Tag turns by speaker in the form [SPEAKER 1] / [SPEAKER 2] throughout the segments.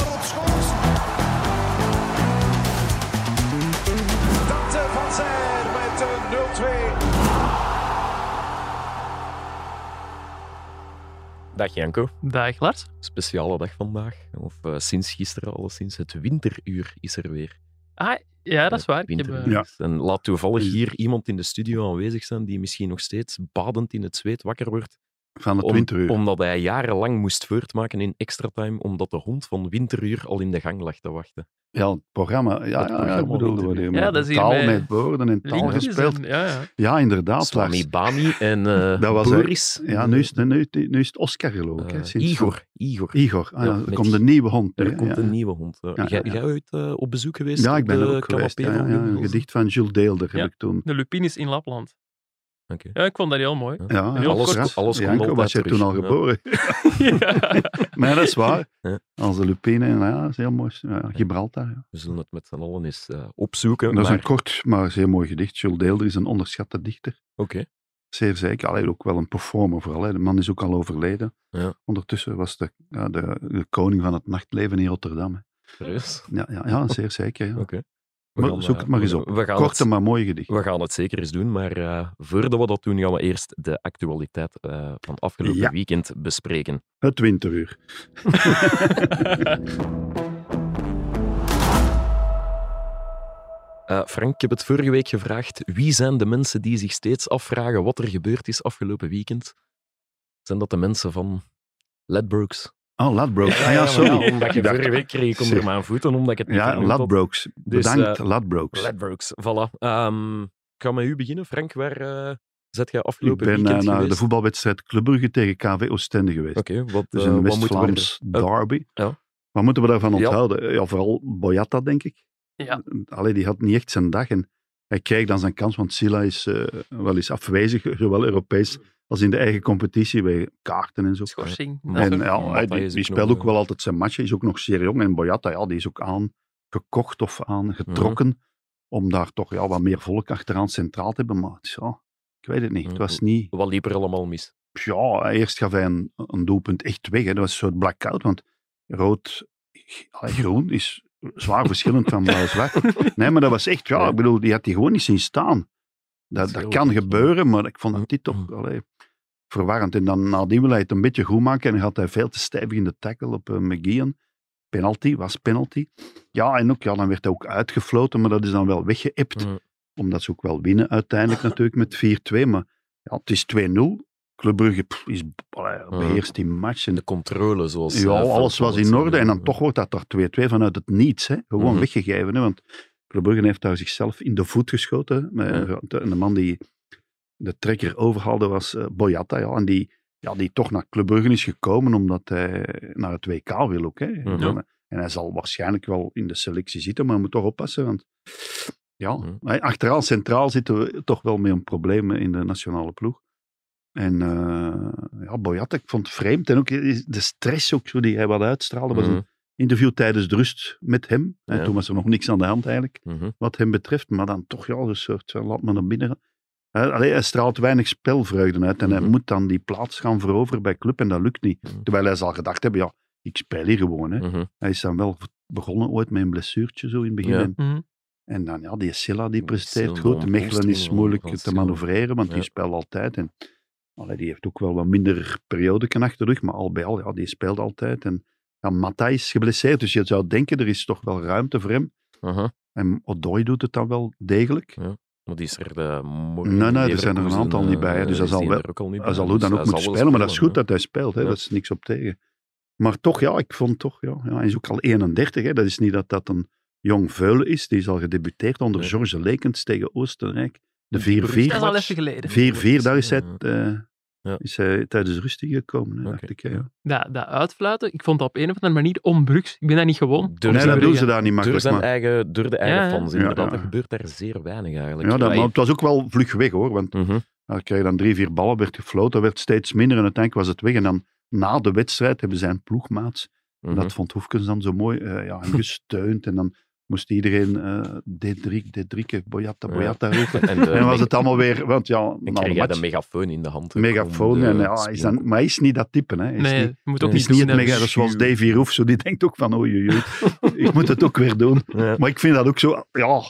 [SPEAKER 1] eh,
[SPEAKER 2] Dag Janko.
[SPEAKER 3] Dag Lars.
[SPEAKER 2] Speciale dag vandaag. Of eh, sinds gisteren alleszins. Het winteruur is er weer.
[SPEAKER 3] Ah, ja, dat is waar. Ik heb,
[SPEAKER 2] Winteruur.
[SPEAKER 3] eh,
[SPEAKER 4] Ja.
[SPEAKER 2] En laat toevallig hier iemand in de studio aanwezig zijn die misschien nog steeds badend in het zweet wakker wordt.
[SPEAKER 4] Van het
[SPEAKER 2] om-
[SPEAKER 4] winteruur.
[SPEAKER 2] Omdat hij jarenlang moest voortmaken in extra time, omdat de hond van winteruur al in de gang lag te wachten.
[SPEAKER 4] Ja, het programma. Ja, ja, ja,
[SPEAKER 2] programma
[SPEAKER 4] ik bedoelde wat
[SPEAKER 2] Winteruur.
[SPEAKER 4] je
[SPEAKER 3] Ja,
[SPEAKER 4] met
[SPEAKER 3] dat is hier
[SPEAKER 4] taal
[SPEAKER 3] bij
[SPEAKER 4] met woorden en taal
[SPEAKER 3] liedjes
[SPEAKER 4] gespeeld.
[SPEAKER 3] en- eh, ja, ja.
[SPEAKER 4] Ja, inderdaad. Lars.
[SPEAKER 2] Swami Bami en eh
[SPEAKER 4] Ah, Dat was
[SPEAKER 2] Boris.
[SPEAKER 4] Ja, nu is, het- nu, nu is het Oscar geloof ik. hè,
[SPEAKER 2] Eh,
[SPEAKER 4] sinds-
[SPEAKER 2] Igor. Igor.
[SPEAKER 4] Igor. Ah,
[SPEAKER 2] Ja,
[SPEAKER 4] ja, er
[SPEAKER 2] met-
[SPEAKER 4] komt een nieuwe hond.
[SPEAKER 2] Er
[SPEAKER 4] hè,
[SPEAKER 2] komt
[SPEAKER 4] ja,
[SPEAKER 2] een
[SPEAKER 4] ja.
[SPEAKER 2] nieuwe hond. eh.
[SPEAKER 4] Ja, ja,
[SPEAKER 2] Jij
[SPEAKER 4] ja.
[SPEAKER 2] jij ooit eh, op bezoek geweest?
[SPEAKER 4] Ja,
[SPEAKER 2] op
[SPEAKER 4] ik ben
[SPEAKER 2] de
[SPEAKER 4] er ook geweest.
[SPEAKER 2] canapé
[SPEAKER 4] Ja, ja,
[SPEAKER 2] van
[SPEAKER 4] ja,
[SPEAKER 2] Wim
[SPEAKER 4] een
[SPEAKER 2] Hof?
[SPEAKER 4] gedicht van Jules Deelder
[SPEAKER 3] Ja.
[SPEAKER 4] heb ik toen.
[SPEAKER 3] De Lupines in Lapland.
[SPEAKER 2] Oké.
[SPEAKER 3] Ja, ik vond dat heel mooi.
[SPEAKER 4] Ja,
[SPEAKER 3] Heel
[SPEAKER 4] alles-
[SPEAKER 3] kort.
[SPEAKER 4] ras-
[SPEAKER 2] Alles komt
[SPEAKER 4] Janko,
[SPEAKER 2] altijd
[SPEAKER 4] was jij
[SPEAKER 2] terug,
[SPEAKER 4] toen al
[SPEAKER 2] ja.
[SPEAKER 4] geboren?
[SPEAKER 3] ja.
[SPEAKER 4] maar dat is waar.
[SPEAKER 2] Ja.
[SPEAKER 4] Als de Lupine, nou ja, dat is heel mooi. Ja, Gibraltar. ja.
[SPEAKER 2] We zullen het met z'n allen eens eh, opzoeken.
[SPEAKER 4] Dat is
[SPEAKER 2] maar-
[SPEAKER 4] een kort, maar zeer mooi gedicht. Jules Deelder is een onderschatte dichter.
[SPEAKER 2] Oké.
[SPEAKER 4] zeer zeker. Allee, ook wel een performer vooral. Hè. De man is ook al overleden.
[SPEAKER 2] Ja.
[SPEAKER 4] Ondertussen was de, ja, de, de koning van het nachtleven in Rotterdam. hè.
[SPEAKER 2] serieus.
[SPEAKER 4] Ja, ja, ja zeer zeker. Ja.
[SPEAKER 2] Oké. We
[SPEAKER 4] Maar
[SPEAKER 2] gaan,
[SPEAKER 4] zoek
[SPEAKER 2] eh,
[SPEAKER 4] het maar eens op.
[SPEAKER 2] We gaan,
[SPEAKER 4] Korte,
[SPEAKER 2] het,
[SPEAKER 4] maar mooie gedicht.
[SPEAKER 2] we gaan het zeker eens doen, maar eh, voordat we dat doen, gaan we eerst de actualiteit eh, van afgelopen
[SPEAKER 4] Ja.
[SPEAKER 2] weekend bespreken.
[SPEAKER 4] Het winteruur.
[SPEAKER 2] Eh, Frank, ik heb het vorige week gevraagd. Wie zijn de mensen die zich steeds afvragen wat er gebeurd is afgelopen weekend? Zijn dat de mensen van Ladbrokes?
[SPEAKER 4] Oh, Ladbrokes. Ah, ja,
[SPEAKER 2] maar
[SPEAKER 4] sorry.
[SPEAKER 2] omdat ik
[SPEAKER 4] Ik dacht-
[SPEAKER 2] vorige week kreeg ik onder
[SPEAKER 4] Zeg.
[SPEAKER 2] mijn voeten, omdat ik het niet
[SPEAKER 4] Ja,
[SPEAKER 2] vernoemd had.
[SPEAKER 4] Ladbrokes.
[SPEAKER 2] Dus,
[SPEAKER 4] Bedankt,
[SPEAKER 2] eh,
[SPEAKER 4] Ladbrokes.
[SPEAKER 2] Ladbrokes, voilà. Ehm, ik ga met u beginnen. Frank, waar eh zet jij
[SPEAKER 4] Ik
[SPEAKER 2] afgelopen
[SPEAKER 4] ben eh,
[SPEAKER 2] weekend
[SPEAKER 4] naar de
[SPEAKER 2] geweest?
[SPEAKER 4] voetbalwedstrijd Club Brugge tegen KV Oostende geweest.
[SPEAKER 2] Oké, wat,
[SPEAKER 4] Dus
[SPEAKER 2] eh,
[SPEAKER 4] een
[SPEAKER 2] wat moeten we... Eh,
[SPEAKER 4] West-Vlaams derby.
[SPEAKER 2] ja.
[SPEAKER 4] Wat moeten we daarvan
[SPEAKER 2] Ja.
[SPEAKER 4] onthouden? Eh, Ja, vooral Boyata, denk ik.
[SPEAKER 3] Ja.
[SPEAKER 4] Allee, die had niet echt zijn dag. En hij krijgt dan zijn kans, want Silla is eh, wel eens afwezig, zowel Europees als in de eigen competitie, bij kaarten en zo.
[SPEAKER 3] Schorsing.
[SPEAKER 2] Ja.
[SPEAKER 3] Dat
[SPEAKER 4] En
[SPEAKER 3] soort-
[SPEAKER 4] ja,
[SPEAKER 2] Boyata
[SPEAKER 4] hij- die,
[SPEAKER 2] is ook
[SPEAKER 4] die
[SPEAKER 2] nog,
[SPEAKER 4] speelt ook
[SPEAKER 2] eh,
[SPEAKER 4] wel altijd zijn matchen, is ook nog zeer jong. En Boyata, ja, die is ook aangekocht of aangetrokken
[SPEAKER 2] Mhm.
[SPEAKER 4] om daar toch ja, wat meer volk achteraan centraal te hebben. Maar het is, ja, ik weet het niet. Het was niet
[SPEAKER 2] Wat liep er allemaal mis?
[SPEAKER 4] ja, eerst gaf hij een, een doelpunt echt weg. Hè. Dat was een soort blackout, want rood allee, groen is zwaar verschillend van blauw-zwart. Nee, maar dat was echt, ja,
[SPEAKER 2] Ja.
[SPEAKER 4] ik bedoel, die had die gewoon niet zien staan.
[SPEAKER 2] Dat is
[SPEAKER 4] Dat, dat
[SPEAKER 2] heel
[SPEAKER 4] kan
[SPEAKER 2] gek, ja.
[SPEAKER 4] gebeuren, maar ik vond dat dit
[SPEAKER 2] Mm.
[SPEAKER 4] toch allee, verwarrend. En dan nadien wil hij het een beetje goed maken en dan had hij veel te stijf in de tackle op eh, McGeehan. Penalty, was penalty. Ja, en ook, ja, dan werd hij ook uitgefloten, maar dat is dan wel weggeëpt.
[SPEAKER 2] Mm.
[SPEAKER 4] Omdat ze ook wel winnen uiteindelijk natuurlijk met 4-2. Maar ja, het is 2-0. Club Brugge pff, is allee, beheerst die match. En
[SPEAKER 2] De controle, zoals...
[SPEAKER 4] ja,
[SPEAKER 2] eh, Frank
[SPEAKER 4] alles was
[SPEAKER 2] Wouters
[SPEAKER 4] in orde.
[SPEAKER 2] zei.
[SPEAKER 4] En dan toch wordt dat er 2-2 vanuit het niets. Hè. Gewoon
[SPEAKER 2] Mhm.
[SPEAKER 4] weggegeven. Hè, want Club Brugge heeft daar zichzelf in de voet geschoten. Met,
[SPEAKER 2] Ja.
[SPEAKER 4] de, en de man die de trekker overhaalde was eh, Boyata. Ja, en die, ja, die toch naar Club Brugge is gekomen omdat hij naar het WK wil ook. Hè.
[SPEAKER 2] Mhm.
[SPEAKER 4] En, en hij zal waarschijnlijk wel in de selectie zitten, maar hij moet toch oppassen. Want ja,
[SPEAKER 2] Mhm.
[SPEAKER 4] maar achteraan centraal zitten we toch wel met een probleem in de nationale ploeg. En eh, ja, Boyata, ik vond het vreemd. En ook eh, is de stress ook zo die hij wat uitstraalde. was
[SPEAKER 2] Mhm,
[SPEAKER 4] een interview tijdens de rust met hem. En
[SPEAKER 2] Ja.
[SPEAKER 4] toen was er nog niks aan de hand eigenlijk,
[SPEAKER 2] mhm.
[SPEAKER 4] wat hem betreft. Maar dan toch ja, een soort, eh, laat me naar binnen gaan. Eh, allee, hij straalt weinig spelvreugde uit. En hij
[SPEAKER 2] Mhm.
[SPEAKER 4] moet dan die plaats gaan veroveren bij club. En dat lukt niet.
[SPEAKER 2] Mhm.
[SPEAKER 4] Terwijl hij zal gedacht hebben, ja, ik speel hier gewoon. Hè.
[SPEAKER 2] mhm.
[SPEAKER 4] Hij is dan wel begonnen ooit met een blessuurtje zo in het begin.
[SPEAKER 2] Ja.
[SPEAKER 4] En,
[SPEAKER 3] Mhm.
[SPEAKER 4] en dan, ja, die Silla die
[SPEAKER 2] Die
[SPEAKER 4] presteert
[SPEAKER 2] Silla,
[SPEAKER 4] goed.
[SPEAKER 2] een
[SPEAKER 4] Mechelen is
[SPEAKER 2] opstroom
[SPEAKER 4] moeilijk
[SPEAKER 2] van
[SPEAKER 4] te
[SPEAKER 2] Silla.
[SPEAKER 4] manoeuvreren, want
[SPEAKER 2] Ja.
[SPEAKER 4] die speelt altijd. En allee, die heeft ook wel wat minder periodeken achter de rug, maar al bij al, ja, die speelt altijd. En ja, Matta is geblesseerd, dus je zou denken, er is toch wel ruimte voor hem.
[SPEAKER 2] Aha.
[SPEAKER 4] En Odoi doet het dan wel degelijk.
[SPEAKER 2] Maar die is er eh, de morgen...
[SPEAKER 4] Nee, nee, er zijn er een
[SPEAKER 2] Leverkusen,
[SPEAKER 4] aantal niet bij, hè,
[SPEAKER 2] eh,
[SPEAKER 4] dus dat
[SPEAKER 2] is
[SPEAKER 4] zal
[SPEAKER 2] die
[SPEAKER 4] wel-
[SPEAKER 2] er ook al niet
[SPEAKER 4] Hij
[SPEAKER 2] bij,
[SPEAKER 4] zal ook
[SPEAKER 2] dus
[SPEAKER 4] dan ook
[SPEAKER 2] hij
[SPEAKER 4] moeten
[SPEAKER 2] zal wel
[SPEAKER 4] spelen, maar dat is goed
[SPEAKER 2] hè.
[SPEAKER 4] dat hij speelt, hè,
[SPEAKER 2] Ja.
[SPEAKER 4] dat is niks op tegen. Maar toch, ja, ik vond toch, ja, ja hij is ook al 31, hè, dat is niet dat dat een jong veulen is, die is al gedebuteerd onder
[SPEAKER 2] Nee.
[SPEAKER 4] George Lekens tegen Oostenrijk. De 4-4.
[SPEAKER 3] Dat is al even geleden.
[SPEAKER 4] 4-4, daar is hij,
[SPEAKER 2] Ja.
[SPEAKER 4] eh,
[SPEAKER 2] Ja.
[SPEAKER 4] is hij tijdens rustig gekomen, hè, dacht
[SPEAKER 2] Oké.
[SPEAKER 4] ik. hè, ja.
[SPEAKER 3] Dat, dat uitfluiten, ik vond dat op een of andere manier onbrugs. Ik ben dat niet gewoon.
[SPEAKER 2] Door
[SPEAKER 4] Nee,
[SPEAKER 2] zijn
[SPEAKER 4] dat doen
[SPEAKER 3] ja.
[SPEAKER 4] ze daar niet
[SPEAKER 2] Door,
[SPEAKER 4] makkelijk.
[SPEAKER 2] zijn
[SPEAKER 4] Maar,
[SPEAKER 2] eigen, door de eigen
[SPEAKER 3] Ja, ja.
[SPEAKER 2] fans,
[SPEAKER 4] Ja,
[SPEAKER 2] inderdaad.
[SPEAKER 4] ja.
[SPEAKER 2] Dat gebeurt daar zeer weinig eigenlijk.
[SPEAKER 4] ja, dat,
[SPEAKER 2] Wij-
[SPEAKER 4] maar het was ook wel vlug weg hoor, want
[SPEAKER 2] Mhm.
[SPEAKER 4] hij kreeg dan drie, vier ballen, werd gefloten, werd steeds minder en uiteindelijk was het weg. En dan na de wedstrijd hebben zijn ploegmaats,
[SPEAKER 2] mhm.
[SPEAKER 4] dat vond Hoefkens dan zo mooi, eh, ja, hem gesteund en dan moest iedereen eh Dedrik, Dedrikke, Boyata,
[SPEAKER 2] Ja.
[SPEAKER 4] Boyata roepen.
[SPEAKER 2] En, eh,
[SPEAKER 4] En was het allemaal weer, want ja,
[SPEAKER 2] Dan
[SPEAKER 4] na de
[SPEAKER 2] kreeg jij de
[SPEAKER 4] match,
[SPEAKER 2] megafoon in de hand. ook, om
[SPEAKER 4] megafoon,
[SPEAKER 2] de
[SPEAKER 4] en, ja, hij is dan,
[SPEAKER 2] spin-
[SPEAKER 4] maar hij is niet dat type. Hè. Hij is
[SPEAKER 3] Nee,
[SPEAKER 4] niet-
[SPEAKER 3] je moet ook
[SPEAKER 2] Nee.
[SPEAKER 4] is
[SPEAKER 3] niet
[SPEAKER 4] niet
[SPEAKER 3] doen.
[SPEAKER 4] het
[SPEAKER 3] hè.
[SPEAKER 4] mega, dat is zoals Davy Roof, zo, die denkt ook van oei oei oei, ik moet het ook weer doen.
[SPEAKER 2] Ja.
[SPEAKER 4] Maar ik vind dat ook zo, ja,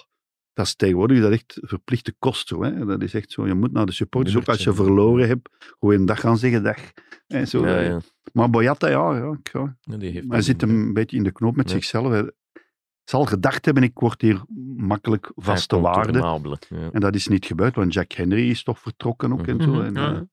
[SPEAKER 4] Dat is tegenwoordig is dat echt verplichte kost. Zo, hè. Dat is echt zo, je moet naar de supporters. Ook als
[SPEAKER 2] Nummertje.
[SPEAKER 4] je verloren hebt, hoe je een dag gaan zeggen, dag. Hè, zo,
[SPEAKER 2] Ja,
[SPEAKER 4] hè.
[SPEAKER 2] ja.
[SPEAKER 4] Maar Boyata, ja, ja, ik- ja.
[SPEAKER 2] Ja, die heeft
[SPEAKER 4] Maar hij zit hem een beetje in de knoop met
[SPEAKER 2] Ja.
[SPEAKER 4] zichzelf. Hij zal gedacht hebben, ik word hier makkelijk vaste waarde.
[SPEAKER 2] Nabelen. Ja.
[SPEAKER 4] En dat is niet gebeurd, want Jack Henry is toch vertrokken ook en
[SPEAKER 2] Mhm.
[SPEAKER 4] zo.
[SPEAKER 3] Mhm,
[SPEAKER 4] En,
[SPEAKER 3] ja,
[SPEAKER 4] eh,
[SPEAKER 3] ja.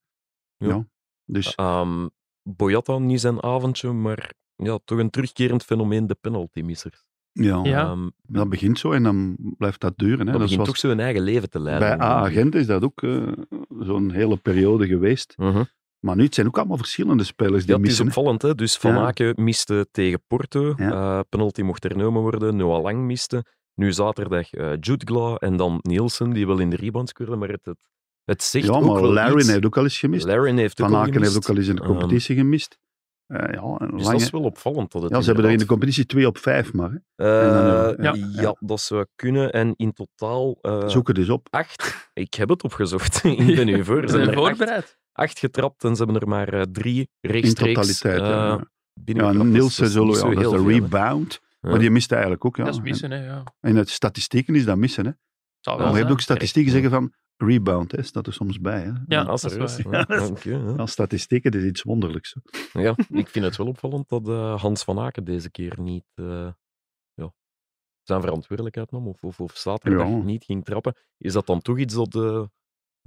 [SPEAKER 2] Ja.
[SPEAKER 4] ja. Dus
[SPEAKER 2] Ehm, Boyata, niet zijn avondje, maar ja, toch een terugkerend fenomeen, de penalty-missers.
[SPEAKER 4] ja,
[SPEAKER 3] Ja.
[SPEAKER 2] Ehm,
[SPEAKER 4] dat begint zo en dan blijft dat duren. Hè.
[SPEAKER 2] dat
[SPEAKER 4] Dat
[SPEAKER 2] begint
[SPEAKER 4] was-
[SPEAKER 2] toch zijn eigen leven te leiden.
[SPEAKER 4] bij A-agent is dat ook eh, zo'n hele periode geweest.
[SPEAKER 2] Mhm.
[SPEAKER 4] Maar nu, het zijn ook allemaal verschillende spelers die
[SPEAKER 2] Ja, het is
[SPEAKER 4] missen. hè.
[SPEAKER 2] opvallend. Hè? Dus Van
[SPEAKER 4] Ja.
[SPEAKER 2] Aken miste tegen Porto.
[SPEAKER 4] Ja.
[SPEAKER 2] eh, penalty mocht hernomen worden. Noah Lang miste. Nu zaterdag eh Jude Gla en dan Nielsen, die wel in de rebound scoorde. Maar het, het, het zegt
[SPEAKER 4] Ja,
[SPEAKER 2] ook
[SPEAKER 4] maar
[SPEAKER 2] wel
[SPEAKER 4] Larry
[SPEAKER 2] iets.
[SPEAKER 4] heeft ook al eens gemist.
[SPEAKER 2] Larin heeft ook
[SPEAKER 4] Van
[SPEAKER 2] al
[SPEAKER 4] Aken heeft
[SPEAKER 2] gemist.
[SPEAKER 4] ook al eens in de
[SPEAKER 2] Ehm,
[SPEAKER 4] competitie gemist. Eh, ja, en
[SPEAKER 2] Dus dat
[SPEAKER 4] Lange-
[SPEAKER 2] is wel opvallend. Dat het
[SPEAKER 4] ja, ze hebben er in de
[SPEAKER 2] inderdaad-
[SPEAKER 4] competitie twee op vijf, maar hè.
[SPEAKER 2] Eh,
[SPEAKER 4] Ja,
[SPEAKER 2] ja,
[SPEAKER 4] ja.
[SPEAKER 2] dat zou kunnen. En in totaal eh,
[SPEAKER 4] zoek het eens op.
[SPEAKER 2] acht. Ik heb het opgezocht. Ik ben nu voor.
[SPEAKER 3] We
[SPEAKER 2] Ze
[SPEAKER 3] zijn
[SPEAKER 2] hebben er acht,
[SPEAKER 3] voorbereid.
[SPEAKER 2] acht getrapt en ze hebben er maar eh, drie
[SPEAKER 4] In
[SPEAKER 2] rechtstreeks
[SPEAKER 4] totaliteit.
[SPEAKER 2] eh,
[SPEAKER 4] ja. ja,
[SPEAKER 2] binnengetrapt. Dus
[SPEAKER 4] Nielsen
[SPEAKER 2] dat is niet
[SPEAKER 4] zullen,
[SPEAKER 2] zo
[SPEAKER 4] ja, dat is
[SPEAKER 2] heel
[SPEAKER 4] de
[SPEAKER 2] veel, hè.
[SPEAKER 4] rebound.
[SPEAKER 2] Ja.
[SPEAKER 4] Maar die mist eigenlijk ook. Ja.
[SPEAKER 3] Dat is missen, hè. Ja.
[SPEAKER 4] En, en uit statistieken is dat missen.
[SPEAKER 2] Ah,
[SPEAKER 4] Hè.
[SPEAKER 3] Zal
[SPEAKER 2] Ja,
[SPEAKER 4] maar
[SPEAKER 3] wel
[SPEAKER 4] Nou, je hebt
[SPEAKER 3] zijn.
[SPEAKER 4] ook statistieken
[SPEAKER 2] Echt,
[SPEAKER 4] zeggen van rebound. Hè, staat er soms bij. Hè.
[SPEAKER 3] Ja.
[SPEAKER 2] Ah,
[SPEAKER 3] dat is
[SPEAKER 2] serieus?
[SPEAKER 4] waar.
[SPEAKER 2] Ja, oké, ja.
[SPEAKER 4] Ja, statistieken, dat is iets wonderlijks. hè.
[SPEAKER 2] Ja, ik vind het wel opvallend dat eh, Hans van Aken deze keer niet eh, ja, zijn verantwoordelijkheid nam of, of, of zaterdag
[SPEAKER 4] Ja.
[SPEAKER 2] niet ging trappen. Is dat dan toch iets dat eh,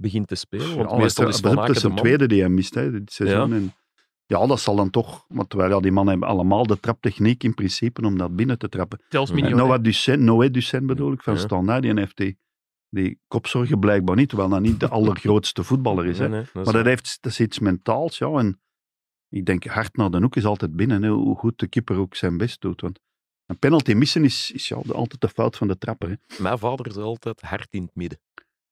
[SPEAKER 2] begint te spelen? Want
[SPEAKER 4] Ja,
[SPEAKER 2] meestal
[SPEAKER 4] dat
[SPEAKER 2] is Van
[SPEAKER 4] pas op, dat
[SPEAKER 2] Aken
[SPEAKER 4] is
[SPEAKER 2] de
[SPEAKER 4] zijn
[SPEAKER 2] man.
[SPEAKER 4] tweede die hij mist hè, dit seizoen.
[SPEAKER 2] Ja.
[SPEAKER 4] Ja. En, ja, dat zal dan toch... Want terwijl ja, die mannen hebben allemaal de traptechniek in principe om dat binnen te trappen.
[SPEAKER 3] Zelfs
[SPEAKER 2] Ja.
[SPEAKER 3] Mignolet.
[SPEAKER 4] Noah Ducen, Noé Ducen bedoel ik, van
[SPEAKER 2] Ja.
[SPEAKER 4] Standaard, die heeft die, die kopzorgen blijkbaar niet, terwijl dat niet de allergrootste voetballer is. Hè.
[SPEAKER 2] Nee, nee, dat is
[SPEAKER 4] Maar dat,
[SPEAKER 2] waar.
[SPEAKER 4] heeft, dat is iets mentaals, ja. En ik denk, hard naar de hoek is altijd binnen, hè, hoe goed de keeper ook zijn best doet. Want een penalty missen is, is ja, altijd de fout van de trapper. Hè.
[SPEAKER 2] Mijn vader zei altijd hart in het midden.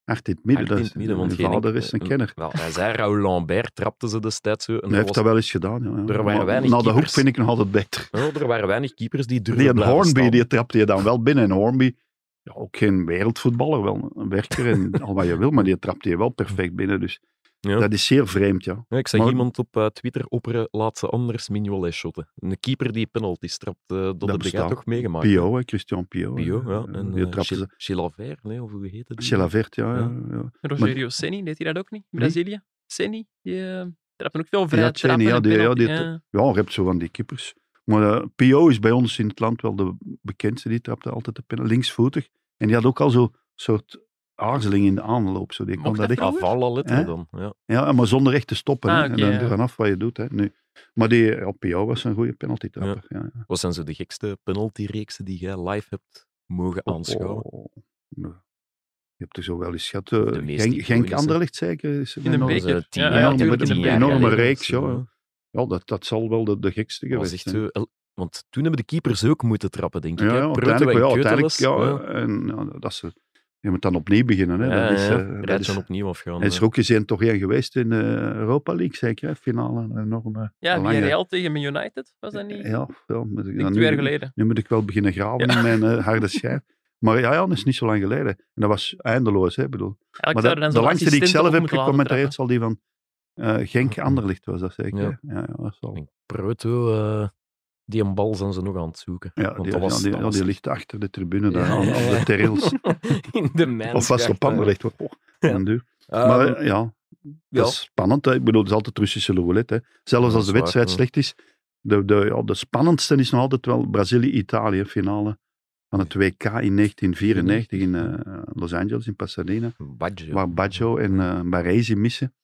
[SPEAKER 4] Hard in het midden,
[SPEAKER 2] Hart
[SPEAKER 4] dat
[SPEAKER 2] in
[SPEAKER 4] is,
[SPEAKER 2] het midden, want
[SPEAKER 4] je
[SPEAKER 2] geen
[SPEAKER 4] vader
[SPEAKER 2] enkel-
[SPEAKER 4] is een
[SPEAKER 2] eh,
[SPEAKER 4] kenner.
[SPEAKER 2] Wel, hij zei Raoul Lambert, trapte ze destijds eh, zo. En
[SPEAKER 4] Hij
[SPEAKER 2] er,
[SPEAKER 4] heeft
[SPEAKER 2] was,
[SPEAKER 4] dat wel eens gedaan, ja. ja.
[SPEAKER 2] waren
[SPEAKER 4] Maar
[SPEAKER 2] weinig
[SPEAKER 4] Na de hoek
[SPEAKER 2] keepers.
[SPEAKER 4] vind ik nog altijd beter.
[SPEAKER 2] Oh, er waren weinig keepers die durfden
[SPEAKER 4] Die en
[SPEAKER 2] blijven
[SPEAKER 4] Hornby,
[SPEAKER 2] staan.
[SPEAKER 4] die trapte je dan wel binnen. En Hornby, ja, ook geen wereldvoetballer, wel een werker en al wat je wil, maar die trapte je wel perfect binnen. Dus
[SPEAKER 2] Ja.
[SPEAKER 4] dat is zeer vreemd, ja.
[SPEAKER 2] Ja, ik zag
[SPEAKER 4] Maar-
[SPEAKER 2] iemand op eh, Twitter opperen, laat ze anders Mignolet shotten. Een keeper die penalties trapt, eh, dat, heb jij
[SPEAKER 4] bestaat.
[SPEAKER 2] toch meegemaakt? hè?
[SPEAKER 4] Pio, hè, Christian Pio. hè.
[SPEAKER 2] Bio, ja. En
[SPEAKER 4] die
[SPEAKER 2] uh,
[SPEAKER 4] trapte ze.
[SPEAKER 2] nee, of hoe heet het?
[SPEAKER 4] Chilavert, ja. ja, ja.
[SPEAKER 3] Rogerio Seni, deed hij dat ook niet?
[SPEAKER 4] Wie?
[SPEAKER 3] Brazilië? Seni, die uh, trappen ook veel vrij
[SPEAKER 4] Hm? Ja, Ceni,
[SPEAKER 3] trappen
[SPEAKER 4] ja,
[SPEAKER 3] en
[SPEAKER 4] die- ja, die-
[SPEAKER 3] penalty, ja.
[SPEAKER 4] Ja, je hebt zo van die keepers. Maar eh, Pio is bij ons in het land wel de bekendste. Die trapte altijd de penalty, linksvoetig. En die had ook al zo'n soort aarzeling in de aanloop. Zo. Die kon
[SPEAKER 3] Mocht
[SPEAKER 4] dat
[SPEAKER 3] dat
[SPEAKER 4] echt...
[SPEAKER 3] vroeger?
[SPEAKER 2] Avala letter
[SPEAKER 4] Hè?
[SPEAKER 2] dan. Ja.
[SPEAKER 4] Ja, maar zonder echt te stoppen. hè.
[SPEAKER 3] Ah, oké,
[SPEAKER 4] en dan
[SPEAKER 3] ja.
[SPEAKER 4] ervan af wat je doet. Hè. Nu. Maar die, ja, Pio was een goede penalty trapper. Ja. ja.
[SPEAKER 2] Wat zijn zo de gekste penaltyreeksen die jij live hebt mogen aanschouwen?
[SPEAKER 4] Oh, oh. Ja. Je hebt er zo wel eens gehad. eh,
[SPEAKER 2] De meest
[SPEAKER 4] Genk,
[SPEAKER 2] iconische.
[SPEAKER 4] Genk Anderlecht zeker. is er
[SPEAKER 3] In de
[SPEAKER 4] nog-
[SPEAKER 2] Dat was,
[SPEAKER 3] beker.
[SPEAKER 2] eh, tien
[SPEAKER 3] Ja,
[SPEAKER 2] jaar
[SPEAKER 4] ja,
[SPEAKER 2] geleden,
[SPEAKER 4] met een
[SPEAKER 2] tien jaar
[SPEAKER 4] enorme
[SPEAKER 2] geleden of
[SPEAKER 4] reeks,
[SPEAKER 2] zo,
[SPEAKER 4] ja.
[SPEAKER 2] hè.
[SPEAKER 4] Ja, dat, dat zal wel de, de gekste
[SPEAKER 2] Dat was
[SPEAKER 4] geweest
[SPEAKER 2] echt
[SPEAKER 4] zijn.
[SPEAKER 2] zo... el- Want toen hebben de keepers ook moeten trappen, denk ik.
[SPEAKER 4] Ja,
[SPEAKER 2] hè.
[SPEAKER 4] ja,
[SPEAKER 2] Proto
[SPEAKER 4] uiteindelijk,
[SPEAKER 2] en
[SPEAKER 4] wel, uiteindelijk
[SPEAKER 2] Keuteles,
[SPEAKER 4] ja, en, ja, dat is, je moet dan opnieuw beginnen. Hè.
[SPEAKER 2] Ja,
[SPEAKER 4] dat is,
[SPEAKER 2] ja, ja.
[SPEAKER 4] eh, dat
[SPEAKER 2] Rijdt
[SPEAKER 4] is,
[SPEAKER 2] dan opnieuw afgaan.
[SPEAKER 4] en
[SPEAKER 2] hè.
[SPEAKER 4] Schrokjes zijn toch één geweest in de Europa League, zeker? Hè? Finale, een enorme.
[SPEAKER 3] Ja,
[SPEAKER 4] lange-
[SPEAKER 3] Villarreal tegen Man United, was dat niet? Ik
[SPEAKER 4] Ah, Ja, ja, moet ik-
[SPEAKER 3] denk
[SPEAKER 4] ja,
[SPEAKER 3] twee jaar
[SPEAKER 4] nu,
[SPEAKER 3] geleden.
[SPEAKER 4] nu moet ik wel beginnen graven
[SPEAKER 3] Ja.
[SPEAKER 4] in mijn eh, harde schijf. Maar ja, ja, dat is niet zo lang geleden. En dat was eindeloos, hè, ik bedoel.
[SPEAKER 3] Eigenlijk
[SPEAKER 4] maar
[SPEAKER 3] zou
[SPEAKER 4] dat-
[SPEAKER 3] er dan
[SPEAKER 4] de
[SPEAKER 3] zo'n
[SPEAKER 4] langste die ik
[SPEAKER 3] assistent
[SPEAKER 4] zelf
[SPEAKER 3] op
[SPEAKER 4] heb
[SPEAKER 3] moeten laten
[SPEAKER 4] gecommentarieerd zal die van eh, Genk
[SPEAKER 2] Mhm.
[SPEAKER 4] Anderlicht was dat zeker.
[SPEAKER 2] Ja.
[SPEAKER 4] hè? Ja, ja, dat zal.
[SPEAKER 2] Proto, eh, die een bal zijn ze nog aan het zoeken.
[SPEAKER 4] Ja,
[SPEAKER 2] Want
[SPEAKER 4] die,
[SPEAKER 2] dat was,
[SPEAKER 4] ja, die,
[SPEAKER 2] dat
[SPEAKER 4] ja,
[SPEAKER 2] was
[SPEAKER 4] die ligt achter de tribune, daar,
[SPEAKER 2] Ja,
[SPEAKER 4] aan,
[SPEAKER 2] ja,
[SPEAKER 4] aan
[SPEAKER 2] ja.
[SPEAKER 4] de terrails.
[SPEAKER 2] in de mijn
[SPEAKER 4] of was het op Anderlicht? Oh,
[SPEAKER 2] eh, Ja.
[SPEAKER 4] mijn duur.
[SPEAKER 2] Eh,
[SPEAKER 4] Maar eh, ja,
[SPEAKER 2] ja.
[SPEAKER 4] dat is spannend. hè. Ik bedoel, het is altijd Russische roulette. Hè. Zelfs
[SPEAKER 2] dat
[SPEAKER 4] als de
[SPEAKER 2] is waar,
[SPEAKER 4] wedstrijd
[SPEAKER 2] ja.
[SPEAKER 4] slecht is. De, de, ja, de spannendste is nog altijd wel Brazilië-Italië finale van het WK
[SPEAKER 2] Mhm.
[SPEAKER 4] in 1994 in eh, Los Angeles, in Pasadena.
[SPEAKER 2] Baggio.
[SPEAKER 4] Waar Baggio en eh Baresi missen.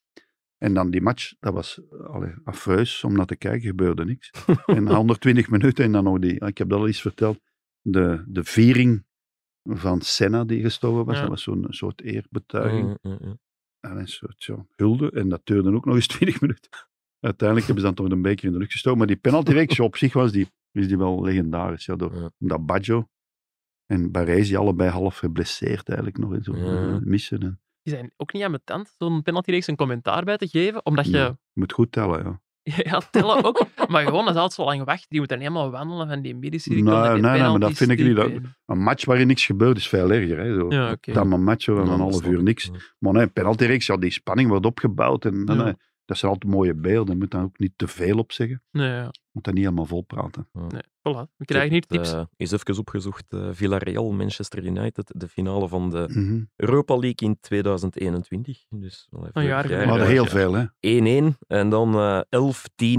[SPEAKER 4] En dan die match, dat was eh, allee, affreus om naar te kijken, gebeurde niks. en na 120 minuten en dan nog die, ik heb dat al eens verteld, de, de viering van Senna die gestorven was.
[SPEAKER 3] Ja.
[SPEAKER 4] Dat was zo'n soort eerbetuiging.
[SPEAKER 2] Mm, mm, mm.
[SPEAKER 4] En een soort ja, hulde. En dat duurde ook nog eens 20 minuten. Uiteindelijk hebben ze dan toch een beker in de lucht gestoken. Maar die penaltyreeks ja, op zich was die, is die wel legendarisch. Ja, door,
[SPEAKER 2] Ja.
[SPEAKER 4] Omdat Baggio en Baresi allebei half geblesseerd eigenlijk nog eens
[SPEAKER 2] Ja.
[SPEAKER 4] eh, missen. En,
[SPEAKER 3] Die zijn ook niet aan mijn tand, zo'n penaltyreeks een commentaar bij te geven, omdat je...
[SPEAKER 4] Ja. je moet goed tellen, ja.
[SPEAKER 3] Ja, tellen ook. Maar gewoon, dat is altijd zo lang wachten. Die moet dan helemaal wandelen van die middencirkel.
[SPEAKER 4] Nee,
[SPEAKER 3] naar die
[SPEAKER 4] nee, nee, maar dat
[SPEAKER 3] penalties
[SPEAKER 4] vind ik niet.
[SPEAKER 3] typen.
[SPEAKER 4] Een match waarin niks gebeurt is veel erger. Hè, zo.
[SPEAKER 3] Ja, oké.
[SPEAKER 4] Dan een match van
[SPEAKER 2] Ja,
[SPEAKER 4] een
[SPEAKER 2] dat
[SPEAKER 4] half
[SPEAKER 2] snap
[SPEAKER 4] uur
[SPEAKER 2] ik.
[SPEAKER 4] niks.
[SPEAKER 2] Ja.
[SPEAKER 4] Maar nee, penaltyreeks, ja, die spanning wordt opgebouwd. En, en,
[SPEAKER 3] Ja.
[SPEAKER 4] eh, dat zijn altijd mooie beelden. Je moet daar ook niet te veel op zeggen.
[SPEAKER 3] Nee, ja.
[SPEAKER 4] moet dat niet helemaal vol praten.
[SPEAKER 3] Voilà, we krijgen hier
[SPEAKER 2] Ik heb het,
[SPEAKER 3] tips.
[SPEAKER 2] eh, eens even opgezocht. eh, Villarreal, Manchester United, de finale van de
[SPEAKER 4] Mhm.
[SPEAKER 2] Europa League in 2021. Dus wel even
[SPEAKER 3] Een jaar
[SPEAKER 2] vorig
[SPEAKER 3] geleden.
[SPEAKER 4] We hadden
[SPEAKER 3] ja,
[SPEAKER 4] heel
[SPEAKER 2] ja.
[SPEAKER 4] veel, hè.
[SPEAKER 2] 1-1 en dan eh,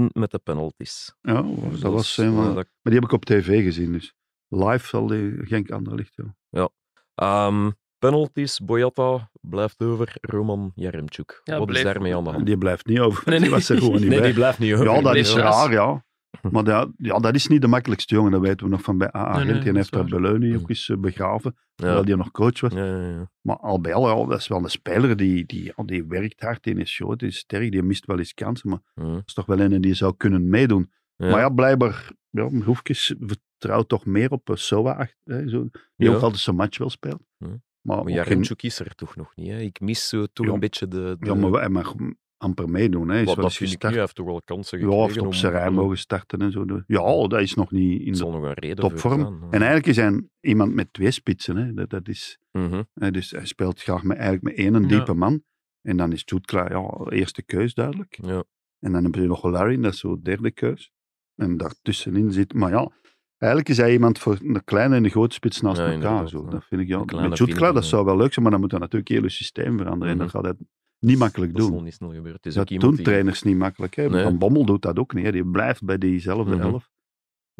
[SPEAKER 2] 11-10 met de penalties.
[SPEAKER 4] Ja, dat was,
[SPEAKER 2] Dus,
[SPEAKER 4] een van-
[SPEAKER 2] eh, dat-
[SPEAKER 4] Maar die heb ik op tv gezien, dus live zal die Genk Anderlicht, ja.
[SPEAKER 2] Ehm, penalties, Boyata blijft over, Roman Jaremchuk.
[SPEAKER 3] Ja,
[SPEAKER 2] Wat is
[SPEAKER 3] bleef.
[SPEAKER 2] daarmee aan de hand?
[SPEAKER 4] Die blijft niet over,
[SPEAKER 3] Nee,
[SPEAKER 4] die
[SPEAKER 3] nee.
[SPEAKER 4] was er gewoon niet
[SPEAKER 2] Nee,
[SPEAKER 4] bij.
[SPEAKER 2] die blijft niet over.
[SPEAKER 4] Ja, dat
[SPEAKER 2] Die
[SPEAKER 4] is
[SPEAKER 2] blijft
[SPEAKER 3] raar.
[SPEAKER 4] raar, ja.
[SPEAKER 3] Hm.
[SPEAKER 4] Maar dat, ja, dat is niet de makkelijkste jongen, dat weten we nog van bij
[SPEAKER 3] Nee,
[SPEAKER 4] AA
[SPEAKER 3] nee,
[SPEAKER 4] Gent.
[SPEAKER 3] dat
[SPEAKER 4] Die heeft
[SPEAKER 3] is
[SPEAKER 4] dat
[SPEAKER 3] waar. Hm.
[SPEAKER 4] Beleuni ook eens eh, begraven, terwijl
[SPEAKER 2] raar.
[SPEAKER 4] die nog coach was.
[SPEAKER 2] Ja, ja, ja, ja.
[SPEAKER 4] Maar al bij al, ja, dat is wel een speler die, die, ja, die werkt hard, die is groot, die is sterk, die mist wel eens kansen, maar
[SPEAKER 2] Ja.
[SPEAKER 4] dat is toch wel een die zou kunnen meedoen.
[SPEAKER 2] Hm. Ja.
[SPEAKER 4] Maar ja, blijkbaar, ja, Hoefkes vertrouwt toch meer op eh, Soa, acht- hè, zo, die
[SPEAKER 2] Ja.
[SPEAKER 4] ook altijd zijn match wel speelt.
[SPEAKER 2] Ja.
[SPEAKER 4] Maar, ook
[SPEAKER 2] Maar
[SPEAKER 4] geen-
[SPEAKER 2] Jaremchuk is er toch nog niet. Hè? Ik mis zo toch
[SPEAKER 4] Ja.
[SPEAKER 2] een beetje de... de
[SPEAKER 4] Ja, maar hij mag amper meedoen. Hè. Hij Is
[SPEAKER 2] Mm. wat,
[SPEAKER 4] wel
[SPEAKER 2] dat
[SPEAKER 4] eens
[SPEAKER 2] vind ik nu.
[SPEAKER 4] gestart.
[SPEAKER 2] Hij heeft toch wel kansen
[SPEAKER 4] Ja,
[SPEAKER 2] gekregen.
[SPEAKER 4] hij heeft op
[SPEAKER 2] om-
[SPEAKER 4] zijn rij mogen starten en zo. Dus Ja, dat is nog niet in
[SPEAKER 2] Het
[SPEAKER 4] de...
[SPEAKER 2] zal nog een reden
[SPEAKER 4] topvorm.
[SPEAKER 2] voor zijn.
[SPEAKER 4] En eigenlijk is hij iemand met twee spitsen. Hè. Dat, dat is,
[SPEAKER 2] Mhm.
[SPEAKER 4] hè, dus hij speelt graag met, eigenlijk met één een
[SPEAKER 3] Ja.
[SPEAKER 4] diepe man. En dan is Jude klaar. Ja, eerste keus duidelijk.
[SPEAKER 2] Ja.
[SPEAKER 4] En dan hebben ze nog Larry, dat is zo derde keus. En daartussenin zit... Maar ja, eigenlijk is hij iemand voor een kleine en een grote spits naast
[SPEAKER 2] Ja,
[SPEAKER 4] elkaar.
[SPEAKER 2] inderdaad,
[SPEAKER 4] Zo.
[SPEAKER 2] ja.
[SPEAKER 4] Dat vind ik, ja.
[SPEAKER 2] Een kleine
[SPEAKER 4] Met Jude klaar, dat
[SPEAKER 2] vinger, ja.
[SPEAKER 4] zou wel leuk zijn, maar dan moet hij natuurlijk heel het systeem veranderen.
[SPEAKER 2] Mhm.
[SPEAKER 4] En dat gaat hij niet makkelijk
[SPEAKER 2] Dat
[SPEAKER 4] doen.
[SPEAKER 2] is nog niet snel gebeurd. Het is
[SPEAKER 4] Dat
[SPEAKER 2] ook iemand
[SPEAKER 4] doen
[SPEAKER 2] die...
[SPEAKER 4] trainers niet makkelijk. Hè.
[SPEAKER 2] Nee.
[SPEAKER 4] Van Bommel doet dat ook niet. Hè. Die blijft bij diezelfde
[SPEAKER 2] Mhm.
[SPEAKER 4] elf.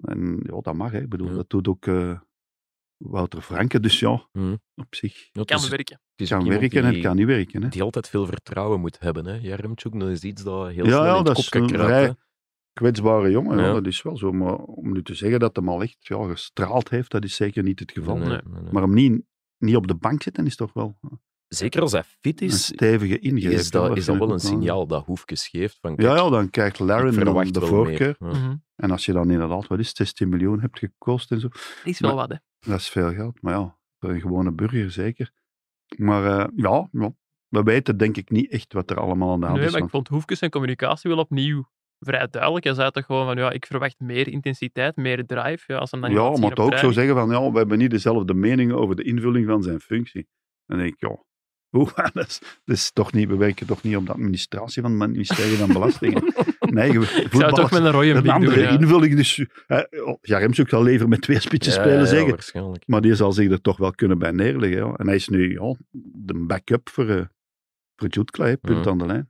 [SPEAKER 4] En ja, dat mag. Hè. Ik bedoel,
[SPEAKER 2] Ja.
[SPEAKER 4] dat doet ook eh, Wouter Franke. Dus ja,
[SPEAKER 2] Mhm.
[SPEAKER 4] op zich.
[SPEAKER 2] Ja, het
[SPEAKER 3] Kan
[SPEAKER 2] is-
[SPEAKER 3] werken.
[SPEAKER 2] het is
[SPEAKER 4] kan
[SPEAKER 2] ook iemand
[SPEAKER 4] werken en
[SPEAKER 2] die-
[SPEAKER 4] het kan niet werken. Hè.
[SPEAKER 2] die altijd veel vertrouwen moet hebben. Hè? Jaremchuk, dat is iets dat heel
[SPEAKER 4] Ja,
[SPEAKER 2] snel
[SPEAKER 4] ja,
[SPEAKER 2] in het
[SPEAKER 4] dat
[SPEAKER 2] kop
[SPEAKER 4] is
[SPEAKER 2] kan
[SPEAKER 4] een
[SPEAKER 2] kruipen.
[SPEAKER 4] vrij- Kwetsbare jongen, ja.
[SPEAKER 2] Ja.
[SPEAKER 4] dat is wel zo. Maar om nu te zeggen dat hem al echt ja, gestraald heeft, dat is zeker niet het geval.
[SPEAKER 2] Nee,
[SPEAKER 4] hè.
[SPEAKER 2] nee, nee, nee.
[SPEAKER 4] Maar hem niet, niet op de bank zitten is toch wel
[SPEAKER 2] Zeker als hij fit
[SPEAKER 4] een
[SPEAKER 2] is,
[SPEAKER 4] stevige ingreep.
[SPEAKER 2] is dat, is dat wel een
[SPEAKER 4] signaal?
[SPEAKER 2] signaal dat Hoefkes geeft. Van,
[SPEAKER 4] Ja,
[SPEAKER 2] kijk,
[SPEAKER 4] ja, dan krijgt
[SPEAKER 2] ik
[SPEAKER 4] Laren dan
[SPEAKER 2] verwacht
[SPEAKER 4] de
[SPEAKER 2] wel
[SPEAKER 4] voorkeur.
[SPEAKER 2] meer. Ja.
[SPEAKER 3] Mhm.
[SPEAKER 4] En als je dan inderdaad, wat is het, 16 miljoen hebt gekost en zo.
[SPEAKER 3] Is wel
[SPEAKER 4] Maar-
[SPEAKER 3] wat, hè.
[SPEAKER 4] Dat is veel geld, maar ja, voor een gewone burger zeker. Maar eh, ja, ja, we weten denk ik niet echt wat er allemaal aan de hand
[SPEAKER 3] nee,
[SPEAKER 4] is.
[SPEAKER 3] maar ik
[SPEAKER 4] Want,
[SPEAKER 3] vond Hoefkes zijn communicatie wel opnieuw vrij duidelijk. Hij zei toch gewoon van, ja, ik verwacht meer intensiteit, meer drive. Ja, als hem dan niet
[SPEAKER 4] ja,
[SPEAKER 3] laat zien
[SPEAKER 4] maar
[SPEAKER 3] op
[SPEAKER 4] toch ook zo
[SPEAKER 3] training.
[SPEAKER 4] zeggen van, ja, we hebben niet dezelfde meningen over de invulling van zijn functie. Dan denk ik, ja, hoe, dat is, dat is toch niet, we werken toch niet op de administratie van het ministerie van Belastingen. Nee, je-
[SPEAKER 3] Ik zou het toch
[SPEAKER 4] voetballers-
[SPEAKER 3] met een rode
[SPEAKER 4] een
[SPEAKER 3] blik doen,
[SPEAKER 4] andere
[SPEAKER 3] ja.
[SPEAKER 4] invulling. Dus, eh, oh, ja, Remshoek zal liever met twee spitsen
[SPEAKER 2] Ja,
[SPEAKER 4] spelen,
[SPEAKER 2] ja,
[SPEAKER 4] zeggen.
[SPEAKER 2] waarschijnlijk.
[SPEAKER 4] Maar die zal zich er toch wel kunnen bij neerleggen. Ja. En hij is nu ja, de backup voor, eh voor Jude Clay, punt
[SPEAKER 2] Ja.
[SPEAKER 4] aan de lijn.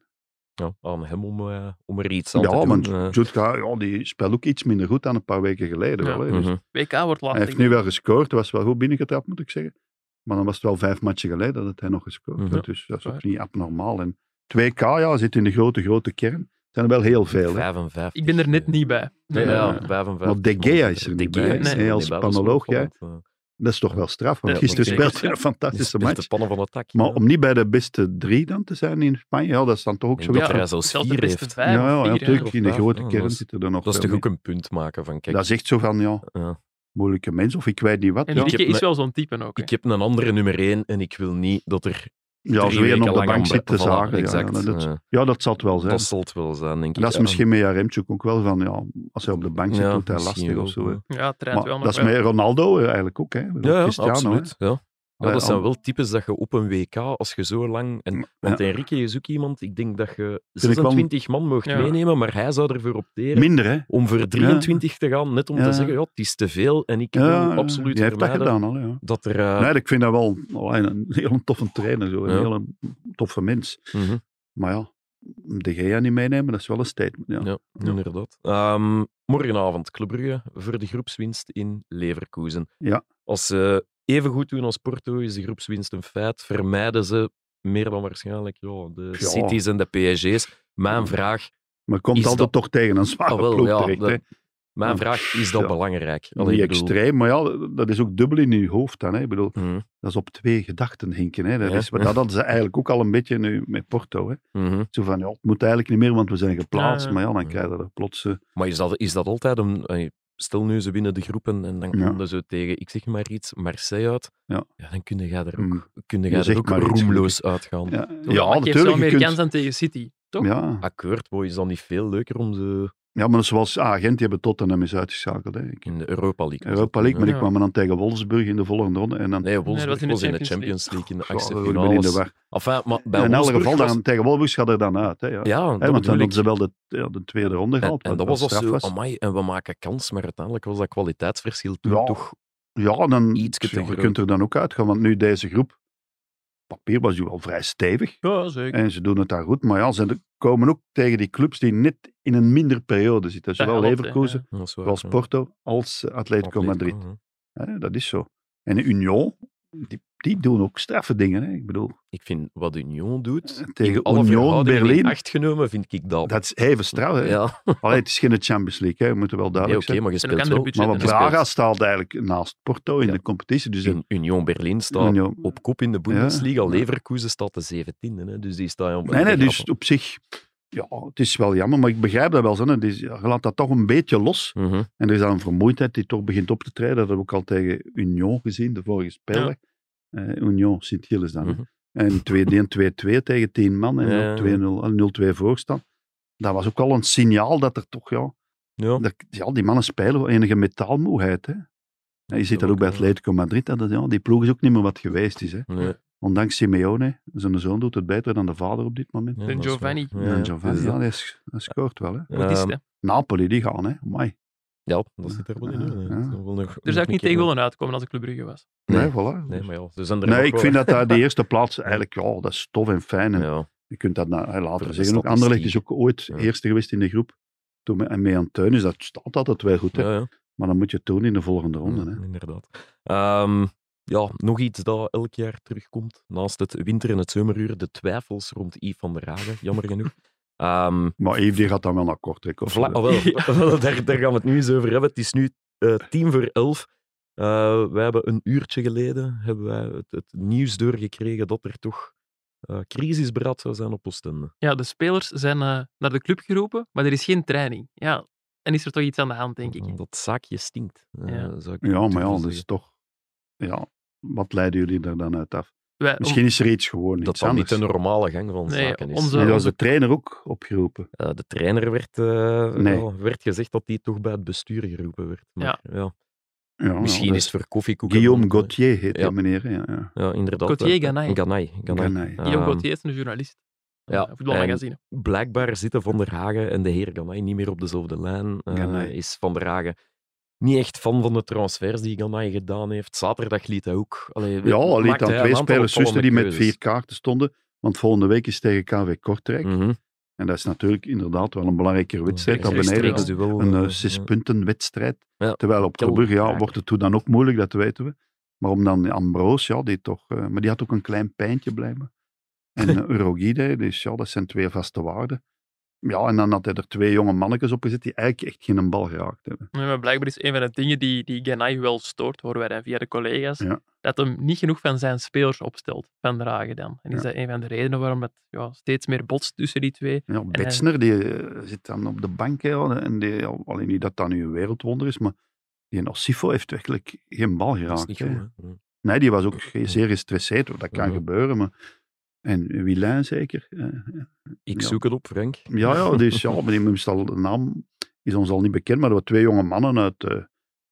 [SPEAKER 2] Ja, aan hem om, eh, om er iets aan
[SPEAKER 4] Ja,
[SPEAKER 2] te doen.
[SPEAKER 4] want
[SPEAKER 2] eh.
[SPEAKER 4] Jude Clay, ja, die speelt ook iets minder goed dan een paar weken geleden.
[SPEAKER 3] Ja.
[SPEAKER 4] Wel, hè. Dus
[SPEAKER 2] Mhm.
[SPEAKER 3] WK wordt
[SPEAKER 4] Hij heeft
[SPEAKER 3] lastig.
[SPEAKER 4] nu wel gescoord, was wel goed binnengetrapt, moet ik zeggen. Maar dan was het wel vijf matchen geleden dat hij nog gescoord
[SPEAKER 2] Mhm.
[SPEAKER 4] had. Dus dat is
[SPEAKER 3] Ja.
[SPEAKER 4] ook niet abnormaal. En 2K ja, zit in de grote, grote kern. Het zijn er wel heel veel. Hè.
[SPEAKER 2] 55.
[SPEAKER 3] Ik ben er net niet bij.
[SPEAKER 2] eh. Nee,
[SPEAKER 4] Nee,
[SPEAKER 2] ja,
[SPEAKER 4] nee.
[SPEAKER 2] 55.
[SPEAKER 4] Maar De Gea is er
[SPEAKER 2] De
[SPEAKER 4] niet
[SPEAKER 2] Gea
[SPEAKER 4] bij.
[SPEAKER 2] is er
[SPEAKER 3] Nee,
[SPEAKER 2] niet
[SPEAKER 4] als
[SPEAKER 2] bij, dat is
[SPEAKER 4] panoloog,
[SPEAKER 2] wel
[SPEAKER 4] jij.
[SPEAKER 2] opvallend, eh.
[SPEAKER 4] Dat is toch wel straf, want
[SPEAKER 3] Ja,
[SPEAKER 4] gisteren
[SPEAKER 2] dat zeker.
[SPEAKER 4] speelde hij een
[SPEAKER 2] Het is
[SPEAKER 4] fantastische
[SPEAKER 2] de
[SPEAKER 4] match.
[SPEAKER 2] pannen van het dak.
[SPEAKER 4] Maar
[SPEAKER 2] ja.
[SPEAKER 4] om niet bij de beste drie dan te zijn in Spanje, ja, dat is dan toch ook
[SPEAKER 2] Ik
[SPEAKER 4] zoiets
[SPEAKER 2] denk
[SPEAKER 4] van-
[SPEAKER 2] dat hij zelfs
[SPEAKER 3] Zelfs de
[SPEAKER 2] vier
[SPEAKER 3] beste
[SPEAKER 2] heeft.
[SPEAKER 3] vijf
[SPEAKER 4] Ja,
[SPEAKER 3] of
[SPEAKER 4] ja,
[SPEAKER 3] vier,
[SPEAKER 4] ja,
[SPEAKER 3] hè.
[SPEAKER 4] natuurlijk. In de
[SPEAKER 2] Ja,
[SPEAKER 4] grote
[SPEAKER 2] dat is-
[SPEAKER 4] kern zitten er nog
[SPEAKER 2] Dat is
[SPEAKER 4] veel
[SPEAKER 2] toch ook
[SPEAKER 4] meer.
[SPEAKER 2] een punt maken van, kijk, eh,
[SPEAKER 4] Dat is echt zo van, ja,
[SPEAKER 2] ja.
[SPEAKER 4] moeilijke mens of ik weet niet wat.
[SPEAKER 3] En
[SPEAKER 4] Ja,
[SPEAKER 2] ik
[SPEAKER 3] Lieke
[SPEAKER 2] heb
[SPEAKER 3] is
[SPEAKER 2] me-
[SPEAKER 3] wel zo'n type ook. hè.
[SPEAKER 2] ik heb een andere nummer 1 en ik wil niet dat er
[SPEAKER 4] ja als
[SPEAKER 2] drie
[SPEAKER 4] we weer
[SPEAKER 2] weken
[SPEAKER 4] op de
[SPEAKER 2] lang aan
[SPEAKER 4] bank
[SPEAKER 2] be-
[SPEAKER 4] zit te
[SPEAKER 2] voilà,
[SPEAKER 4] zagen. ja,
[SPEAKER 2] exact.
[SPEAKER 4] Ja, dat,
[SPEAKER 2] Eh,
[SPEAKER 4] ja, dat zal het wel zijn.
[SPEAKER 2] dat zal het wel zijn, denk ik.
[SPEAKER 4] dat is
[SPEAKER 2] Ja.
[SPEAKER 4] misschien met Jaremchuk ook wel van, ja, als hij op de bank zit,
[SPEAKER 2] Ja,
[SPEAKER 4] doet hij
[SPEAKER 2] misschien
[SPEAKER 4] lastig of
[SPEAKER 2] wel,
[SPEAKER 4] zo. hè.
[SPEAKER 2] ja.
[SPEAKER 3] Ja, het treint
[SPEAKER 4] Maar
[SPEAKER 3] wel nog
[SPEAKER 4] dat is
[SPEAKER 3] wel.
[SPEAKER 4] met Ronaldo eh, eigenlijk ook, hè.
[SPEAKER 2] Ja, ja,
[SPEAKER 4] Cristiano, hè.
[SPEAKER 2] absoluut. Ja. Ja,
[SPEAKER 4] Allee,
[SPEAKER 2] dat zijn
[SPEAKER 4] al-
[SPEAKER 2] wel types dat je op een WK, als je zo lang... En, want
[SPEAKER 4] Ja.
[SPEAKER 2] Enrique is ook iemand, ik denk dat je
[SPEAKER 4] wel-
[SPEAKER 2] 26 man mocht
[SPEAKER 3] Ja.
[SPEAKER 2] meenemen, maar hij zou ervoor opteren
[SPEAKER 4] Minder, hè.
[SPEAKER 2] om voor 23 te gaan, net om
[SPEAKER 4] Ja.
[SPEAKER 2] te zeggen, ja, het is te veel en ik wil
[SPEAKER 4] Ja,
[SPEAKER 2] absoluut
[SPEAKER 4] die heeft dat
[SPEAKER 2] vermijden
[SPEAKER 4] gedaan al, ja.
[SPEAKER 2] dat er... eh,
[SPEAKER 4] Nee, ik vind dat wel allee, een heel toffe trainer, zo. een
[SPEAKER 2] Ja.
[SPEAKER 4] hele toffe mens.
[SPEAKER 2] mhm.
[SPEAKER 4] Maar ja, de Gea niet meenemen, dat is wel een statement. Ja.
[SPEAKER 2] Ja, inderdaad. Ehm, morgenavond Club Brugge voor de groepswinst in Leverkusen.
[SPEAKER 4] Ja.
[SPEAKER 2] Als ze even goed doen als Porto, is de groepswinst een feit. Vermijden ze meer dan waarschijnlijk ja, de
[SPEAKER 4] Ja.
[SPEAKER 2] Cities en de PSG's. Mijn
[SPEAKER 4] Ja.
[SPEAKER 2] vraag,
[SPEAKER 4] Maar komt
[SPEAKER 2] Is
[SPEAKER 4] altijd
[SPEAKER 2] dat-
[SPEAKER 4] toch tegen een zware
[SPEAKER 2] Ah, wel,
[SPEAKER 4] ploeg
[SPEAKER 2] ja,
[SPEAKER 4] terecht,
[SPEAKER 2] dat-
[SPEAKER 4] hè.
[SPEAKER 2] mijn
[SPEAKER 4] Ja.
[SPEAKER 2] vraag is dat
[SPEAKER 4] Ja.
[SPEAKER 2] belangrijk? Allee,
[SPEAKER 4] Niet
[SPEAKER 2] ik bedoel-
[SPEAKER 4] extreem, maar ja, dat is ook dubbel in je hoofd dan. Hè. Ik bedoel,
[SPEAKER 2] Mhm,
[SPEAKER 4] dat is op twee gedachten hinken. Hè. Dat,
[SPEAKER 2] Ja.
[SPEAKER 4] is, maar dat hadden ze eigenlijk ook al een beetje nu met Porto. Hè.
[SPEAKER 2] mhm.
[SPEAKER 4] Zo van, ja, het moet eigenlijk niet meer, want we zijn geplaatst.
[SPEAKER 3] Ja.
[SPEAKER 4] Maar ja, dan krijg je er plots... eh,
[SPEAKER 2] Maar is dat, is dat altijd een... eh, Stel nu, ze winnen de groepen en dan
[SPEAKER 4] Ja.
[SPEAKER 2] komen ze tegen, ik zeg maar iets, Marseille uit.
[SPEAKER 4] Ja.
[SPEAKER 2] dan kun jij er ook,
[SPEAKER 4] mm,
[SPEAKER 2] kun jij
[SPEAKER 4] Je
[SPEAKER 2] er
[SPEAKER 4] zegt
[SPEAKER 2] ook
[SPEAKER 4] maar iets,
[SPEAKER 2] roemloos uitgaan.
[SPEAKER 4] ja,
[SPEAKER 3] Ja,
[SPEAKER 4] ja
[SPEAKER 3] maar ik geef ze wel
[SPEAKER 4] natuurlijk. Je
[SPEAKER 3] meer kans
[SPEAKER 4] kunt,
[SPEAKER 3] dan tegen City. toch?
[SPEAKER 4] ja,
[SPEAKER 2] Akkoord, boy, is dan niet veel leuker om ze
[SPEAKER 4] Ja, maar zoals Agent, die hebben Tottenham is uitgeschakeld. Hè. Ik-
[SPEAKER 2] in de Europa League. was
[SPEAKER 4] Europa
[SPEAKER 2] dat.
[SPEAKER 4] League, maar
[SPEAKER 3] Ja.
[SPEAKER 4] ik kwam dan tegen Wolfsburg in de volgende ronde. En dan,
[SPEAKER 2] Nee, Wolfsburg
[SPEAKER 3] was in de
[SPEAKER 2] was in de
[SPEAKER 3] Champions
[SPEAKER 2] Champions League, in de
[SPEAKER 4] Goh,
[SPEAKER 2] achtste
[SPEAKER 4] ik ben in de
[SPEAKER 2] finales.
[SPEAKER 4] war.
[SPEAKER 2] Enfin, maar bij
[SPEAKER 4] in elk
[SPEAKER 2] Wolfsburg
[SPEAKER 4] geval,
[SPEAKER 2] was...
[SPEAKER 4] dan, tegen Wolfsburg gaat er dan uit. Hè, ja.
[SPEAKER 2] Ja, dat
[SPEAKER 4] Hè, want
[SPEAKER 2] bedoel
[SPEAKER 4] dan
[SPEAKER 2] ik.
[SPEAKER 4] hadden ze wel de, ja, de tweede ronde
[SPEAKER 2] En,
[SPEAKER 4] gehaald.
[SPEAKER 2] en dat
[SPEAKER 4] wat
[SPEAKER 2] was als
[SPEAKER 4] straf
[SPEAKER 2] zo,
[SPEAKER 4] was.
[SPEAKER 2] amai, en we maken kans, maar uiteindelijk was dat kwaliteitsverschil toen
[SPEAKER 4] Ja.
[SPEAKER 2] toch...
[SPEAKER 4] Ja, dan
[SPEAKER 2] ietske te
[SPEAKER 4] ja, je
[SPEAKER 2] groot.
[SPEAKER 4] kunt er dan ook uitgaan, want nu deze groep, papier was wel vrij stevig.
[SPEAKER 3] Ja, zeker.
[SPEAKER 4] En ze doen het daar goed, maar ja, ze komen ook tegen die clubs die net in een minder periode zitten.
[SPEAKER 3] Dat
[SPEAKER 4] Zowel
[SPEAKER 3] helpt, hè,
[SPEAKER 4] Leverkusen,
[SPEAKER 2] Dat is waar,
[SPEAKER 4] zoals
[SPEAKER 2] ja.
[SPEAKER 4] Porto, als eh, Atletico Madrid.
[SPEAKER 2] ja.
[SPEAKER 4] Hè, dat is zo. En Union, die, die doen ook straffe dingen. Hè. Ik bedoel,
[SPEAKER 2] Ik vind wat Union doet... in
[SPEAKER 4] tegen
[SPEAKER 2] alle
[SPEAKER 4] Union,
[SPEAKER 2] verhoudingen in
[SPEAKER 4] Berlin,
[SPEAKER 2] acht genomen, vind ik dat.
[SPEAKER 4] dat is even straf. Hè.
[SPEAKER 2] ja,
[SPEAKER 4] Allee, het is geen Champions League, hè. we moeten wel
[SPEAKER 2] nee,
[SPEAKER 4] duidelijk
[SPEAKER 2] oké, maar je
[SPEAKER 3] En ook
[SPEAKER 2] speelt
[SPEAKER 3] andere
[SPEAKER 2] wel...
[SPEAKER 3] budgetten.
[SPEAKER 4] zijn. Maar
[SPEAKER 3] je
[SPEAKER 2] je
[SPEAKER 4] wat Braga
[SPEAKER 2] speelt-
[SPEAKER 4] staat eigenlijk naast Porto in
[SPEAKER 2] Ja.
[SPEAKER 4] de competitie. Dus
[SPEAKER 2] in Union Berlin staat
[SPEAKER 4] Union-
[SPEAKER 2] op kop in de Bundesliga. Leverkusen staat de 17e, hè, dus die staat... op-
[SPEAKER 4] Nee, nee, dus op zich, ja, het is wel jammer, maar ik begrijp dat wel. Zo, hè. Het is- ja, je laat dat toch een beetje los.
[SPEAKER 2] Mhm.
[SPEAKER 4] En er is dan een vermoeidheid die toch begint op te treden. Dat hebben we ook al tegen Union gezien, de vorige speler. Eh, Union, Sint-Gilles dan. hè.
[SPEAKER 2] Mhm.
[SPEAKER 4] En 2-1, 2-2 tegen 10 man en
[SPEAKER 2] Ja, ja.
[SPEAKER 4] dan 2-0 en 0-2 voorstand. Dat was ook al een signaal dat er toch, ja,
[SPEAKER 2] Ja.
[SPEAKER 4] dat, ja die mannen spelen wel enige metaalmoeheid. Hè. En je ziet dat ook bij Atletico Madrid, dat, het- ja, die ploeg is ook niet meer wat geweest is. Hè.
[SPEAKER 2] Nee, ja,
[SPEAKER 4] Ondanks Simeone, zijn zoon doet het beter dan de vader op dit moment.
[SPEAKER 2] dat is waar.
[SPEAKER 3] Giovanni.
[SPEAKER 2] Ja,
[SPEAKER 4] Ja,
[SPEAKER 2] ja,
[SPEAKER 4] Giovanni,
[SPEAKER 2] dus
[SPEAKER 4] ja,
[SPEAKER 2] dat-
[SPEAKER 4] die s- dat scoort wel. Hè.
[SPEAKER 3] Goed is het, hè. Dus
[SPEAKER 4] Napoli, die gaan, hè. Amai.
[SPEAKER 2] Ja, dat zit er wel in. hè.
[SPEAKER 4] Ah, Ja.
[SPEAKER 2] Dat is wel nog-
[SPEAKER 3] Er
[SPEAKER 2] nog
[SPEAKER 3] Dus zou
[SPEAKER 2] een
[SPEAKER 3] ik niet
[SPEAKER 2] keer-
[SPEAKER 3] tegen willen uitkomen als ik Club Brugge was.
[SPEAKER 2] Nee.
[SPEAKER 4] Nee, voilà.
[SPEAKER 2] Nee, maar ja, ze zijn er
[SPEAKER 4] Nee,
[SPEAKER 2] nog
[SPEAKER 4] ik
[SPEAKER 2] wel.
[SPEAKER 4] vind dat daar de eerste plaats eigenlijk, ja, dat is tof en fijn. En
[SPEAKER 2] Ja.
[SPEAKER 4] Je kunt dat na, hè,
[SPEAKER 2] Voor de
[SPEAKER 4] later zeggen. Ook
[SPEAKER 2] statistiek.
[SPEAKER 4] Anderlecht is ook ooit
[SPEAKER 2] Ja.
[SPEAKER 4] eerste geweest in de groep. Toen met, en mee aan Teun is dat staat altijd wel goed. Hè.
[SPEAKER 2] Ja, ja.
[SPEAKER 4] Maar dan moet je het doen in de volgende ronde.
[SPEAKER 2] Ja,
[SPEAKER 4] Hè.
[SPEAKER 2] Mm, Inderdaad. Ehm, ja, nog iets dat elk jaar terugkomt. Naast het winter- en het zomeruur, de twijfels rond Yves van der Hagen, jammer genoeg. Ehm
[SPEAKER 4] Maar Yves die gaat dan wel naar Kortrijk. Of,
[SPEAKER 2] vla- ah, wel, daar, daar gaan we het nu eens over hebben. Het is nu eh, tien voor elf. Eh wij hebben een uurtje geleden hebben wij het, het nieuws doorgekregen dat er toch eh crisisberaad zou zijn op Oostende.
[SPEAKER 3] Ja, de spelers zijn eh, naar de club geroepen, maar er is geen training. Ja, en is er toch iets aan de hand, denk ik.
[SPEAKER 4] Mm.
[SPEAKER 2] Dat zaakje stinkt. eh,
[SPEAKER 3] Ja.
[SPEAKER 2] zou ik
[SPEAKER 4] ja, maar ja, dus
[SPEAKER 2] durven
[SPEAKER 4] dat is
[SPEAKER 2] zeggen.
[SPEAKER 4] toch... Ja, wat leiden jullie daar dan uit af?
[SPEAKER 3] Wij, om-
[SPEAKER 4] Misschien is er iets gewoon
[SPEAKER 2] dat
[SPEAKER 4] iets
[SPEAKER 2] dat niet
[SPEAKER 4] anders.
[SPEAKER 2] de normale gang van
[SPEAKER 3] Nee,
[SPEAKER 2] zaken is.
[SPEAKER 3] onze-
[SPEAKER 4] En daar was de trainer ook opgeroepen.
[SPEAKER 2] Eh, de trainer werd, eh,
[SPEAKER 4] Nee.
[SPEAKER 2] ja, werd gezegd dat hij toch bij het bestuur geroepen werd. Maar, ja.
[SPEAKER 4] Oh, Ja, ja,
[SPEAKER 2] Misschien
[SPEAKER 4] dat
[SPEAKER 2] is het voor koffiekoeken.
[SPEAKER 4] Guillaume
[SPEAKER 2] want, eh,
[SPEAKER 4] Gauthier heet
[SPEAKER 2] Ja.
[SPEAKER 4] die meneer. hè, Ja, ja.
[SPEAKER 2] Ja, inderdaad.
[SPEAKER 3] Gauthier
[SPEAKER 2] eh,
[SPEAKER 3] Ganay.
[SPEAKER 2] Ganay. Ganay.
[SPEAKER 4] Ganay.
[SPEAKER 3] Guillaume
[SPEAKER 2] Ehm,
[SPEAKER 3] Gauthier is een journalist.
[SPEAKER 2] ja,
[SPEAKER 3] Ja, voetbalmagazine.
[SPEAKER 2] Blijkbaar zitten Van der Hagen en de heer Ganay niet meer op dezelfde lijn. Eh,
[SPEAKER 4] Ganay.
[SPEAKER 2] is Van der Hagen niet echt fan van de transfers die Ganay gedaan heeft. Zaterdag liet hij ook... Allee,
[SPEAKER 4] Ja, al liet
[SPEAKER 2] maakte
[SPEAKER 4] dan
[SPEAKER 2] hij
[SPEAKER 4] twee
[SPEAKER 2] een aantal
[SPEAKER 4] spelers zussen die
[SPEAKER 2] opvallende
[SPEAKER 4] met vier
[SPEAKER 2] keuzes.
[SPEAKER 4] kaarten stonden. Want volgende week is tegen KW Kortrijk.
[SPEAKER 2] Mhm.
[SPEAKER 4] En dat is natuurlijk inderdaad wel een belangrijke wedstrijd. Naar beneden
[SPEAKER 2] Rechtstreeks
[SPEAKER 4] een
[SPEAKER 2] duel,
[SPEAKER 4] een
[SPEAKER 2] eh,
[SPEAKER 4] eh,
[SPEAKER 2] ja.
[SPEAKER 4] zespuntenwedstrijd.
[SPEAKER 2] Ja.
[SPEAKER 4] Terwijl op
[SPEAKER 2] Kelder.
[SPEAKER 4] Tilburg ja, wordt het toen dan ook moeilijk, dat weten we. Maar om dan Ambroos, ja, die toch... eh, maar die had ook een klein pijntje blijven. En eh, Urogide, dus ja, dat zijn twee vaste waarden. Ja, en dan had hij er twee jonge mannetjes op gezet die eigenlijk echt geen bal geraakt hebben.
[SPEAKER 3] Nee, maar blijkbaar is een van de dingen die, die Ganai wel stoort, horen wij dan via de collega's,
[SPEAKER 4] Ja.
[SPEAKER 3] dat hem niet genoeg van zijn spelers opstelt, van Dragen dan. En is dat een van de redenen waarom het ja, steeds meer botst tussen die twee?
[SPEAKER 4] Ja, Betsner, die eh, zit dan op de bank. hè, ja, en die, ja, alleen niet dat dat nu een wereldwonder is, maar die Ossifo heeft werkelijk geen bal
[SPEAKER 2] Dat is
[SPEAKER 4] geraakt.
[SPEAKER 2] niet
[SPEAKER 4] hè.
[SPEAKER 2] goed, hè. Mhm.
[SPEAKER 4] Nee, die was ook ge- zeer gestresseerd. Dat kan
[SPEAKER 2] Ja.
[SPEAKER 4] gebeuren. Maar... En Wielijn zeker. eh,
[SPEAKER 2] Ik
[SPEAKER 4] Ja.
[SPEAKER 2] zoek het op, Frank.
[SPEAKER 4] Ja, ja, dus, ja maar die moest al, de naam is ons al niet bekend. Maar er waren twee jonge mannen uit. eh,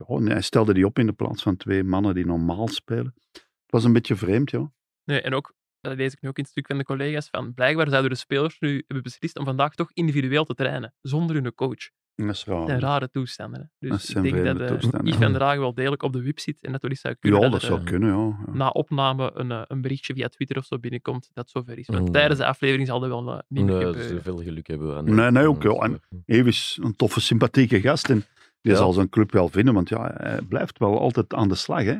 [SPEAKER 4] ja, en hij stelde die op in de plaats van twee mannen die normaal spelen. Het was een beetje vreemd, ja.
[SPEAKER 3] Nee, en ook, dat lees ik nu ook in het stuk van de collega's, van blijkbaar zouden de spelers nu hebben beslist om vandaag toch individueel te trainen, zonder hun coach.
[SPEAKER 4] Dat is raar.
[SPEAKER 3] Dat zijn rare toestanden. Hè.
[SPEAKER 4] Oh. Dat
[SPEAKER 3] Dus ik
[SPEAKER 4] zijn
[SPEAKER 3] denk dat
[SPEAKER 4] vreemde
[SPEAKER 3] eh
[SPEAKER 4] toestanden.
[SPEAKER 3] Yves van Dragen wel degelijk op de wip zit en dat we iets zou kunnen
[SPEAKER 4] Ja,
[SPEAKER 3] dat
[SPEAKER 4] dat
[SPEAKER 3] er,
[SPEAKER 4] zou
[SPEAKER 3] eh,
[SPEAKER 4] kunnen, ja. ja.
[SPEAKER 3] na opname een, eh, een berichtje via Twitter of zo binnenkomt, dat zover is. Want
[SPEAKER 2] Mm.
[SPEAKER 3] tijdens de aflevering zal dat wel eh, niet meer
[SPEAKER 2] Nee,
[SPEAKER 3] gebeuren.
[SPEAKER 2] ze veel geluk hebben. we aan-
[SPEAKER 4] Nee, nee, ook,
[SPEAKER 2] aan-
[SPEAKER 4] ja, en- Eeuw is een toffe, sympathieke gast. En die
[SPEAKER 2] Ja.
[SPEAKER 4] zal zijn club wel vinden, want ja, hij blijft wel altijd aan de slag. Hè?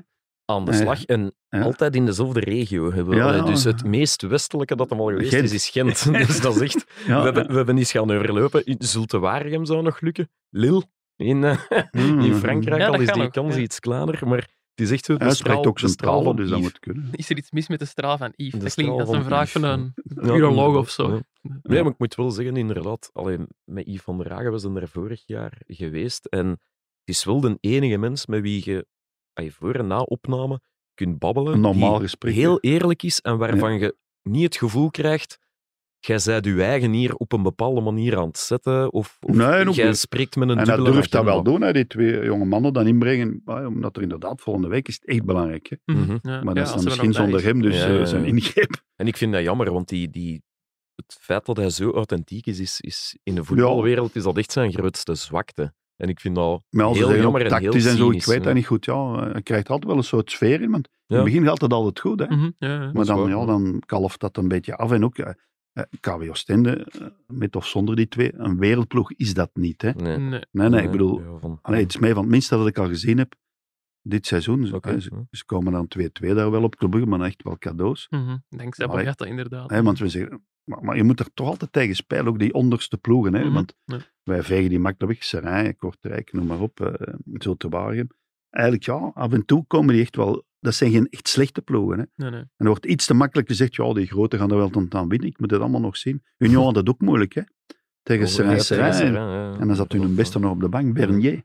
[SPEAKER 2] aan de
[SPEAKER 4] Eh,
[SPEAKER 2] slag en
[SPEAKER 4] ja.
[SPEAKER 2] altijd in dezelfde regio hebben. we.
[SPEAKER 4] Ja,
[SPEAKER 2] Allee,
[SPEAKER 4] ja.
[SPEAKER 2] Dus het meest westelijke dat hem al geweest
[SPEAKER 4] Gent.
[SPEAKER 2] is, is Gent. dus dat is echt...
[SPEAKER 4] Ja,
[SPEAKER 2] we, hebben, we hebben iets gaan overlopen. In Zulte-Waregem zou nog lukken. Lille in, eh,
[SPEAKER 4] Mm.
[SPEAKER 2] in Frankrijk,
[SPEAKER 3] Ja, dat
[SPEAKER 2] al is
[SPEAKER 3] kan
[SPEAKER 2] die
[SPEAKER 3] nog,
[SPEAKER 2] kans
[SPEAKER 3] ja.
[SPEAKER 2] iets kleiner, maar het is echt zo de
[SPEAKER 4] Hij
[SPEAKER 2] straal-
[SPEAKER 4] spreekt ook
[SPEAKER 2] de
[SPEAKER 4] zijn
[SPEAKER 2] straal
[SPEAKER 4] talen,
[SPEAKER 2] van
[SPEAKER 4] dus dat
[SPEAKER 2] Yves.
[SPEAKER 4] moet kunnen.
[SPEAKER 3] Is er iets mis met de straal van Yves?
[SPEAKER 2] De
[SPEAKER 3] dat klinkt
[SPEAKER 2] straal
[SPEAKER 3] als een
[SPEAKER 2] van
[SPEAKER 3] vraag
[SPEAKER 2] Yves,
[SPEAKER 3] van een
[SPEAKER 2] Ja,
[SPEAKER 3] uroloog of
[SPEAKER 2] inderdaad,
[SPEAKER 3] zo.
[SPEAKER 2] ja. Nee, maar ik moet wel zeggen, inderdaad, alleen met Yves van der Hagen, we zijn er vorig jaar geweest. En het is wel de enige mens met wie je ah, je voor en na opname kunt babbelen.
[SPEAKER 4] Een
[SPEAKER 2] die
[SPEAKER 4] normaal gesprek.
[SPEAKER 2] heel eerlijk is en waarvan je niet het gevoel krijgt Jij zijt je eigen hier op een bepaalde manier aan het zetten. Of, of
[SPEAKER 4] Nee, ook
[SPEAKER 2] jij
[SPEAKER 4] niet.
[SPEAKER 2] spreekt met een
[SPEAKER 4] En dat
[SPEAKER 2] dubbele
[SPEAKER 4] durft dat wel
[SPEAKER 2] agenda.
[SPEAKER 4] doen, hè, die twee jonge mannen dan inbrengen. Ah, Omdat er inderdaad volgende week is het echt belangrijk. Hè.
[SPEAKER 2] Mhm.
[SPEAKER 3] Ja, ja,
[SPEAKER 4] Maar dat is
[SPEAKER 3] als
[SPEAKER 4] dan
[SPEAKER 3] er
[SPEAKER 4] misschien
[SPEAKER 3] nog bij
[SPEAKER 4] zonder
[SPEAKER 3] is.
[SPEAKER 4] hem, dus
[SPEAKER 2] Ja,
[SPEAKER 4] eh,
[SPEAKER 2] ja, ja.
[SPEAKER 4] zijn ingreep.
[SPEAKER 2] En ik vind dat jammer, want die, die, het feit dat hij zo authentiek is, is, is in de voetbalwereld is dat echt zijn grootste zwakte. En ik vind dat...
[SPEAKER 4] Maar als ze
[SPEAKER 2] Heel
[SPEAKER 4] zeggen ook
[SPEAKER 2] jammer en heel
[SPEAKER 4] tactisch en zo, ik
[SPEAKER 2] cynisch,
[SPEAKER 4] weet
[SPEAKER 2] ja.
[SPEAKER 4] dat niet goed. Ja, eh, je krijgt altijd wel een soort sfeer in, want in
[SPEAKER 2] Ja.
[SPEAKER 4] het begin gaat het altijd goed. Hè.
[SPEAKER 3] Mhm, ja, ja.
[SPEAKER 4] Maar
[SPEAKER 2] Dat is
[SPEAKER 4] dan,
[SPEAKER 2] waar,
[SPEAKER 4] ja,
[SPEAKER 2] ja.
[SPEAKER 4] dan kalft dat een beetje af. En ook eh, eh, KW Oostende, eh, met of zonder die twee, een wereldploeg is dat niet. Hè.
[SPEAKER 2] Nee,
[SPEAKER 3] Nee.
[SPEAKER 4] Nee, nee, ik bedoel,
[SPEAKER 2] ja, van-
[SPEAKER 4] allee, het is mij van het minste dat ik al gezien heb dit seizoen. Ze-
[SPEAKER 2] Oké,
[SPEAKER 4] eh, ze,
[SPEAKER 2] ja.
[SPEAKER 4] ze komen dan 2-2 daar wel op Club Brugge, maar echt wel cadeaus.
[SPEAKER 3] Mhm. Dankzij
[SPEAKER 4] Allee.
[SPEAKER 3] Boyata, inderdaad.
[SPEAKER 4] Hè, want we zeggen, maar, maar je moet er toch altijd tegen spelen, ook die onderste ploegen. Hè,
[SPEAKER 3] Mhm.
[SPEAKER 4] Want
[SPEAKER 3] Ja.
[SPEAKER 4] wij vegen die makkelijk weg, Serijn, Kortrijk, noem maar op, eh Zultewagen. Eigenlijk ja, af en toe komen die echt wel... Dat zijn geen echt slechte ploegen. Hè.
[SPEAKER 3] Nee, nee.
[SPEAKER 2] Mm,
[SPEAKER 4] En er wordt iets te makkelijk gezegd, ja, die grote gaan er wel tot aan winnen. Ik moet het allemaal nog zien. Union had dat ook moeilijk, hè. Tegen
[SPEAKER 2] Ja,
[SPEAKER 4] Serijn,
[SPEAKER 2] tegen
[SPEAKER 4] Serijn.
[SPEAKER 2] Serrain, ja, ja.
[SPEAKER 4] En dan zat hun beste nog op de bank, Bernier.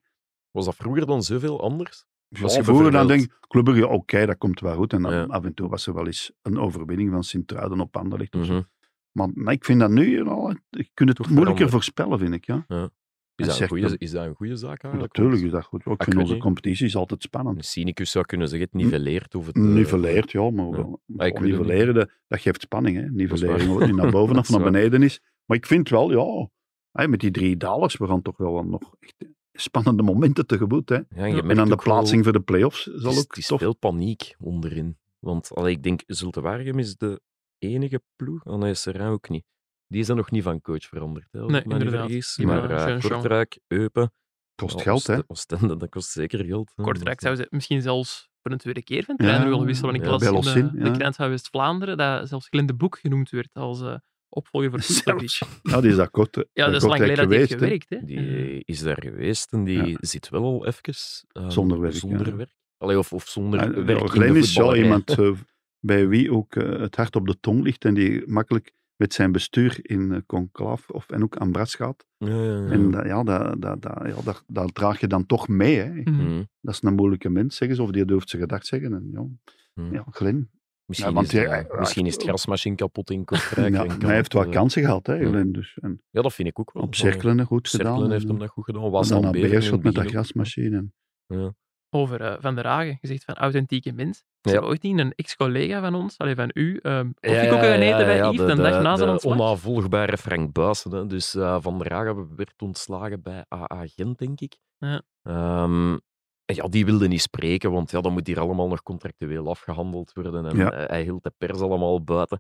[SPEAKER 2] Was dat vroeger dan zoveel anders? Als
[SPEAKER 4] Ja,
[SPEAKER 2] je
[SPEAKER 4] vroeger dan
[SPEAKER 2] bijvoorbeeld-
[SPEAKER 4] denk ik, Club Brugge, oké, dat komt wel goed. En dan
[SPEAKER 2] Ja.
[SPEAKER 4] af en toe was er wel eens een overwinning van Sint-Truiden op Anderlecht.
[SPEAKER 2] Mhm.
[SPEAKER 4] of zo. Maar nee, ik vind dat nu, ja, nou, ik kan het
[SPEAKER 2] Toch
[SPEAKER 4] moeilijker
[SPEAKER 2] veranderd.
[SPEAKER 4] voorspellen, vind ik. Ja.
[SPEAKER 2] Is,
[SPEAKER 4] En
[SPEAKER 2] dat een
[SPEAKER 4] zegt
[SPEAKER 2] goeie,
[SPEAKER 4] hem-
[SPEAKER 2] is dat een goede zaak eigenlijk?
[SPEAKER 4] Natuurlijk is
[SPEAKER 2] Want
[SPEAKER 4] dat goed. Ja, Ik
[SPEAKER 2] ik
[SPEAKER 4] vind
[SPEAKER 2] weet
[SPEAKER 4] onze
[SPEAKER 2] niet.
[SPEAKER 4] competitie is altijd spannend.
[SPEAKER 2] Een cynicus zou kunnen zeggen, het niveleert of het... eh,
[SPEAKER 4] Niveleert, ja, maar
[SPEAKER 2] ja.
[SPEAKER 4] wel.
[SPEAKER 2] Ah, ik weet het
[SPEAKER 4] nivelleren, dat, dat geeft spanning. Hè. Nivelleren,
[SPEAKER 2] waar.
[SPEAKER 4] wat die naar boven
[SPEAKER 2] Dat
[SPEAKER 4] of
[SPEAKER 2] is
[SPEAKER 4] naar
[SPEAKER 2] waar.
[SPEAKER 4] beneden is. Maar ik vind wel, ja, hè, met die drie dalers, we gaan toch wel wat nog echt spannende momenten tegemoet. Hè.
[SPEAKER 2] ja, en je
[SPEAKER 3] Ja.
[SPEAKER 2] merkt
[SPEAKER 4] En aan de
[SPEAKER 2] ook wel-
[SPEAKER 4] plaatsing voor de play-offs
[SPEAKER 2] Het
[SPEAKER 4] zal
[SPEAKER 2] is,
[SPEAKER 4] ook
[SPEAKER 2] het is
[SPEAKER 4] tof.
[SPEAKER 2] veel paniek onderin. Want allee, ik denk, Zulte Waregem is de enige ploeg. Oh nee, Serrain ook niet. Die zijn nog niet van coach veranderd. Hè, als
[SPEAKER 3] Nee,
[SPEAKER 2] ik me niet
[SPEAKER 3] inderdaad.
[SPEAKER 2] vergis.
[SPEAKER 3] Die
[SPEAKER 2] Maar
[SPEAKER 3] waren
[SPEAKER 2] eh,
[SPEAKER 3] Jean-Jean.
[SPEAKER 2] Kortrijk, Eupen...
[SPEAKER 4] Kost
[SPEAKER 2] ja,
[SPEAKER 4] geld, hè.
[SPEAKER 2] Oost- Oostende, dat kost zeker geld. hè.
[SPEAKER 3] Kortrijk
[SPEAKER 2] Dat
[SPEAKER 3] zou
[SPEAKER 2] is-
[SPEAKER 3] ze misschien zelfs voor een tweede keer van
[SPEAKER 4] Ja,
[SPEAKER 3] trainer willen wisselen. Ik
[SPEAKER 2] ja,
[SPEAKER 3] las
[SPEAKER 4] bij
[SPEAKER 3] in
[SPEAKER 4] Lossin,
[SPEAKER 3] de,
[SPEAKER 4] ja.
[SPEAKER 3] de krant van West-Vlaanderen dat zelfs Glenn de Boek genoemd werd als eh, opvolger voor Koesterwitsch.
[SPEAKER 4] Ja, die is dat kort. hè.
[SPEAKER 3] Ja, dat is
[SPEAKER 4] Kortrijk
[SPEAKER 3] lang geleden dat hij heeft
[SPEAKER 4] geweest, hè.
[SPEAKER 3] gewerkt. Hè?
[SPEAKER 2] Die is daar geweest en die
[SPEAKER 4] Mhm. Ja.
[SPEAKER 2] zit wel al even... eh,
[SPEAKER 4] Zonder werk,
[SPEAKER 2] Zonder
[SPEAKER 4] ja.
[SPEAKER 2] werk. Allee, of, of zonder
[SPEAKER 4] Ja,
[SPEAKER 2] werk in de
[SPEAKER 4] Glenn is zo
[SPEAKER 2] voetballerij.
[SPEAKER 4] iemand eh, bij wie ook eh, het hart op de tong ligt en die makkelijk met zijn bestuur in eh, conclaaf of, en ook aan bras gaat.
[SPEAKER 2] Ja, ja, ja.
[SPEAKER 4] En eh, dat- ja, dat, dat, dat, ja dat, dat draag je dan toch mee. Hè.
[SPEAKER 3] Mhm.
[SPEAKER 2] Mhm.
[SPEAKER 4] Dat is een moeilijke mens, zeggen ze, of die durft zijn gedacht zeggen. En, ja,
[SPEAKER 2] Mhm.
[SPEAKER 4] ja, Glenn.
[SPEAKER 2] Misschien,
[SPEAKER 4] want
[SPEAKER 2] is,
[SPEAKER 4] hij-
[SPEAKER 2] ja,
[SPEAKER 4] hij-
[SPEAKER 2] misschien is het grasmachine kapot in Kortrijk.
[SPEAKER 4] Ja,
[SPEAKER 2] en
[SPEAKER 4] maar
[SPEAKER 2] kan
[SPEAKER 4] hij heeft
[SPEAKER 2] het,
[SPEAKER 4] wel
[SPEAKER 2] eh,
[SPEAKER 4] kansen gehad, hè,
[SPEAKER 2] ja.
[SPEAKER 4] Glenn. Dus, en
[SPEAKER 2] Ja, dat vind ik ook wel.
[SPEAKER 4] op cirkelen goed gedaan.
[SPEAKER 2] Cerkelen heeft hem
[SPEAKER 4] en,
[SPEAKER 2] dat goed gedaan.
[SPEAKER 4] en
[SPEAKER 2] Was
[SPEAKER 4] dan
[SPEAKER 2] dan
[SPEAKER 4] naar
[SPEAKER 2] Bever in het
[SPEAKER 4] Beerschot met dat
[SPEAKER 2] begin ook.
[SPEAKER 4] grasmachine. En,
[SPEAKER 3] Over eh, Van der Hagen, gezegd van authentieke mens.
[SPEAKER 2] Ja.
[SPEAKER 3] Is er ooit niet een ex-collega van ons, allee, van u, ehm
[SPEAKER 2] Ja,
[SPEAKER 3] koffie koken gaan
[SPEAKER 2] ja,
[SPEAKER 3] eten bij
[SPEAKER 2] ja,
[SPEAKER 3] Yves de, dag na zijn
[SPEAKER 2] de
[SPEAKER 3] ontslag?
[SPEAKER 2] onnavolgbare Frank Buijsen. hè. Dus eh, Van der Hagen werd ontslagen bij AA Gent, denk ik.
[SPEAKER 3] Ja.
[SPEAKER 2] Ehm, en ja, die wilde niet spreken, want ja, dan moet hier allemaal nog contractueel afgehandeld worden. En
[SPEAKER 4] Ja.
[SPEAKER 2] eh, hij hield de pers allemaal buiten.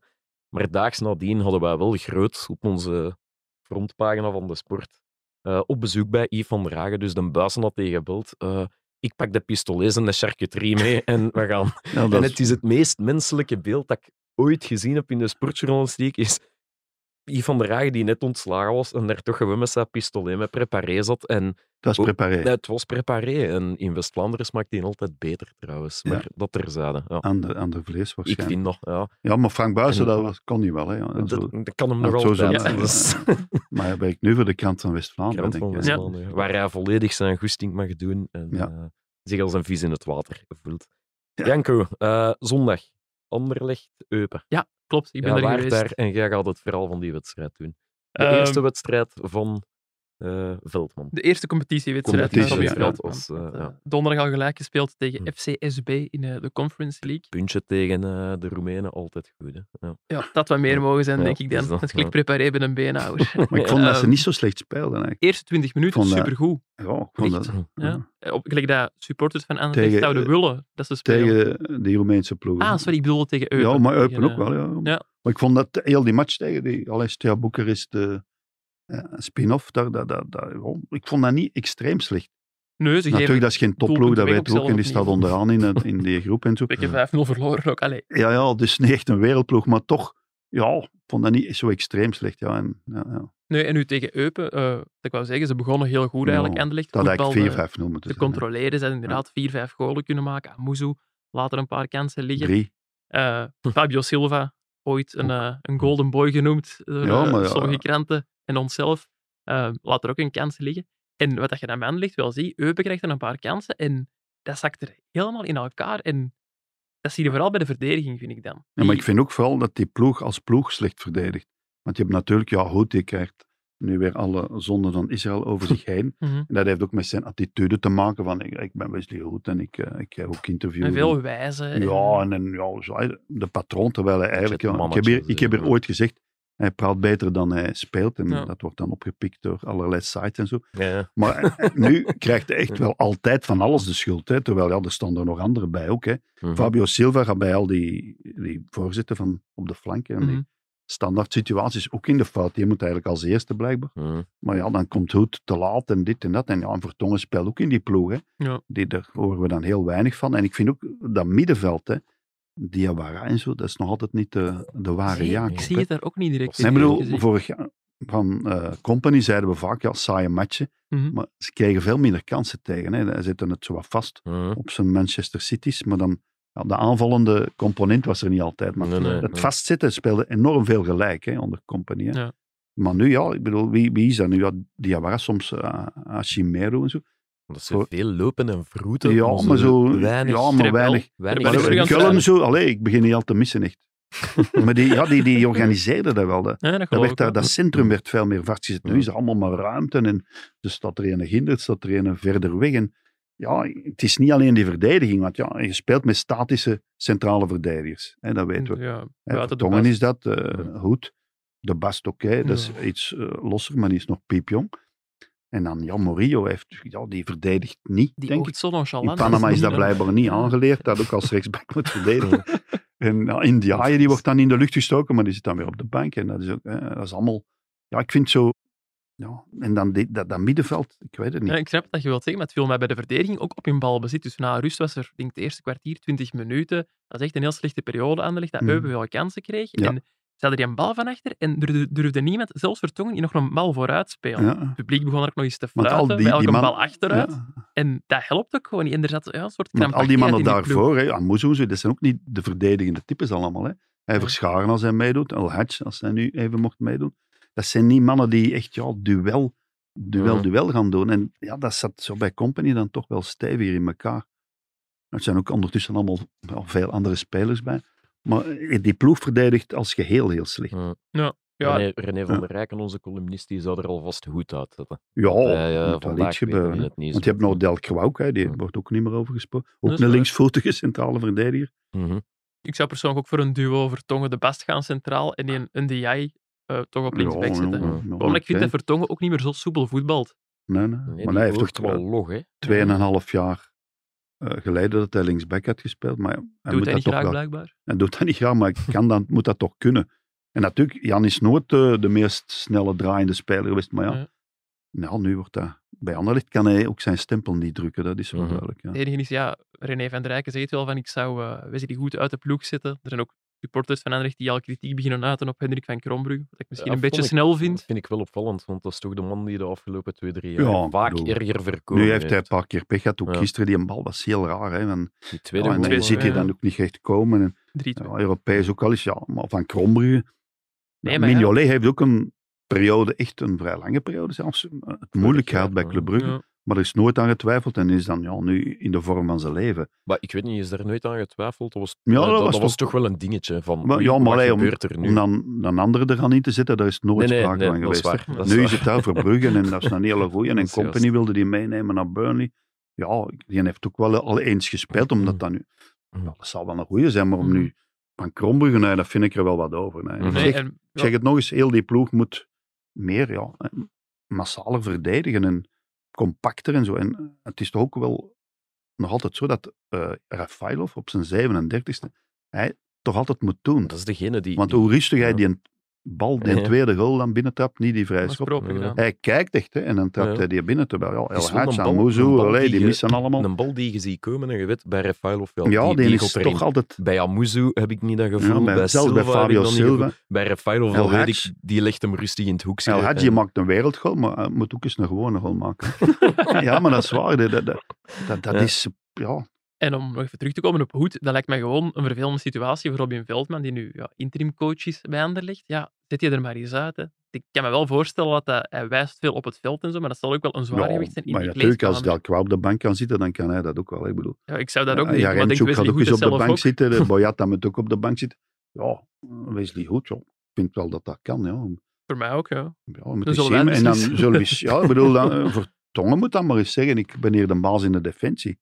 [SPEAKER 2] Maar daags nadien hadden wij wel groot op onze frontpagina van de sport eh, op bezoek bij Yves van der Hagen. Dus de Buijsen had tegenbeld. eh ik pak de pistolets en de charcuterie mee en we gaan
[SPEAKER 4] ja, dat
[SPEAKER 2] en het is het meest menselijke beeld dat ik ooit gezien heb in de sportjournalistiek, is Yves van der Hagen die net ontslagen was en daar toch gewoon met zijn pistolet met preparé zat. En
[SPEAKER 4] dat is preparé.
[SPEAKER 2] het was preparé. En in West-Vlaanderen smaakt die altijd beter trouwens.
[SPEAKER 4] Ja.
[SPEAKER 2] Maar dat terzijde. Ja.
[SPEAKER 4] Aan de, aan de vlees
[SPEAKER 2] Ik
[SPEAKER 4] waarschijnlijk.
[SPEAKER 2] vind nog, ja.
[SPEAKER 4] Ja, maar Frank Buijsen,
[SPEAKER 2] En-
[SPEAKER 4] dat was, kon hij wel. Hè, ja,
[SPEAKER 2] Dat,
[SPEAKER 4] zo.
[SPEAKER 2] dat kan hem
[SPEAKER 4] dat
[SPEAKER 2] nog
[SPEAKER 4] zo
[SPEAKER 2] altijd.
[SPEAKER 3] zijn,
[SPEAKER 2] Ja. Dat is
[SPEAKER 4] Maar hij werkt nu voor de krant van West-Vlaanderen,
[SPEAKER 2] dus. krant
[SPEAKER 4] denk
[SPEAKER 2] van
[SPEAKER 4] ik. hè.
[SPEAKER 2] West-Vlaanderen, Waar hij volledig zijn goesting mag doen en
[SPEAKER 4] Ja.
[SPEAKER 2] eh, zich als een vis in het water voelt.
[SPEAKER 4] Ja.
[SPEAKER 2] Janko, eh, zondag. Anderlecht, Eupen.
[SPEAKER 3] Klopt, ik ben
[SPEAKER 2] ja,
[SPEAKER 3] er
[SPEAKER 2] waar
[SPEAKER 3] geweest.
[SPEAKER 2] daar en jij gaat het verhaal van die wedstrijd doen. De
[SPEAKER 3] Ehm,
[SPEAKER 2] eerste wedstrijd van eh, Veldman.
[SPEAKER 3] De eerste competitiewedstrijd.
[SPEAKER 4] Competitie-
[SPEAKER 3] van Bobby
[SPEAKER 4] ja,
[SPEAKER 3] Veldman.
[SPEAKER 2] als, eh,
[SPEAKER 3] Want, eh,
[SPEAKER 2] ja.
[SPEAKER 3] Donderdag al gelijk gespeeld tegen
[SPEAKER 2] Hm.
[SPEAKER 3] FCSB in eh, de Conference League.
[SPEAKER 2] Puntje tegen eh, de Roemenen, altijd goed. Hè? Ja.
[SPEAKER 3] Ja, dat wat meer mogen zijn,
[SPEAKER 2] Ja,
[SPEAKER 3] denk ik
[SPEAKER 2] dus
[SPEAKER 3] dan.
[SPEAKER 2] dat,
[SPEAKER 3] Het klinkt
[SPEAKER 2] ja.
[SPEAKER 3] preparé bij een beenhouwer.
[SPEAKER 4] Maar ik vond dat ze
[SPEAKER 3] Ehm,
[SPEAKER 4] niet zo slecht speelden, eigenlijk.
[SPEAKER 3] Eerste 20 minuten,
[SPEAKER 4] Vond dat-
[SPEAKER 3] supergoed.
[SPEAKER 4] Ja, ik vond
[SPEAKER 3] Echt?
[SPEAKER 4] dat-
[SPEAKER 3] Ja. Eh, Op, gelijk dat supporters van Anderlecht
[SPEAKER 4] Tegen,
[SPEAKER 3] zouden
[SPEAKER 4] eh,
[SPEAKER 3] willen dat ze spelen.
[SPEAKER 4] Tegen die Roemeense ploeg.
[SPEAKER 3] Ah, sorry, ik bedoelde tegen Eupen.
[SPEAKER 4] Ja, maar
[SPEAKER 3] Tegen,
[SPEAKER 4] Eupen ook
[SPEAKER 3] eh,
[SPEAKER 4] wel, ja.
[SPEAKER 3] ja.
[SPEAKER 4] Maar ik vond dat heel die match tegen die Alessia Boekarest eh eh, spin-off, daar, daar, daar, daar, ja, ik vond dat niet extreem slecht.
[SPEAKER 3] Nee, ze geven
[SPEAKER 4] Natuurlijk, dat is geen topploeg,
[SPEAKER 3] doelpunten
[SPEAKER 4] dat
[SPEAKER 3] weg
[SPEAKER 4] weten we
[SPEAKER 3] op
[SPEAKER 4] ook, en die
[SPEAKER 3] zelf
[SPEAKER 4] staat
[SPEAKER 3] opnieuw.
[SPEAKER 4] onderaan in, het- in die groep en zo.
[SPEAKER 3] Ik heb 5-0 verloren ook. Allee,
[SPEAKER 4] Ja, ja, dus niet echt een wereldploeg, maar toch, ja, ik vond dat niet zo extreem slecht. Ja, en, ja, ja.
[SPEAKER 3] nee, en nu tegen Eupen, eh, dat ik wou zeggen, ze begonnen heel goed eh, eigenlijk.
[SPEAKER 4] Ja,
[SPEAKER 3] Anderlecht
[SPEAKER 4] Dat had ik
[SPEAKER 3] voetbalde
[SPEAKER 4] 4-5 noemen.
[SPEAKER 3] te controleren. Ze hadden inderdaad 4-5 golen kunnen maken. Amuzu later een paar kansen liggen.
[SPEAKER 4] Drie.
[SPEAKER 3] Eh,
[SPEAKER 4] Hm.
[SPEAKER 3] Fabio Silva, ooit een, eh, een golden boy genoemd door
[SPEAKER 4] Ja,
[SPEAKER 3] eh,
[SPEAKER 4] maar ja.
[SPEAKER 3] sommige kranten en onszelf, eh, laat er ook een kans liggen. En wat dat je aan ligt wel ziet, Eupen krijgt er een paar kansen en dat zakt er helemaal in elkaar. En dat zie je vooral bij de verdediging, vind ik dan.
[SPEAKER 4] Ja, maar
[SPEAKER 3] Die-
[SPEAKER 4] ik vind ook vooral dat die ploeg als ploeg slecht verdedigt. Want je hebt natuurlijk, ja, Houthi krijgt nu weer alle zonden van Israël over zich heen.
[SPEAKER 3] Mhm.
[SPEAKER 4] En dat heeft ook met zijn attitude te maken van, ik, ik ben Wesley Hood en ik, eh, ik heb ook interviews.
[SPEAKER 3] En veel wijze. en-
[SPEAKER 4] Ja, en, en ja, zo, hij- de patroon, terwijl hij eigenlijk...
[SPEAKER 2] Chat
[SPEAKER 4] ja, ik, heb
[SPEAKER 2] mannetjes,
[SPEAKER 4] hier, ik heb hier
[SPEAKER 2] ja.
[SPEAKER 4] ooit gezegd, hij praat beter dan hij speelt. En
[SPEAKER 3] Ja.
[SPEAKER 4] dat wordt dan opgepikt door allerlei sites en zo.
[SPEAKER 2] Ja.
[SPEAKER 4] Maar eh, nu krijgt hij echt wel altijd van alles de schuld. Hè? Terwijl, ja, er staan er nog anderen bij ook. Hè?
[SPEAKER 2] Mhm.
[SPEAKER 4] Fabio Silva gaat bij al die, die voorzitten van op de flanken. En
[SPEAKER 3] Mhm.
[SPEAKER 4] die standaard situaties ook in de fout. Die moet eigenlijk als eerste blijkbaar.
[SPEAKER 2] Mhm.
[SPEAKER 4] Maar ja, dan komt Hoed te laat en dit en dat. En ja, en Vertongen speelt ook in die ploeg. Hè.
[SPEAKER 3] Ja.
[SPEAKER 4] Die, daar horen we dan heel weinig van. En ik vind ook dat middenveld, hè, Diawara en zo, dat is nog altijd niet de, de ware
[SPEAKER 3] Zie-
[SPEAKER 4] Jaak.
[SPEAKER 3] Ik zie het daar ook niet direct.
[SPEAKER 4] Nee, ik bedoel,
[SPEAKER 3] gezien.
[SPEAKER 4] vorig jaar van eh, Company zeiden we vaak, ja, saaie matchen.
[SPEAKER 3] Mhm.
[SPEAKER 4] Maar ze kregen veel minder kansen tegen. Hè. Ze zitten het zo wat vast
[SPEAKER 2] Mhm.
[SPEAKER 4] op zijn Manchester City's. Maar dan, ja, de aanvallende component was er niet altijd. Maar
[SPEAKER 2] Nee, nee,
[SPEAKER 4] het
[SPEAKER 2] nee.
[SPEAKER 4] vastzitten speelde enorm veel gelijk hè, onder Company. Hè.
[SPEAKER 3] Ja.
[SPEAKER 4] Maar nu ja, ik bedoel, wie, wie is dat nu? Ja, Diawara, soms eh Achimero en zo.
[SPEAKER 2] Dat ze veel lopen en vroeten.
[SPEAKER 4] Ja, maar zo...
[SPEAKER 2] Weinig.
[SPEAKER 4] ja, maar
[SPEAKER 3] Tripel.
[SPEAKER 4] weinig.
[SPEAKER 2] weinig.
[SPEAKER 3] Ben
[SPEAKER 4] Maar
[SPEAKER 3] ik terug aan
[SPEAKER 4] de
[SPEAKER 3] het
[SPEAKER 4] Cullum
[SPEAKER 3] raden.
[SPEAKER 4] zo... Allee, ik begin niet al te missen, echt. maar die, ja, die, die organiseerde dat wel. hè.
[SPEAKER 3] Ja, dat
[SPEAKER 4] Dat,
[SPEAKER 3] geloof
[SPEAKER 4] werd
[SPEAKER 3] ik
[SPEAKER 4] daar,
[SPEAKER 3] wel.
[SPEAKER 4] dat centrum werd veel meer vastgezet. Nu
[SPEAKER 2] Ja.
[SPEAKER 4] is er allemaal maar ruimte. En dus staat er een hinder, staat er een verder weg. En ja, het is niet alleen die verdediging. Want ja, je speelt met statische centrale verdedigers. Hè, dat weten we.
[SPEAKER 3] Ja,
[SPEAKER 4] Hè,
[SPEAKER 3] buiten de
[SPEAKER 4] Vertongen
[SPEAKER 3] baas.
[SPEAKER 4] is dat, eh,
[SPEAKER 2] Ja.
[SPEAKER 4] Hoed. De Bast, oké, dat is iets eh, losser, maar die is nog piepjong. En dan Jan Morillo, heeft, ja, die verdedigt niet,
[SPEAKER 3] Die
[SPEAKER 4] denk
[SPEAKER 3] oogt zo nonchalant.
[SPEAKER 4] in Panama is
[SPEAKER 3] niet
[SPEAKER 4] dat
[SPEAKER 3] een-
[SPEAKER 4] blijkbaar niet
[SPEAKER 3] Ja.
[SPEAKER 4] aangeleerd, dat ook als rechtsback moet verdedigen. En ja, Indiaye, die wordt dan in de lucht gestoken, maar die zit dan weer op de bank. En dat is, ook, eh, dat is allemaal... Ja, ik vind zo... Ja, en dan dit, dat, dat middenveld, ik weet het niet.
[SPEAKER 3] Ja, ik snap dat je wilt zeggen, maar het viel mij bij de verdediging ook op in balbezit. Dus na rust was er, denk ik, het eerste kwartier, 20 minuten. Dat is echt een heel slechte periode aan de licht, dat
[SPEAKER 4] Mhm.
[SPEAKER 3] Eupen veel kansen kreeg.
[SPEAKER 4] Ja.
[SPEAKER 3] En ze hadden er een bal van achter en er du- durfde niemand, zelfs Vertongen, die nog een bal vooruit spelen.
[SPEAKER 4] Ja,
[SPEAKER 3] Het publiek begon er ook nog eens te
[SPEAKER 4] Want al
[SPEAKER 3] fluiten,
[SPEAKER 4] die-
[SPEAKER 3] bij elke
[SPEAKER 4] die man-
[SPEAKER 3] bal achteruit.
[SPEAKER 4] ja.
[SPEAKER 3] En dat helpt ook gewoon niet. En er zat ja, een soort
[SPEAKER 4] Want al die
[SPEAKER 3] krampachtigheid
[SPEAKER 4] mannen
[SPEAKER 3] in die ploeg.
[SPEAKER 4] daarvoor, hè, Amuzu, zo, dat zijn ook niet de verdedigende types allemaal. Hè. Hij
[SPEAKER 3] Ja.
[SPEAKER 4] Verscharen als hij meedoet, El Hadj als hij nu even mocht meedoen. Dat zijn niet mannen die echt ja, duel, duel,
[SPEAKER 2] Mhm.
[SPEAKER 4] duel gaan doen. En ja, dat zat zo bij Company dan toch wel steviger in elkaar. Er zijn ook ondertussen allemaal wel veel andere spelers bij. Maar eh, die ploeg verdedigt als geheel heel slecht.
[SPEAKER 3] Ja,
[SPEAKER 2] René, René van
[SPEAKER 4] Ja.
[SPEAKER 2] der Rijken, onze columnist, die zou er alvast goed uit zetten.
[SPEAKER 4] Ja,
[SPEAKER 2] ja, ja,
[SPEAKER 4] Oh, moet wel
[SPEAKER 2] vandaag
[SPEAKER 4] iets
[SPEAKER 2] weten we
[SPEAKER 4] gebeuren. hè.
[SPEAKER 2] het niet
[SPEAKER 4] Want je
[SPEAKER 2] zo.
[SPEAKER 4] hebt nog Del Kwauk, hè, die
[SPEAKER 2] Ja.
[SPEAKER 4] wordt ook niet meer over gesproken.
[SPEAKER 3] Dat
[SPEAKER 4] Ook
[SPEAKER 3] is
[SPEAKER 4] een
[SPEAKER 3] waar.
[SPEAKER 4] linksvoetige centrale verdediger.
[SPEAKER 2] Mhm.
[SPEAKER 3] ik zou persoonlijk ook voor een duo Vertongen de Bast gaan centraal en een, een DI eh, toch op linksback
[SPEAKER 4] Ja,
[SPEAKER 3] zetten.
[SPEAKER 4] ja, ja,
[SPEAKER 3] Omdat ik vind
[SPEAKER 4] oké.
[SPEAKER 3] dat Vertongen ook niet meer zo soepel voetbalt.
[SPEAKER 4] Nee, nee.
[SPEAKER 2] Nee,
[SPEAKER 4] maar
[SPEAKER 2] die
[SPEAKER 4] hij heeft
[SPEAKER 2] wordt
[SPEAKER 4] toch eh, wel
[SPEAKER 2] wel log, hè?
[SPEAKER 4] tweeënhalf jaar eh, geleden dat hij linksback had gespeeld. Maar hij moet
[SPEAKER 3] Doet hij
[SPEAKER 4] dat
[SPEAKER 3] niet
[SPEAKER 4] toch
[SPEAKER 3] graag,
[SPEAKER 4] wel.
[SPEAKER 3] blijkbaar.
[SPEAKER 4] Hij doet dat niet graag, maar hij kan dan, moet dat toch kunnen. En natuurlijk, Jan is nooit eh, de meest snelle draaiende speler geweest. Maar ja,
[SPEAKER 3] Ja.
[SPEAKER 4] nou, nu wordt dat... Bij Anderlecht kan hij ook zijn stempel niet drukken, dat is wel
[SPEAKER 2] Mhm.
[SPEAKER 4] duidelijk. Ja.
[SPEAKER 3] Het enige is, ja, René van der Rijken zegt wel van ik zou eh Wesley goed uit de ploeg zetten. Er zijn ook supporters van Anderlecht die al kritiek beginnen uiten op Hendrik van Krombrugge. Wat ik misschien
[SPEAKER 2] Ja,
[SPEAKER 3] een beetje
[SPEAKER 2] vond ik-
[SPEAKER 3] snel
[SPEAKER 2] Dat
[SPEAKER 3] vind.
[SPEAKER 2] vind ik wel opvallend, want dat is toch de man die de afgelopen twee, drie
[SPEAKER 4] Ja,
[SPEAKER 2] jaar
[SPEAKER 4] ik
[SPEAKER 2] vaak
[SPEAKER 4] bedoel,
[SPEAKER 2] erger verkocht
[SPEAKER 4] Nu heeft hij een paar keer pech gehad. Ook
[SPEAKER 2] Ja.
[SPEAKER 4] gisteren, die bal was heel raar. Hè, en,
[SPEAKER 2] Die tweede
[SPEAKER 4] ja, en
[SPEAKER 2] goal, eh,
[SPEAKER 3] Twee-
[SPEAKER 4] dan ziet hij
[SPEAKER 3] ja.
[SPEAKER 4] dan ook niet echt komen. En,
[SPEAKER 3] 3-2.
[SPEAKER 4] ja, Europees ook al eens, ja. Maar van Krombrugge...
[SPEAKER 3] Nee,
[SPEAKER 4] Ja,
[SPEAKER 3] maar ja.
[SPEAKER 4] Mignolet heeft ook een periode, echt een vrij lange periode zelfs, eh, het moeilijk
[SPEAKER 2] jaar,
[SPEAKER 4] gehad bij
[SPEAKER 2] ja.
[SPEAKER 4] Club Brugge.
[SPEAKER 3] Ja.
[SPEAKER 4] Maar er is nooit aan getwijfeld en is dan ja, nu in de vorm van zijn leven.
[SPEAKER 2] Maar ik weet niet, is daar nooit aan getwijfeld? Dat was,
[SPEAKER 4] Ja,
[SPEAKER 2] dat,
[SPEAKER 4] dat was
[SPEAKER 2] dat was
[SPEAKER 4] toch-
[SPEAKER 2] toch wel een dingetje van,
[SPEAKER 4] Maar-
[SPEAKER 2] oei,
[SPEAKER 4] ja, maar
[SPEAKER 2] wat
[SPEAKER 4] hij om-
[SPEAKER 2] gebeurt er nu?
[SPEAKER 4] Om dan een andere er aan in te zetten, daar is nooit
[SPEAKER 2] nee, nee,
[SPEAKER 4] sprake
[SPEAKER 2] nee,
[SPEAKER 4] van
[SPEAKER 2] dat is
[SPEAKER 4] geweest.
[SPEAKER 2] waar. dat
[SPEAKER 4] nu
[SPEAKER 2] waar.
[SPEAKER 4] is het daar voor Brugge en dat is een hele goeie. En
[SPEAKER 2] Dat is
[SPEAKER 4] Company
[SPEAKER 2] juist.
[SPEAKER 4] wilde die meenemen naar Burnley. Ja, die heeft ook wel al eens gespeeld, omdat dat nu...
[SPEAKER 2] Mhm.
[SPEAKER 4] Ja, dat zal wel een goeie zijn, maar om
[SPEAKER 3] Mhm.
[SPEAKER 4] nu van Krombrugge, nee, dat vind ik er wel wat over. Nee.
[SPEAKER 2] Mm. Nee,
[SPEAKER 4] Ik
[SPEAKER 3] Nee,
[SPEAKER 4] zeg,
[SPEAKER 3] en-
[SPEAKER 4] Ik zeg het nog eens, heel die ploeg moet meer, ja, eh, massaler verdedigen en compacter en zo. En het is toch ook wel nog altijd zo dat eh Rafailov op zijn 37e, hij toch altijd moet doen.
[SPEAKER 2] Dat is degene die...
[SPEAKER 4] Want
[SPEAKER 2] die-
[SPEAKER 4] hoe rustig hij
[SPEAKER 2] ja.
[SPEAKER 4] die bal, die
[SPEAKER 2] Ja.
[SPEAKER 4] tweede goal dan binnentrapt, niet die vrije
[SPEAKER 3] dat is
[SPEAKER 4] schop. eh.
[SPEAKER 3] proper
[SPEAKER 2] Ja.
[SPEAKER 3] gedaan.
[SPEAKER 4] Hij kijkt echt hè, en dan trapt
[SPEAKER 2] Ja.
[SPEAKER 4] hij die binnen. Terwijl, ja,
[SPEAKER 2] Het is
[SPEAKER 4] El
[SPEAKER 2] wel
[SPEAKER 4] Hadj,
[SPEAKER 2] een bal- een
[SPEAKER 4] Amouzou,
[SPEAKER 2] bal
[SPEAKER 4] allee, die
[SPEAKER 2] die je-
[SPEAKER 4] missen allemaal.
[SPEAKER 2] Een bal die je ziet komen en je weet, bij Rafailov wel,
[SPEAKER 4] ja, die,
[SPEAKER 2] die
[SPEAKER 4] is
[SPEAKER 2] gaat
[SPEAKER 4] toch
[SPEAKER 2] erin.
[SPEAKER 4] altijd...
[SPEAKER 2] Bij Amuzu heb ik niet dat gevoel,
[SPEAKER 4] Ja, bij,
[SPEAKER 2] bij
[SPEAKER 4] zelfs
[SPEAKER 2] Silva
[SPEAKER 4] bij
[SPEAKER 2] heb ik
[SPEAKER 4] Fabio
[SPEAKER 2] dat niet gevoel.
[SPEAKER 4] Silva.
[SPEAKER 2] Bij Rafailov wel
[SPEAKER 4] El
[SPEAKER 2] weet
[SPEAKER 4] Hadj.
[SPEAKER 2] ik, die legt hem rustig in het hoekje.
[SPEAKER 4] El Hadji
[SPEAKER 2] en-
[SPEAKER 4] maakt een wereldgoal, maar hij moet ook eens een gewone goal maken. ja, maar dat is waar. Dat, dat, dat, dat, dat
[SPEAKER 2] Ja.
[SPEAKER 4] is... Ja,
[SPEAKER 3] En om nog even terug te komen op Hoed, dat lijkt mij gewoon een vervelende situatie voor Robin Veldman, die nu ja, interimcoach is bij Anderlecht. Ja, zet je er maar eens uit. Hè. Ik kan me wel voorstellen dat hij, hij wijst veel op het veld en zo, maar dat zal ook wel een zwaar
[SPEAKER 4] ja,
[SPEAKER 3] gewicht zijn in
[SPEAKER 4] maar
[SPEAKER 3] die
[SPEAKER 4] natuurlijk, als
[SPEAKER 3] kleedkamer.
[SPEAKER 4] Del Kwa op de bank kan zitten, dan kan hij dat ook wel. Ik bedoel,
[SPEAKER 3] Ja, ik zou dat ook
[SPEAKER 4] ja,
[SPEAKER 3] denken, maar ik denk
[SPEAKER 4] Remchuk
[SPEAKER 3] Wesley
[SPEAKER 4] gaat ook
[SPEAKER 3] Hoed
[SPEAKER 4] eens
[SPEAKER 3] het
[SPEAKER 4] op de
[SPEAKER 3] zelf
[SPEAKER 4] bank
[SPEAKER 3] ook.
[SPEAKER 4] zitten. De Boyata moet ook op de bank zitten. Ja, Wesley Hoed, joh. vind wel dat dat kan. Ja.
[SPEAKER 3] Voor mij ook, ja.
[SPEAKER 4] Ja, met
[SPEAKER 3] Dan
[SPEAKER 4] de
[SPEAKER 3] zullen wij
[SPEAKER 4] Siem en dan
[SPEAKER 3] beslissen.
[SPEAKER 4] zullen we... Ja, ik bedoel, dan, eh, Vertongen moet dat maar eens zeggen. Ik ben hier de baas in de defensie.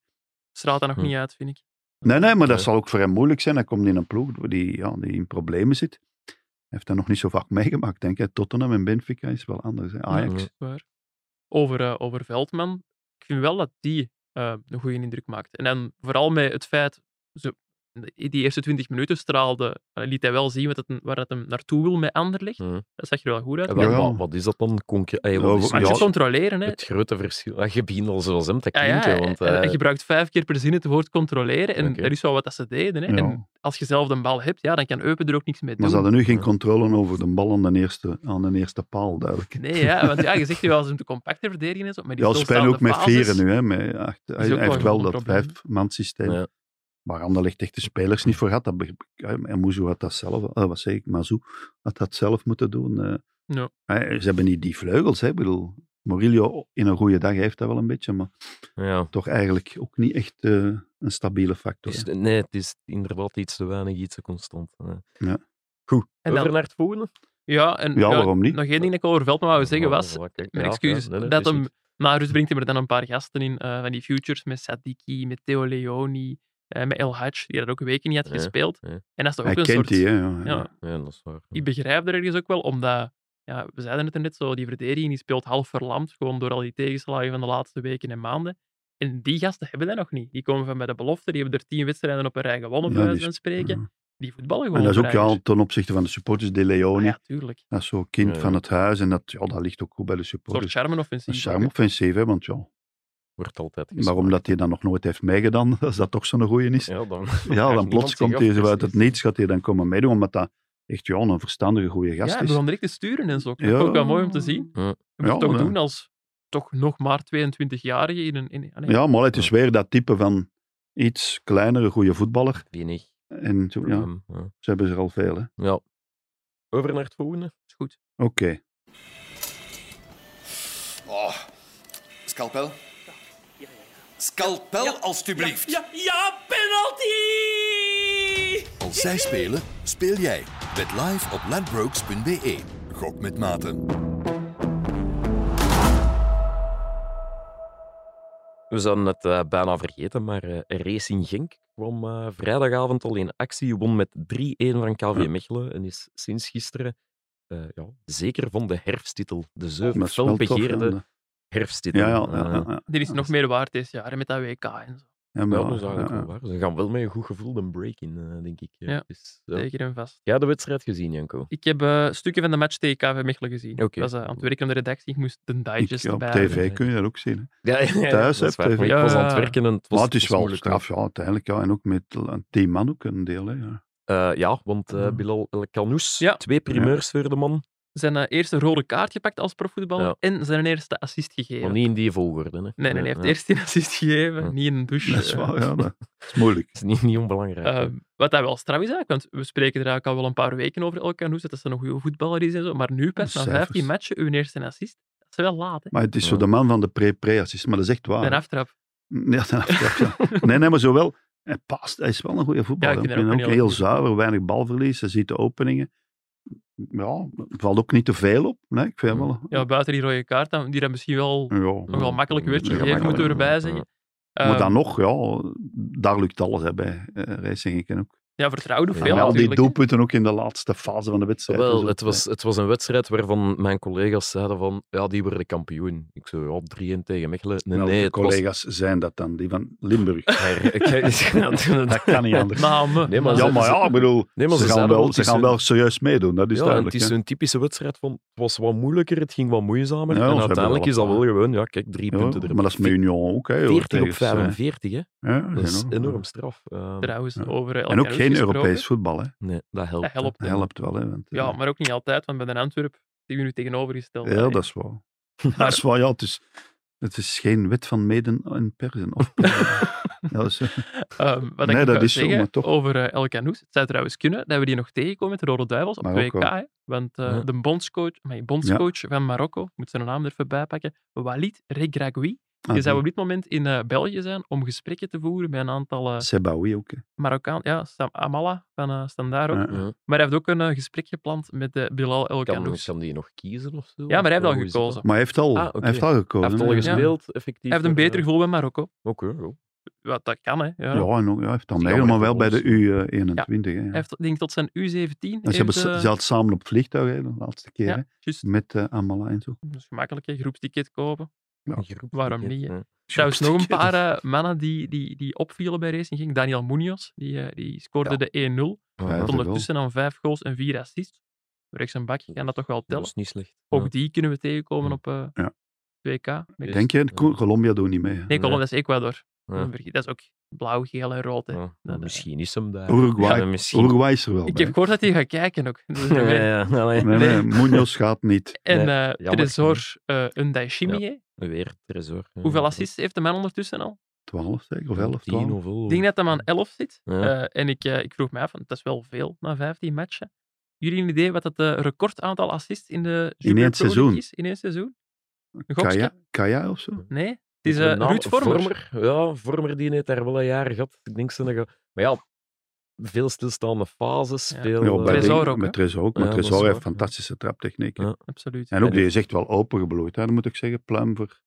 [SPEAKER 3] Straalt dat nog
[SPEAKER 2] Hm.
[SPEAKER 3] niet uit, vind ik.
[SPEAKER 4] Nee, nee, maar dat
[SPEAKER 3] Eh.
[SPEAKER 2] Ja.
[SPEAKER 4] zal ook voor hem moeilijk zijn. Hij komt in een ploeg die, ja, die in problemen zit. Hij heeft dat nog niet zo vaak meegemaakt, denk ik. Tottenham en Benfica is wel anders. Hè. Ajax.
[SPEAKER 3] Ja, waar. Over, eh, over Veldman. Ik vind wel dat die eh, een goede indruk maakt. En dan vooral met het feit, ze, die eerste 20 minuten straalde, eh, liet hij wel zien wat het, waar het hem naartoe wil met Anderlecht.
[SPEAKER 2] Hm.
[SPEAKER 3] Dat zag je er wel goed uit.
[SPEAKER 2] En
[SPEAKER 3] Maar
[SPEAKER 2] wel,
[SPEAKER 4] Ja.
[SPEAKER 2] wat, wat is dat dan? Concre- Ey, wat
[SPEAKER 4] Ja,
[SPEAKER 2] is
[SPEAKER 4] maar
[SPEAKER 3] je
[SPEAKER 2] nu
[SPEAKER 4] ja,
[SPEAKER 3] moet controleren, hè.
[SPEAKER 2] het grote verschil? Ah, je begint al zoals hem, dat
[SPEAKER 3] Ja, ja,
[SPEAKER 2] klinkt. hè, want,
[SPEAKER 3] en,
[SPEAKER 2] eh,
[SPEAKER 3] en je gebruikt vijf keer per zin het woord controleren. En
[SPEAKER 2] Oké.
[SPEAKER 3] dat is wel wat dat ze deden. Hè.
[SPEAKER 4] Ja.
[SPEAKER 3] En als je zelf de bal hebt, ja, dan kan Eupen er ook niks mee
[SPEAKER 4] Maar
[SPEAKER 3] doen.
[SPEAKER 4] ze hadden nu geen
[SPEAKER 2] Ja.
[SPEAKER 4] controle over de bal aan de eerste, aan de eerste paal, duidelijk.
[SPEAKER 3] Nee, ja, want ja, je zegt nu wel, ze moeten compacter verdedigen en zo. Maar die
[SPEAKER 4] Ja, ze spelen ook met vieren
[SPEAKER 3] vieren
[SPEAKER 4] nu. Hè, met acht- hij
[SPEAKER 3] ook
[SPEAKER 4] hij heeft
[SPEAKER 3] wel
[SPEAKER 4] wel
[SPEAKER 3] een
[SPEAKER 4] dat
[SPEAKER 3] probleem, hè.
[SPEAKER 4] vijfmanssysteem.
[SPEAKER 2] Ja.
[SPEAKER 4] Maar Anderlecht echt de spelers niet voor gehad. Dat begrijp ik. en Moezo had dat zelf, eh, wat zeg ik, Mazou had dat zelf moeten doen. eh.
[SPEAKER 3] Ja.
[SPEAKER 4] Hè, ze hebben niet die vleugels, hè, ik bedoel. Murillo in een goede dag heeft dat wel een beetje, maar
[SPEAKER 2] ja.
[SPEAKER 4] toch eigenlijk ook niet echt eh, een stabiele factor.
[SPEAKER 2] Het is,
[SPEAKER 4] hè.
[SPEAKER 2] Dus nee, het is inderdaad iets te weinig, iets te constant. eh.
[SPEAKER 4] Ja.
[SPEAKER 2] Goed,
[SPEAKER 3] En
[SPEAKER 2] en
[SPEAKER 3] dan-
[SPEAKER 2] over naar het volgende.
[SPEAKER 3] Ja, en,
[SPEAKER 4] Ja, waarom niet?
[SPEAKER 3] Nog één ding dat ik over Veldman wou zeggen
[SPEAKER 2] Ja,
[SPEAKER 3] was,
[SPEAKER 2] voilà, kijk,
[SPEAKER 3] mijn
[SPEAKER 2] ja,
[SPEAKER 3] excuses,
[SPEAKER 2] ja, nee, nee,
[SPEAKER 3] dat
[SPEAKER 2] is
[SPEAKER 3] hem...
[SPEAKER 2] goed.
[SPEAKER 3] Maar Ruud brengt hem er dan een paar gasten in, eh, van die futures, met Sadiki, met Theo Leoni, eh, met El Hadj, die dat ook weken niet had
[SPEAKER 2] Ja,
[SPEAKER 3] gespeeld.
[SPEAKER 2] ja.
[SPEAKER 3] En dat is toch
[SPEAKER 4] Hij
[SPEAKER 3] ook een
[SPEAKER 4] kent
[SPEAKER 3] soort...
[SPEAKER 4] die, hè. Ja,
[SPEAKER 3] ja,
[SPEAKER 2] Ja, dat is waar.
[SPEAKER 3] ik begrijp er ergens ook wel, omdat, ja, we zeiden het er net zo, die verdediging die speelt half verlamd, gewoon door al die tegenslagen van de laatste weken en maanden. En die gasten hebben dat nog niet. Die komen van bij de belofte, die hebben er tien wedstrijden op een rij gewonnen, bij
[SPEAKER 4] Ja, die
[SPEAKER 3] wijze van
[SPEAKER 4] is-
[SPEAKER 3] spreken.
[SPEAKER 4] ja.
[SPEAKER 3] Die voetballen gewoon.
[SPEAKER 4] En dat is
[SPEAKER 3] op
[SPEAKER 4] ook
[SPEAKER 3] een
[SPEAKER 4] ja,
[SPEAKER 3] rij.
[SPEAKER 4] ten opzichte van de supporters, De
[SPEAKER 3] Ah
[SPEAKER 4] Leone.
[SPEAKER 3] Ja, tuurlijk. Een
[SPEAKER 4] Dat is zo'n kind
[SPEAKER 2] Ja, ja.
[SPEAKER 4] van het huis en dat, ja, dat ligt ook goed bij de
[SPEAKER 3] soort
[SPEAKER 4] supporters. Een
[SPEAKER 3] charme-offensief.
[SPEAKER 4] charme-offensief, hè, want ja,
[SPEAKER 2] Wordt altijd
[SPEAKER 4] maar
[SPEAKER 2] gesproken.
[SPEAKER 4] omdat hij dat nog nooit heeft meegedaan, als dat toch zo'n goeie is,
[SPEAKER 2] Ja, dan,
[SPEAKER 4] Ja, dan
[SPEAKER 2] niemand
[SPEAKER 4] plots
[SPEAKER 2] zich
[SPEAKER 4] komt
[SPEAKER 2] af,
[SPEAKER 4] hij zo uit het
[SPEAKER 2] precies.
[SPEAKER 4] niets, gaat hij dan komen meedoen, omdat dat echt ja, een verstandige, goede
[SPEAKER 3] Ja,
[SPEAKER 4] gast
[SPEAKER 3] hij
[SPEAKER 4] is.
[SPEAKER 3] begon direct te sturen en zo. Dat is
[SPEAKER 4] Ja.
[SPEAKER 3] ook wel mooi om te zien.
[SPEAKER 2] Ja.
[SPEAKER 3] Je moet het
[SPEAKER 4] Ja,
[SPEAKER 3] toch
[SPEAKER 4] maar-
[SPEAKER 3] doen als toch nog maar 22-jarige in een... In, ah, nee.
[SPEAKER 4] Ja, maar het is weer dat type van iets kleinere, goede voetballer.
[SPEAKER 2] Weinig.
[SPEAKER 4] En zo, ja,
[SPEAKER 2] probleem, ehm, Ja.
[SPEAKER 4] ze hebben er al veel, hè. Oké.
[SPEAKER 2] Ja. Over naar het volgende.
[SPEAKER 3] is goed.
[SPEAKER 1] Oh, scalpel. Scalpel, alstublieft.
[SPEAKER 5] Ja, ja, penalty!
[SPEAKER 1] Als zij spelen, speel jij. Bet live op ladbrokes.be. Gok met maten.
[SPEAKER 2] We zouden het eh, bijna vergeten, maar eh, Racing Genk kwam eh, vrijdagavond al in actie. Won met 3-1 van KV
[SPEAKER 4] Ja.
[SPEAKER 2] Mechelen en is sinds gisteren eh, ja, zeker van de herfsttitel. De
[SPEAKER 4] Dat
[SPEAKER 2] zeven
[SPEAKER 4] is wel eh, tof,
[SPEAKER 2] felbegeerde
[SPEAKER 4] ja.
[SPEAKER 2] herfsttitel.
[SPEAKER 4] Ja, ja, ja,
[SPEAKER 2] Eh,
[SPEAKER 4] ja, ja.
[SPEAKER 3] Dit is
[SPEAKER 4] Ja,
[SPEAKER 3] nog meer waard dit jaar, hè, met dat WK en zo.
[SPEAKER 4] Ja, maar-
[SPEAKER 2] Ja, dat is eigenlijk
[SPEAKER 4] ja, ja.
[SPEAKER 2] wel waar. Ze gaan wel met een goed gevoel een break in, eh, denk ik. Eh,
[SPEAKER 3] Ja,
[SPEAKER 2] dus, ja.
[SPEAKER 3] Zeker en vast.
[SPEAKER 2] Jij de wedstrijd gezien, Janko?
[SPEAKER 3] Ik heb eh, stukken van de match tegen KV Mechelen gezien.
[SPEAKER 2] Oké.
[SPEAKER 3] Ik was eh, aan het werken aan de redactie. Ik moest de
[SPEAKER 4] Ik-
[SPEAKER 3] digest
[SPEAKER 4] ja, op
[SPEAKER 3] erbij hebben.
[SPEAKER 4] tv kun je dat ook zien. hè.
[SPEAKER 2] Ja, ja,
[SPEAKER 4] Thuis,
[SPEAKER 2] dat is
[SPEAKER 4] hè,
[SPEAKER 2] waar,
[SPEAKER 4] TV.
[SPEAKER 2] maar Ik was
[SPEAKER 3] Ja.
[SPEAKER 2] aan het werken en het was,
[SPEAKER 4] Maar het is wel
[SPEAKER 2] moeilijk, hoor.
[SPEAKER 4] straf, ja, uiteindelijk. Ja. En ook met een team man ook een deel. Hè, ja.
[SPEAKER 2] Eh, ja, want eh
[SPEAKER 4] Ja.
[SPEAKER 2] Bilal El Khanous,
[SPEAKER 3] Ja.
[SPEAKER 2] twee primeurs voor de man,
[SPEAKER 3] Zijn eh, eerste rode kaart gepakt als profvoetballer
[SPEAKER 2] Ja.
[SPEAKER 3] en zijn eerste assist gegeven.
[SPEAKER 2] maar niet in die volgorde. Hè.
[SPEAKER 3] Nee, nee, nee, hij heeft
[SPEAKER 2] Ja.
[SPEAKER 3] eerst een assist gegeven,
[SPEAKER 2] Ja.
[SPEAKER 3] niet in een douche.
[SPEAKER 4] Dat is
[SPEAKER 3] Eh,
[SPEAKER 4] wel, ja, dat is moeilijk.
[SPEAKER 2] Dat is niet, niet onbelangrijk. hè.
[SPEAKER 3] eh, wat dat wel straf is eigenlijk, want we spreken er eigenlijk al wel een paar weken over elkaar hoe dat ze een goede voetballer is en zo. Maar nu pas,
[SPEAKER 4] De
[SPEAKER 3] na
[SPEAKER 4] cijfers.
[SPEAKER 3] 15 matchen, uw eerste assist, dat is wel laat, hè.
[SPEAKER 4] Maar het is zo
[SPEAKER 2] Ja.
[SPEAKER 4] de man van de pre-pre-assist, maar dat is echt waar.
[SPEAKER 3] Een
[SPEAKER 4] hè.
[SPEAKER 3] aftrap.
[SPEAKER 4] Ja, ten aftrap, ja. Nee, nee, maar zowel... Hij past, hij is wel een goede voetballer.
[SPEAKER 3] Ja, ik
[SPEAKER 4] ik
[SPEAKER 3] vind hem
[SPEAKER 4] vind hem
[SPEAKER 3] ook
[SPEAKER 4] ook
[SPEAKER 3] een heel
[SPEAKER 4] heel zuiver, weinig balverlies. Hij ziet de openingen. Ja, valt ook niet te veel op. Nee, ik vind hem wel...
[SPEAKER 3] Ja, buiten die rode kaart, dan- die dat misschien wel
[SPEAKER 4] ja.
[SPEAKER 3] nog wel makkelijk werd
[SPEAKER 2] Ja,
[SPEAKER 3] gegeven, moeten we
[SPEAKER 4] Mm, makkelijk,
[SPEAKER 3] erbij
[SPEAKER 2] ja.
[SPEAKER 3] zeggen.
[SPEAKER 4] Maar
[SPEAKER 3] Ehm,
[SPEAKER 4] dan nog, ja, daar lukt alles hè, bij eh, Racing Genk en ook.
[SPEAKER 3] Ja, vertrouwde
[SPEAKER 2] Ja,
[SPEAKER 3] veel
[SPEAKER 4] en al die
[SPEAKER 3] natuurlijk.
[SPEAKER 4] doelpunten ook in de laatste fase van de wedstrijd.
[SPEAKER 2] Wel,
[SPEAKER 4] Dus
[SPEAKER 2] het
[SPEAKER 4] ook,
[SPEAKER 2] was, het was een wedstrijd waarvan mijn collega's zeiden van, ja, die worden kampioen. Ik zei, ja, 3-1 tegen Mechelen.
[SPEAKER 4] eh,
[SPEAKER 2] Nee,
[SPEAKER 4] wel,
[SPEAKER 2] nee,
[SPEAKER 4] de
[SPEAKER 2] het was...
[SPEAKER 4] collega's zijn dat dan, die van Limburg.
[SPEAKER 2] her- Ik-
[SPEAKER 4] dat kan niet anders.
[SPEAKER 3] Namen.
[SPEAKER 2] Nee, maar
[SPEAKER 4] ja,
[SPEAKER 2] ze-
[SPEAKER 4] maar
[SPEAKER 2] ze-
[SPEAKER 4] ja, ik bedoel,
[SPEAKER 2] Nee, maar
[SPEAKER 4] ze,
[SPEAKER 2] ze
[SPEAKER 4] gaan
[SPEAKER 2] zeiden wel,
[SPEAKER 4] wel,
[SPEAKER 2] het
[SPEAKER 4] ze
[SPEAKER 2] is
[SPEAKER 4] gaan
[SPEAKER 2] een-
[SPEAKER 4] wel serieus meedoen, dat is
[SPEAKER 2] ja, en het
[SPEAKER 4] Dus duidelijk.
[SPEAKER 2] is
[SPEAKER 4] hè.
[SPEAKER 2] zo'n typische wedstrijd van, het was wat moeilijker, het ging wat moeizamer.
[SPEAKER 4] Ja, ze
[SPEAKER 2] en
[SPEAKER 4] hebben
[SPEAKER 2] uiteindelijk
[SPEAKER 4] wel
[SPEAKER 2] is dat
[SPEAKER 4] een
[SPEAKER 2] wel
[SPEAKER 4] paar.
[SPEAKER 2] gewoon, ja, kijk, drie
[SPEAKER 4] Ja,
[SPEAKER 2] punten erbij.
[SPEAKER 4] maar dat is met Union ook. Hè, hoor,
[SPEAKER 2] 40 op
[SPEAKER 4] tegen, eh,
[SPEAKER 2] 45, hè.
[SPEAKER 4] ja,
[SPEAKER 2] Dat is
[SPEAKER 4] enorm.
[SPEAKER 2] enorm straf. Eh,
[SPEAKER 3] Trouwens,
[SPEAKER 4] Ja.
[SPEAKER 3] over El
[SPEAKER 4] En ook
[SPEAKER 3] Khanous
[SPEAKER 4] geen
[SPEAKER 3] gesproken.
[SPEAKER 4] Europees voetbal, hè.
[SPEAKER 2] nee, dat helpt.
[SPEAKER 3] Dat helpt.
[SPEAKER 4] Dat helpt wel, hè. Want,
[SPEAKER 3] Ja,
[SPEAKER 4] eh,
[SPEAKER 3] maar ook niet altijd, want bij de Antwerp die we nu tegenovergesteld
[SPEAKER 4] ja, dat is waar. dat is waar, ja. Het is, het is geen wet van meden en persen. Of, ja, dat is, eh,
[SPEAKER 3] Ehm, wat
[SPEAKER 4] Nee,
[SPEAKER 3] ik
[SPEAKER 4] dat
[SPEAKER 3] wou
[SPEAKER 4] is zo,
[SPEAKER 3] zeggen
[SPEAKER 4] maar toch.
[SPEAKER 3] over eh, El Canoes. Het zou trouwens kunnen dat we die nog tegenkomen met de Rode Duivels op
[SPEAKER 4] Maar ook
[SPEAKER 3] 2K.
[SPEAKER 4] wel.
[SPEAKER 3] hè. Want eh,
[SPEAKER 2] Ja.
[SPEAKER 3] de bondscoach, mijn bondscoach van Marokko, ik moet zijn naam er even bij pakken, Walid Regragui,
[SPEAKER 4] Ah,
[SPEAKER 3] Je zou
[SPEAKER 4] die-
[SPEAKER 3] op dit moment in eh, België zijn om gesprekken te voeren met een aantal eh,
[SPEAKER 4] Sebaoui ook. hè.
[SPEAKER 3] Marokkaan. Ja, Sam Amala van eh Standaard ook.
[SPEAKER 4] Ja.
[SPEAKER 2] Ja.
[SPEAKER 3] Maar hij heeft ook een eh, gesprek gepland met eh, Bilal El
[SPEAKER 2] Kan,
[SPEAKER 3] Kanoes.
[SPEAKER 2] kan die nog kiezen of zo?
[SPEAKER 3] Ja, maar hij heeft
[SPEAKER 2] Of
[SPEAKER 3] al
[SPEAKER 2] hoe is dat dan?
[SPEAKER 3] gekozen.
[SPEAKER 4] Maar eh, hij heeft al,
[SPEAKER 2] Ah, oké.
[SPEAKER 4] hij heeft al
[SPEAKER 2] Hij
[SPEAKER 4] gekozen.
[SPEAKER 2] heeft al
[SPEAKER 4] hè.
[SPEAKER 2] gespeeld, effectief. eh,
[SPEAKER 3] Hij heeft een beter gevoel bij Marokko.
[SPEAKER 2] Oké, oh. ja.
[SPEAKER 3] Wat dat kan, hè. Ja.
[SPEAKER 4] Ja, en ook, ja, hij heeft dan
[SPEAKER 2] Zie je
[SPEAKER 4] meegedaan, maar wel
[SPEAKER 2] allemaal
[SPEAKER 4] bij
[SPEAKER 2] even
[SPEAKER 4] de U21. hè, ja.
[SPEAKER 3] Hij heeft, tot- denk ik, tot zijn U17.
[SPEAKER 4] En ze hebben
[SPEAKER 3] heeft,
[SPEAKER 4] ze
[SPEAKER 3] eh,
[SPEAKER 4] zaten samen op het vliegtuig hè, de laatste keer. hè,
[SPEAKER 3] ja, juist.
[SPEAKER 4] Met eh, Amala en zo.
[SPEAKER 3] Dat is gemakkelijk, hè. groepsticket kopen.
[SPEAKER 4] Ja.
[SPEAKER 2] Groep-
[SPEAKER 3] Waarom niet, hè?
[SPEAKER 2] Ja.
[SPEAKER 3] Trouwens, nog een paar
[SPEAKER 4] Ja,
[SPEAKER 3] eh, mannen die, die, die opvielen bij Racing ging. Daniel Munoz, die, eh, die
[SPEAKER 4] Ja.
[SPEAKER 3] scoorde de 1-0.
[SPEAKER 4] Ja,
[SPEAKER 2] dat
[SPEAKER 3] Stond ondertussen aan vijf goals en vier assists. Rechts en bakje kan dat toch wel tellen.
[SPEAKER 2] is niet slecht.
[SPEAKER 3] Ook die kunnen we tegenkomen
[SPEAKER 2] Ja.
[SPEAKER 3] op eh
[SPEAKER 4] Ja.
[SPEAKER 3] 2K.
[SPEAKER 2] Ja.
[SPEAKER 4] Denk je, Co-
[SPEAKER 2] Ja.
[SPEAKER 4] Colombia doet niet mee. hè.
[SPEAKER 3] eh, Nee, Colom,
[SPEAKER 2] Ja.
[SPEAKER 3] dat is Ecuador.
[SPEAKER 2] Ja.
[SPEAKER 3] Dat is ook blauw, geel en rood. hè.
[SPEAKER 2] Ja.
[SPEAKER 3] dat-
[SPEAKER 2] Misschien is hem daar.
[SPEAKER 4] Uruguay.
[SPEAKER 2] Ja, misschien.
[SPEAKER 4] Uruguay is er wel
[SPEAKER 3] Ik
[SPEAKER 4] bij.
[SPEAKER 3] heb gehoord dat hij gaat kijken ook. Dus,
[SPEAKER 2] Ja,
[SPEAKER 3] eh,
[SPEAKER 2] ja, ja. Allee.
[SPEAKER 4] Nee, nee, Munoz gaat niet.
[SPEAKER 3] En
[SPEAKER 2] Nee,
[SPEAKER 3] eh
[SPEAKER 2] jammer.
[SPEAKER 3] Tresor eh Undaishimi. hè.
[SPEAKER 2] Weer Tresor. ja.
[SPEAKER 3] Hoeveel assists heeft de man ondertussen al?
[SPEAKER 4] 12 zeker, of 11,
[SPEAKER 2] Tien
[SPEAKER 4] 12.
[SPEAKER 2] of zo.
[SPEAKER 3] Ik denk dat hij aan 11 zit.
[SPEAKER 2] Ja.
[SPEAKER 3] Eh, en ik, eh, ik vroeg mij af, want dat is wel veel na 15 matchen. Jullie een idee wat het eh, recordaantal assists in de Jupiler
[SPEAKER 4] één
[SPEAKER 3] Pro League
[SPEAKER 4] seizoen?
[SPEAKER 3] is? In één seizoen? Een gokske?
[SPEAKER 4] Kaya, Kaya of zo?
[SPEAKER 3] Nee, het is eh
[SPEAKER 2] Een naam-
[SPEAKER 3] Ruud Vormer.
[SPEAKER 2] Ja, Vormer die heeft daar wel een jaar gehad. Ik denk ze nog... wel- Maar ja, veel stilstaande fases.
[SPEAKER 3] Ja.
[SPEAKER 2] Veel,
[SPEAKER 4] Ja,
[SPEAKER 2] eh,
[SPEAKER 4] bij
[SPEAKER 3] Tresor
[SPEAKER 4] de-
[SPEAKER 3] ook, hè?
[SPEAKER 4] Met Tresor ook, maar
[SPEAKER 2] Ja, dat is
[SPEAKER 4] Tresor heeft
[SPEAKER 2] waar.
[SPEAKER 4] fantastische traptechniek. hè.
[SPEAKER 2] Ja.
[SPEAKER 3] Absoluut.
[SPEAKER 4] En ook,
[SPEAKER 2] En-
[SPEAKER 4] die is echt wel opengebloeid, hè, dat moet ik zeggen. Pluim voor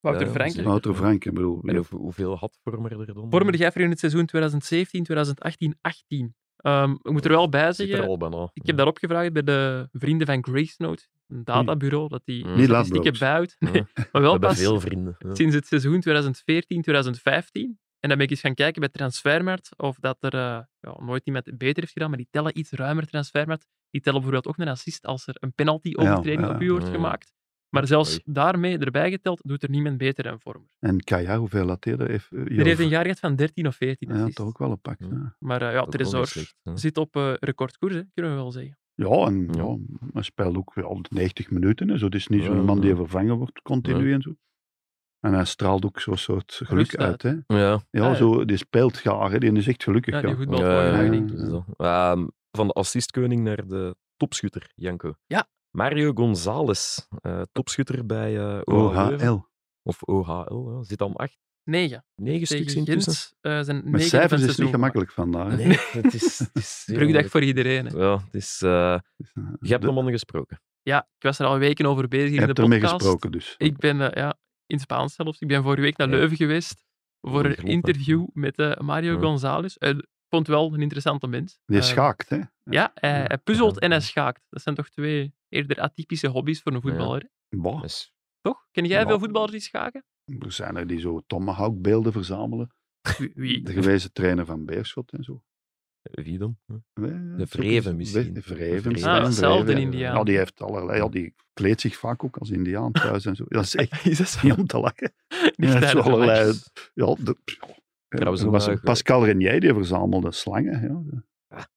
[SPEAKER 3] Wouter
[SPEAKER 2] Ja,
[SPEAKER 3] Franken.
[SPEAKER 2] zeker.
[SPEAKER 4] Wouter Frank. Ik bedoel,
[SPEAKER 2] En
[SPEAKER 4] ja,
[SPEAKER 2] hoe- hoeveel had Vormer er dan?
[SPEAKER 3] Vormer Gijver in het seizoen 2017, 2018, 18. Ehm, ik moet er wel bij
[SPEAKER 2] Zit er
[SPEAKER 3] zeggen,
[SPEAKER 2] al bijna.
[SPEAKER 3] ik heb daarop gevraagd bij de vrienden van Grace Note, een databureau, dat die
[SPEAKER 2] Niet
[SPEAKER 3] statistieken
[SPEAKER 4] Ladbrokes.
[SPEAKER 3] bijhoudt.
[SPEAKER 2] Ja.
[SPEAKER 3] Nee, maar
[SPEAKER 2] Hmm. We
[SPEAKER 3] wel
[SPEAKER 2] hebben
[SPEAKER 3] pas
[SPEAKER 2] veel vrienden. ja.
[SPEAKER 3] sinds het seizoen 2014, 2015. En dan ben ik eens gaan kijken bij Transfermarkt of dat er eh, ja, nooit iemand beter heeft gedaan, maar die tellen iets ruimer Transfermarkt. Die tellen bijvoorbeeld ook een assist als er een penalty-overtreding
[SPEAKER 4] Ja,
[SPEAKER 3] op u wordt
[SPEAKER 2] ja.
[SPEAKER 3] gemaakt. Maar zelfs
[SPEAKER 2] Oei. daarmee
[SPEAKER 3] daarmee erbij geteld doet er niemand beter dan Vormer.
[SPEAKER 4] En Kaya, hoeveel lateerde heeft? eh,
[SPEAKER 3] Er heeft
[SPEAKER 4] Joop?
[SPEAKER 3] een jaar gehad van 13 of 14
[SPEAKER 4] ja,
[SPEAKER 3] assists.
[SPEAKER 4] toch ook wel een pak.
[SPEAKER 2] Ja.
[SPEAKER 4] Ja,
[SPEAKER 3] Maar eh, ja,
[SPEAKER 2] Ook wel niet
[SPEAKER 3] Tresor
[SPEAKER 2] slecht, ja.
[SPEAKER 3] zit op eh, recordkoers, hè, kunnen we wel zeggen.
[SPEAKER 4] ja en ja.
[SPEAKER 2] Ja.
[SPEAKER 4] hij speelt ook al 90 minuten. hè, Zo. Het is niet
[SPEAKER 2] Ja,
[SPEAKER 4] zo'n man
[SPEAKER 2] ja.
[SPEAKER 4] die vervangen wordt continu en zo. En hij straalt ook zo'n soort geluk
[SPEAKER 3] Rust
[SPEAKER 4] uit.
[SPEAKER 3] uit. Ah,
[SPEAKER 4] Hè.
[SPEAKER 2] Ja.
[SPEAKER 4] Ja,
[SPEAKER 3] ja.
[SPEAKER 4] zo, die speelt graag. hè, Die is echt gelukkig.
[SPEAKER 3] Ja,
[SPEAKER 4] Ja,
[SPEAKER 3] die goed bal
[SPEAKER 2] Ja, ja,
[SPEAKER 4] ja,
[SPEAKER 3] voorgedragen,
[SPEAKER 2] ja,
[SPEAKER 3] denk ik.
[SPEAKER 2] dat is zo. Ehm, van de assistkoning naar de topschutter, Janko.
[SPEAKER 3] Ja.
[SPEAKER 2] Mario González, eh, topschutter bij eh
[SPEAKER 4] Oh,
[SPEAKER 3] Oh,
[SPEAKER 2] OHL.
[SPEAKER 4] OHL.
[SPEAKER 2] Of OHL, ja. zit aan acht,
[SPEAKER 3] Negen.
[SPEAKER 2] negen stuks
[SPEAKER 3] Tegen
[SPEAKER 2] in tussen.
[SPEAKER 3] Gent eh, zijn negen
[SPEAKER 4] Met
[SPEAKER 3] van het
[SPEAKER 4] cijfers is het
[SPEAKER 3] seizoen
[SPEAKER 4] niet gemakkelijk vandaag. hè.
[SPEAKER 2] Nee, het is... Het is heel
[SPEAKER 3] Brugdag
[SPEAKER 2] moeilijk.
[SPEAKER 3] voor iedereen. Hè.
[SPEAKER 2] Ja, het is... eh,
[SPEAKER 4] Dus, eh,
[SPEAKER 2] je hebt
[SPEAKER 4] de-
[SPEAKER 2] hem al gesproken.
[SPEAKER 3] Ja, ik was er al weken over bezig
[SPEAKER 4] je
[SPEAKER 3] in de
[SPEAKER 4] hebt ermee
[SPEAKER 3] podcast.
[SPEAKER 4] gesproken dus.
[SPEAKER 3] Ik ben eh, ja, in het Spaans zelfs. Ik ben vorige week naar
[SPEAKER 2] Ja.
[SPEAKER 3] Leuven geweest voor een
[SPEAKER 2] Ongelooflijk.
[SPEAKER 3] interview met eh, Mario
[SPEAKER 2] Ja.
[SPEAKER 3] González. Eh, Ik vond wel een interessante mens.
[SPEAKER 4] Die
[SPEAKER 3] Eh,
[SPEAKER 4] schaakt, hè?
[SPEAKER 3] Ja, hij,
[SPEAKER 2] Ja.
[SPEAKER 3] hij puzzelt en hij schaakt. Dat zijn toch twee eerder atypische hobby's voor een voetballer. hè?
[SPEAKER 4] Bah,
[SPEAKER 2] Dus,
[SPEAKER 3] Toch? Ken jij
[SPEAKER 4] Ja.
[SPEAKER 3] veel voetballers die schaken?
[SPEAKER 4] er zijn er die zo tomahawkbeelden verzamelen.
[SPEAKER 3] Wie- Wie?
[SPEAKER 4] De gewezen trainer van Beerschot en zo.
[SPEAKER 2] eh, wie dan? Ja.
[SPEAKER 4] Wij-
[SPEAKER 2] De Vreven misschien.
[SPEAKER 4] De
[SPEAKER 2] De
[SPEAKER 4] Vreven.
[SPEAKER 2] Vreven.
[SPEAKER 4] Stijn
[SPEAKER 3] Ah, hetzelfde
[SPEAKER 4] Vreven.
[SPEAKER 3] Indiaan.
[SPEAKER 4] Ja, die heeft allerlei. Ja, die kleedt zich vaak ook als Indiaan thuis en zo. Dat is echt
[SPEAKER 3] Is dat zo?
[SPEAKER 4] niet om te lachen.
[SPEAKER 3] Niet
[SPEAKER 4] Ja,
[SPEAKER 3] tijdens de
[SPEAKER 4] zo allerlei-
[SPEAKER 3] match.
[SPEAKER 4] Ja, de, ja.
[SPEAKER 2] Trouwens,
[SPEAKER 4] Er
[SPEAKER 2] een,
[SPEAKER 4] was
[SPEAKER 2] eh,
[SPEAKER 4] een Pascal Renier die verzamelde slangen. Ja.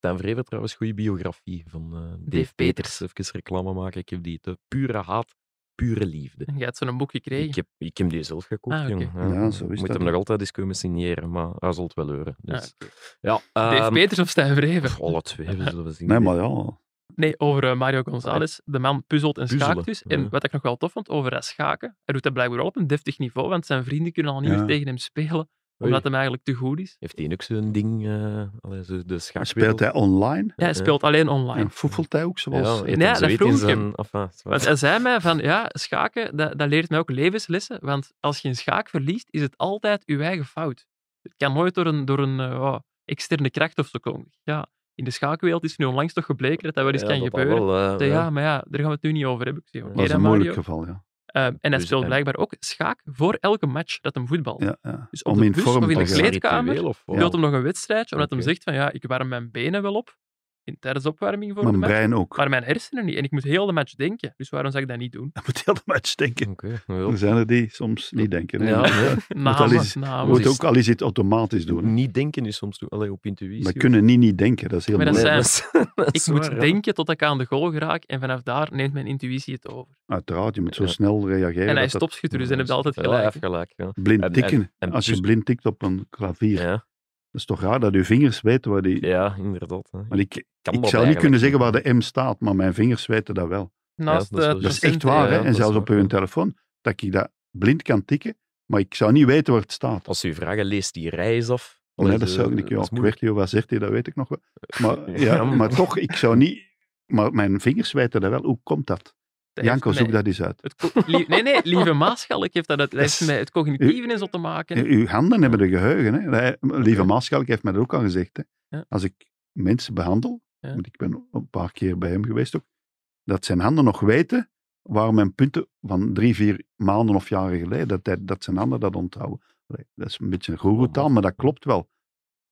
[SPEAKER 2] Dan Vreven trouwens, goede biografie van eh, Dave,
[SPEAKER 3] Dave
[SPEAKER 2] Peters.
[SPEAKER 3] Peters.
[SPEAKER 2] Even reclame maken. Ik heb die te pure haat, pure liefde.
[SPEAKER 3] En Jij hebt zo'n boek gekregen.
[SPEAKER 2] Ik heb, ik heb die zelf gekocht,
[SPEAKER 3] Ah, oké.
[SPEAKER 2] jong.
[SPEAKER 4] Ja, zo is
[SPEAKER 2] Moet
[SPEAKER 4] dat.
[SPEAKER 2] hem nog altijd eens komen signeren, maar hij zal het wel horen. Dus,
[SPEAKER 3] Ah, oké.
[SPEAKER 2] ja,
[SPEAKER 3] Dave
[SPEAKER 2] ehm,
[SPEAKER 3] Peters of Stijn
[SPEAKER 2] pff,
[SPEAKER 3] Vreven?
[SPEAKER 2] Alle twee, we zullen we zien.
[SPEAKER 4] Nee, maar ja.
[SPEAKER 3] Nee, over eh, Mario González. De man puzzelt en
[SPEAKER 2] Ah, Puzzelen,
[SPEAKER 3] schaakt dus.
[SPEAKER 2] ja.
[SPEAKER 3] En wat ik nog wel tof vond over dat schaken, hij doet dat blijkbaar wel op een deftig niveau, want zijn vrienden kunnen al niet
[SPEAKER 4] Ja.
[SPEAKER 3] meer tegen hem spelen,
[SPEAKER 2] Oei.
[SPEAKER 3] omdat hem eigenlijk te goed is.
[SPEAKER 2] Heeft hij ook zo'n ding, eh allee, zo de schaakwereld?
[SPEAKER 4] Speelt hij online?
[SPEAKER 3] Ja, hij
[SPEAKER 2] Ja.
[SPEAKER 3] speelt alleen online.
[SPEAKER 4] En foefelt hij ook zoals...
[SPEAKER 2] Ja, heeft
[SPEAKER 3] Ja,
[SPEAKER 2] hem
[SPEAKER 3] dat
[SPEAKER 2] zoiets
[SPEAKER 3] vroeg
[SPEAKER 2] in
[SPEAKER 3] ik hem.
[SPEAKER 2] zijn- ah, enfin, zwaar.
[SPEAKER 3] Want hij zei mij van, ja, schaken, dat, dat leert mij ook levenslessen, want als je een schaak verliest, is het altijd je eigen fout. Het kan nooit door een, door een eh, ja, externe kracht of zo komen. Ja, in de schaakwereld is nu onlangs toch gebleken dat dat wel eens
[SPEAKER 2] Ja,
[SPEAKER 3] kan
[SPEAKER 2] dat dat
[SPEAKER 3] gebeuren.
[SPEAKER 2] wel, eh,
[SPEAKER 3] Ik zei,
[SPEAKER 2] ja.
[SPEAKER 3] ja, maar ja, daar gaan we het nu niet over hebben. Ik zeg, oké
[SPEAKER 2] Dat
[SPEAKER 4] Dat
[SPEAKER 3] dan,
[SPEAKER 4] was een
[SPEAKER 3] Mario.
[SPEAKER 4] moeilijk geval, ja.
[SPEAKER 3] Ehm, en hij
[SPEAKER 2] Dus
[SPEAKER 3] speelt
[SPEAKER 2] en-
[SPEAKER 3] blijkbaar ook schaak voor elke match dat hem voetbal.
[SPEAKER 4] ja, ja.
[SPEAKER 3] Dus op
[SPEAKER 4] Om
[SPEAKER 3] de
[SPEAKER 4] in
[SPEAKER 3] bus
[SPEAKER 4] vorm
[SPEAKER 3] of in
[SPEAKER 4] te
[SPEAKER 3] de
[SPEAKER 4] geraken.
[SPEAKER 3] kleed- kleedkamer?
[SPEAKER 2] Ritueel of wat?
[SPEAKER 3] Speelt hem nog een wedstrijdje, omdat
[SPEAKER 2] Oké.
[SPEAKER 3] hem zegt van ja, ik warm mijn benen wel op in, tijdens opwarming voor de
[SPEAKER 4] Mijn
[SPEAKER 3] match,
[SPEAKER 4] brein ook.
[SPEAKER 3] maar mijn hersenen niet. En ik moet heel de match denken, dus waarom zou ik dat niet doen?
[SPEAKER 4] Dat moet heel de match denken.
[SPEAKER 2] Oké, wel.
[SPEAKER 4] Er zijn er die soms niet denken. hè.
[SPEAKER 2] Ja, nee.
[SPEAKER 4] al
[SPEAKER 3] Namen,
[SPEAKER 4] eens- Je
[SPEAKER 3] namen.
[SPEAKER 4] moet ook al eens iets automatisch doen. hè.
[SPEAKER 2] Niet denken is soms toe, allee, op intuïtie.
[SPEAKER 4] We kunnen niet niet denken, dat is heel
[SPEAKER 3] Maar dat
[SPEAKER 4] moeilijk.
[SPEAKER 3] zijn-
[SPEAKER 2] dat
[SPEAKER 3] ik
[SPEAKER 2] is
[SPEAKER 3] moet
[SPEAKER 2] waar, ja.
[SPEAKER 3] denken tot ik aan de goal raak en vanaf daar neemt mijn intuïtie het over.
[SPEAKER 4] Uiteraard, je moet zo
[SPEAKER 2] Ja.
[SPEAKER 4] snel reageren.
[SPEAKER 3] en hij
[SPEAKER 4] dat
[SPEAKER 3] is
[SPEAKER 4] dat-
[SPEAKER 3] topschutter, dus
[SPEAKER 2] Ja,
[SPEAKER 3] hij heeft altijd
[SPEAKER 2] ja,
[SPEAKER 3] gelijk.
[SPEAKER 2] hij heeft gelijk, ja. En-
[SPEAKER 4] Blind tikken.
[SPEAKER 2] en
[SPEAKER 4] Als je
[SPEAKER 2] dus-
[SPEAKER 4] blind tikt op een klavier.
[SPEAKER 2] Ja,
[SPEAKER 4] Dat is toch raar dat je vingers weten waar die...
[SPEAKER 2] ja inderdaad. hè.
[SPEAKER 4] Want ik,
[SPEAKER 2] Kan dat
[SPEAKER 4] ik zou niet
[SPEAKER 2] eigenlijk?
[SPEAKER 4] kunnen zeggen waar de M staat, maar mijn vingers weten dat wel.
[SPEAKER 3] Naast
[SPEAKER 2] dat is
[SPEAKER 3] eh,
[SPEAKER 2] wel
[SPEAKER 3] het
[SPEAKER 4] Dat is
[SPEAKER 2] juist.
[SPEAKER 4] echt waar,
[SPEAKER 2] Ja,
[SPEAKER 4] hè.
[SPEAKER 2] dat
[SPEAKER 4] En
[SPEAKER 2] is
[SPEAKER 4] zelfs
[SPEAKER 2] waar,
[SPEAKER 4] op hun
[SPEAKER 2] ja.
[SPEAKER 4] telefoon, dat ik dat blind kan tikken, maar ik zou niet weten waar het staat.
[SPEAKER 2] Als ze u vragen, lees die reis af.
[SPEAKER 4] Nee,
[SPEAKER 2] Allee,
[SPEAKER 4] dat
[SPEAKER 2] de-
[SPEAKER 4] zou ik niet. Ja,
[SPEAKER 2] dat is moeilijk.
[SPEAKER 4] Quertio, wat zegt hij, dat weet ik nog wel. Maar, ja,
[SPEAKER 2] Ja, maar-
[SPEAKER 4] maar toch, ik zou niet... Maar mijn vingers weten dat wel. Hoe komt dat?
[SPEAKER 3] Dat heeft
[SPEAKER 4] Janko,
[SPEAKER 3] met
[SPEAKER 4] zoek dat eens uit.
[SPEAKER 3] het co- lie- nee, nee, lieve Maaschalk heeft dat, uit- dat heeft
[SPEAKER 4] Dat is-
[SPEAKER 3] met het cognitieve in zo te maken.
[SPEAKER 4] Uw handen hebben een geheugen. Hè? Hij- Lieve Maaschalk heeft mij dat ook al gezegd. Hè?
[SPEAKER 3] Ja.
[SPEAKER 4] Als ik mensen behandel,
[SPEAKER 3] Ja.
[SPEAKER 4] want ik ben een paar keer bij hem geweest ook, dat zijn handen nog weten waar mijn punten van drie, vier maanden of jaren geleden, dat, hij- dat zijn handen dat onthouden. Allee, dat is een beetje een
[SPEAKER 3] Oh.
[SPEAKER 4] goeroetaal, maar dat klopt wel.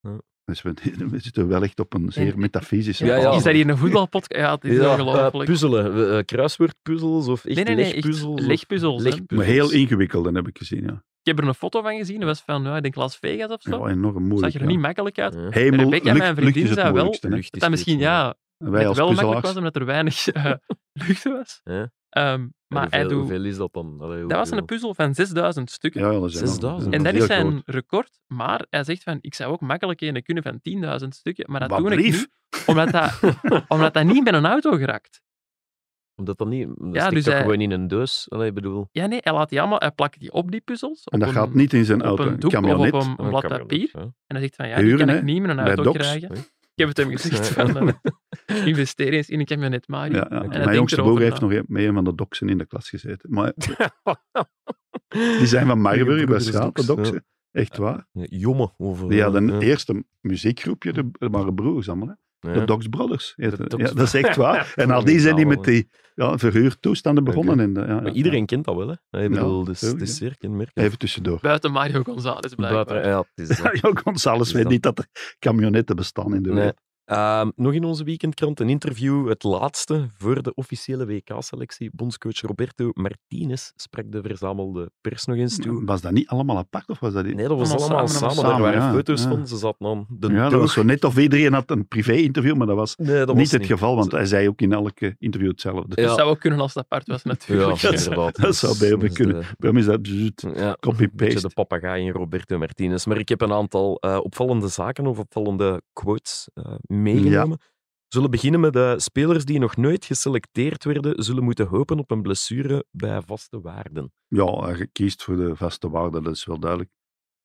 [SPEAKER 2] Ja.
[SPEAKER 4] Dus we, we zitten wel echt op een zeer
[SPEAKER 3] En-
[SPEAKER 4] metafysische...
[SPEAKER 2] Ja, ja.
[SPEAKER 4] basis.
[SPEAKER 3] Is dat hier een voetbalpodcast? Ja, het is
[SPEAKER 2] Ja, eh,
[SPEAKER 3] ongelooflijk.
[SPEAKER 2] puzzelen, We, eh, kruiswoordpuzzels of echt
[SPEAKER 3] nee, nee, nee, echt
[SPEAKER 2] legpuzzels. of-
[SPEAKER 3] legpuzzels, hè.
[SPEAKER 2] legpuzzels.
[SPEAKER 4] Maar heel ingewikkeld, dat heb ik gezien, ja.
[SPEAKER 3] Ik heb er een foto van gezien, dat was van, nou, ik denk Las Vegas of zo.
[SPEAKER 4] ja enorm moeilijk.
[SPEAKER 3] Zag er
[SPEAKER 4] ja.
[SPEAKER 3] niet makkelijk uit.
[SPEAKER 2] Ja.
[SPEAKER 4] Hemel,
[SPEAKER 3] Rebecca, mijn
[SPEAKER 4] lucht- lucht
[SPEAKER 3] vriendin,
[SPEAKER 4] is het
[SPEAKER 3] zei wel,
[SPEAKER 4] moeilijkste, hè.
[SPEAKER 2] Lucht
[SPEAKER 3] Dat
[SPEAKER 2] is
[SPEAKER 3] dat
[SPEAKER 2] niks,
[SPEAKER 3] misschien,
[SPEAKER 2] maar-
[SPEAKER 3] ja,
[SPEAKER 4] Wij
[SPEAKER 3] het
[SPEAKER 4] als
[SPEAKER 3] wel makkelijk
[SPEAKER 4] puzzelaars.
[SPEAKER 3] was, omdat er weinig eh, lucht was.
[SPEAKER 2] Ja.
[SPEAKER 3] Ehm,
[SPEAKER 2] En
[SPEAKER 3] maar hij
[SPEAKER 2] hoeveel,
[SPEAKER 3] doet...
[SPEAKER 2] hoeveel is dat dan? Allee,
[SPEAKER 3] Dat was
[SPEAKER 2] hoeveel-
[SPEAKER 3] een puzzel van 6000 stukken.
[SPEAKER 4] Ja, ja, dat zijn
[SPEAKER 2] 6000.
[SPEAKER 3] En dat
[SPEAKER 4] heel
[SPEAKER 3] is zijn
[SPEAKER 4] groot.
[SPEAKER 3] record, maar hij zegt van, ik zou ook makkelijk een kunnen van 10.000 stukken, maar dat
[SPEAKER 4] Wat
[SPEAKER 3] doe ik
[SPEAKER 4] lief.
[SPEAKER 3] niet, omdat dat, omdat dat niet met een auto geraakt.
[SPEAKER 2] Omdat dat niet... Dat
[SPEAKER 3] Ja,
[SPEAKER 2] ja,
[SPEAKER 3] dus
[SPEAKER 2] toch
[SPEAKER 3] hij-
[SPEAKER 2] gewoon in een doos? Allee, ik bedoel...
[SPEAKER 3] Ja, nee, hij laat die allemaal, hij plakt die op die puzzels.
[SPEAKER 4] En dat
[SPEAKER 3] op
[SPEAKER 4] gaat
[SPEAKER 3] een-
[SPEAKER 4] niet in zijn
[SPEAKER 3] op
[SPEAKER 4] auto.
[SPEAKER 3] een doek
[SPEAKER 4] camionet.
[SPEAKER 3] of op een, een
[SPEAKER 2] Oh,
[SPEAKER 3] blad
[SPEAKER 2] kan wel,
[SPEAKER 3] papier.
[SPEAKER 2] ja.
[SPEAKER 3] En hij zegt van, ja, die
[SPEAKER 4] Huren,
[SPEAKER 3] kan ik
[SPEAKER 4] hè,
[SPEAKER 3] niet met een
[SPEAKER 4] bij
[SPEAKER 3] auto
[SPEAKER 4] Docs.
[SPEAKER 3] krijgen.
[SPEAKER 2] Oei.
[SPEAKER 3] Ik heb het hem gezegd,
[SPEAKER 2] Ja.
[SPEAKER 3] van, eh, investeer eens in een camionet Mario.
[SPEAKER 4] Ja, ja.
[SPEAKER 3] En hij
[SPEAKER 4] Mijn
[SPEAKER 3] denkt
[SPEAKER 4] jongste
[SPEAKER 3] erover
[SPEAKER 4] broer heeft
[SPEAKER 3] na.
[SPEAKER 4] nog mee een van de doksen in de klas gezeten. Maar die zijn van Marburg, bij
[SPEAKER 2] broer is
[SPEAKER 4] Schaap, de
[SPEAKER 2] doks,
[SPEAKER 4] doksen. Echt waar.
[SPEAKER 2] Ja, Jomme. Over,
[SPEAKER 4] Die hadden
[SPEAKER 2] ja.
[SPEAKER 4] een eerste muziekgroepje, de- dat waren broers allemaal. Hè?
[SPEAKER 2] Ja.
[SPEAKER 4] De Docs Brothers. heette
[SPEAKER 2] De
[SPEAKER 4] het.
[SPEAKER 2] Docs
[SPEAKER 4] Ja, dat is echt waar. En al die zijn die met die ja, verhuurtoestanden begonnen. En, de- ja,
[SPEAKER 2] Maar
[SPEAKER 4] ja.
[SPEAKER 2] iedereen kent dat wel, hè? Ik bedoel,
[SPEAKER 4] Ja,
[SPEAKER 2] dus,
[SPEAKER 4] tuurlijk,
[SPEAKER 2] het is zeer kenmerkend.
[SPEAKER 4] Even tussendoor.
[SPEAKER 3] Buiten Mario González blijkbaar.
[SPEAKER 2] Buiten- ja, het is dat.
[SPEAKER 4] Ja, González
[SPEAKER 2] Is
[SPEAKER 4] weet
[SPEAKER 2] dat-
[SPEAKER 4] niet dat er camionetten bestaan in de
[SPEAKER 2] Nee.
[SPEAKER 4] wereld.
[SPEAKER 2] Ehm, nog in onze weekendkrant een interview, het laatste voor de officiële WK-selectie. Bondscoach Roberto Martinez sprak de verzamelde pers nog eens toe.
[SPEAKER 4] Was dat niet allemaal apart? Of was dat
[SPEAKER 2] Nee, dat was
[SPEAKER 3] Allemaal
[SPEAKER 2] allemaal,
[SPEAKER 3] samen,
[SPEAKER 2] samen.
[SPEAKER 3] allemaal
[SPEAKER 4] samen,
[SPEAKER 2] Er waren
[SPEAKER 4] ja,
[SPEAKER 2] foto's
[SPEAKER 4] ja.
[SPEAKER 2] van, ze zaten aan de
[SPEAKER 4] ja, dat
[SPEAKER 2] doog.
[SPEAKER 4] was zo net of iedereen had een privé-interview, maar dat was
[SPEAKER 2] Nee, dat was
[SPEAKER 4] niet het geval, want hij zei ook in elke interview hetzelfde.
[SPEAKER 3] Dat
[SPEAKER 2] Ja.
[SPEAKER 3] zou ook kunnen als Dus het apart was, natuurlijk.
[SPEAKER 2] Ja,
[SPEAKER 4] Dat is-
[SPEAKER 2] inderdaad.
[SPEAKER 4] dat zou bij hem
[SPEAKER 2] Dus
[SPEAKER 4] kunnen.
[SPEAKER 2] de-
[SPEAKER 4] Bij hem is dat bzzzt,
[SPEAKER 2] Ja, beetje
[SPEAKER 4] copy-paste.
[SPEAKER 2] de papegaai in Roberto Martinez. Maar ik heb een aantal eh, opvallende zaken of opvallende quotes eh, meegenomen. zullen beginnen met de spelers die nog nooit geselecteerd werden, zullen moeten hopen op een blessure bij vaste waarden.
[SPEAKER 4] Ja, hij kiest voor de vaste waarde, dat is wel duidelijk.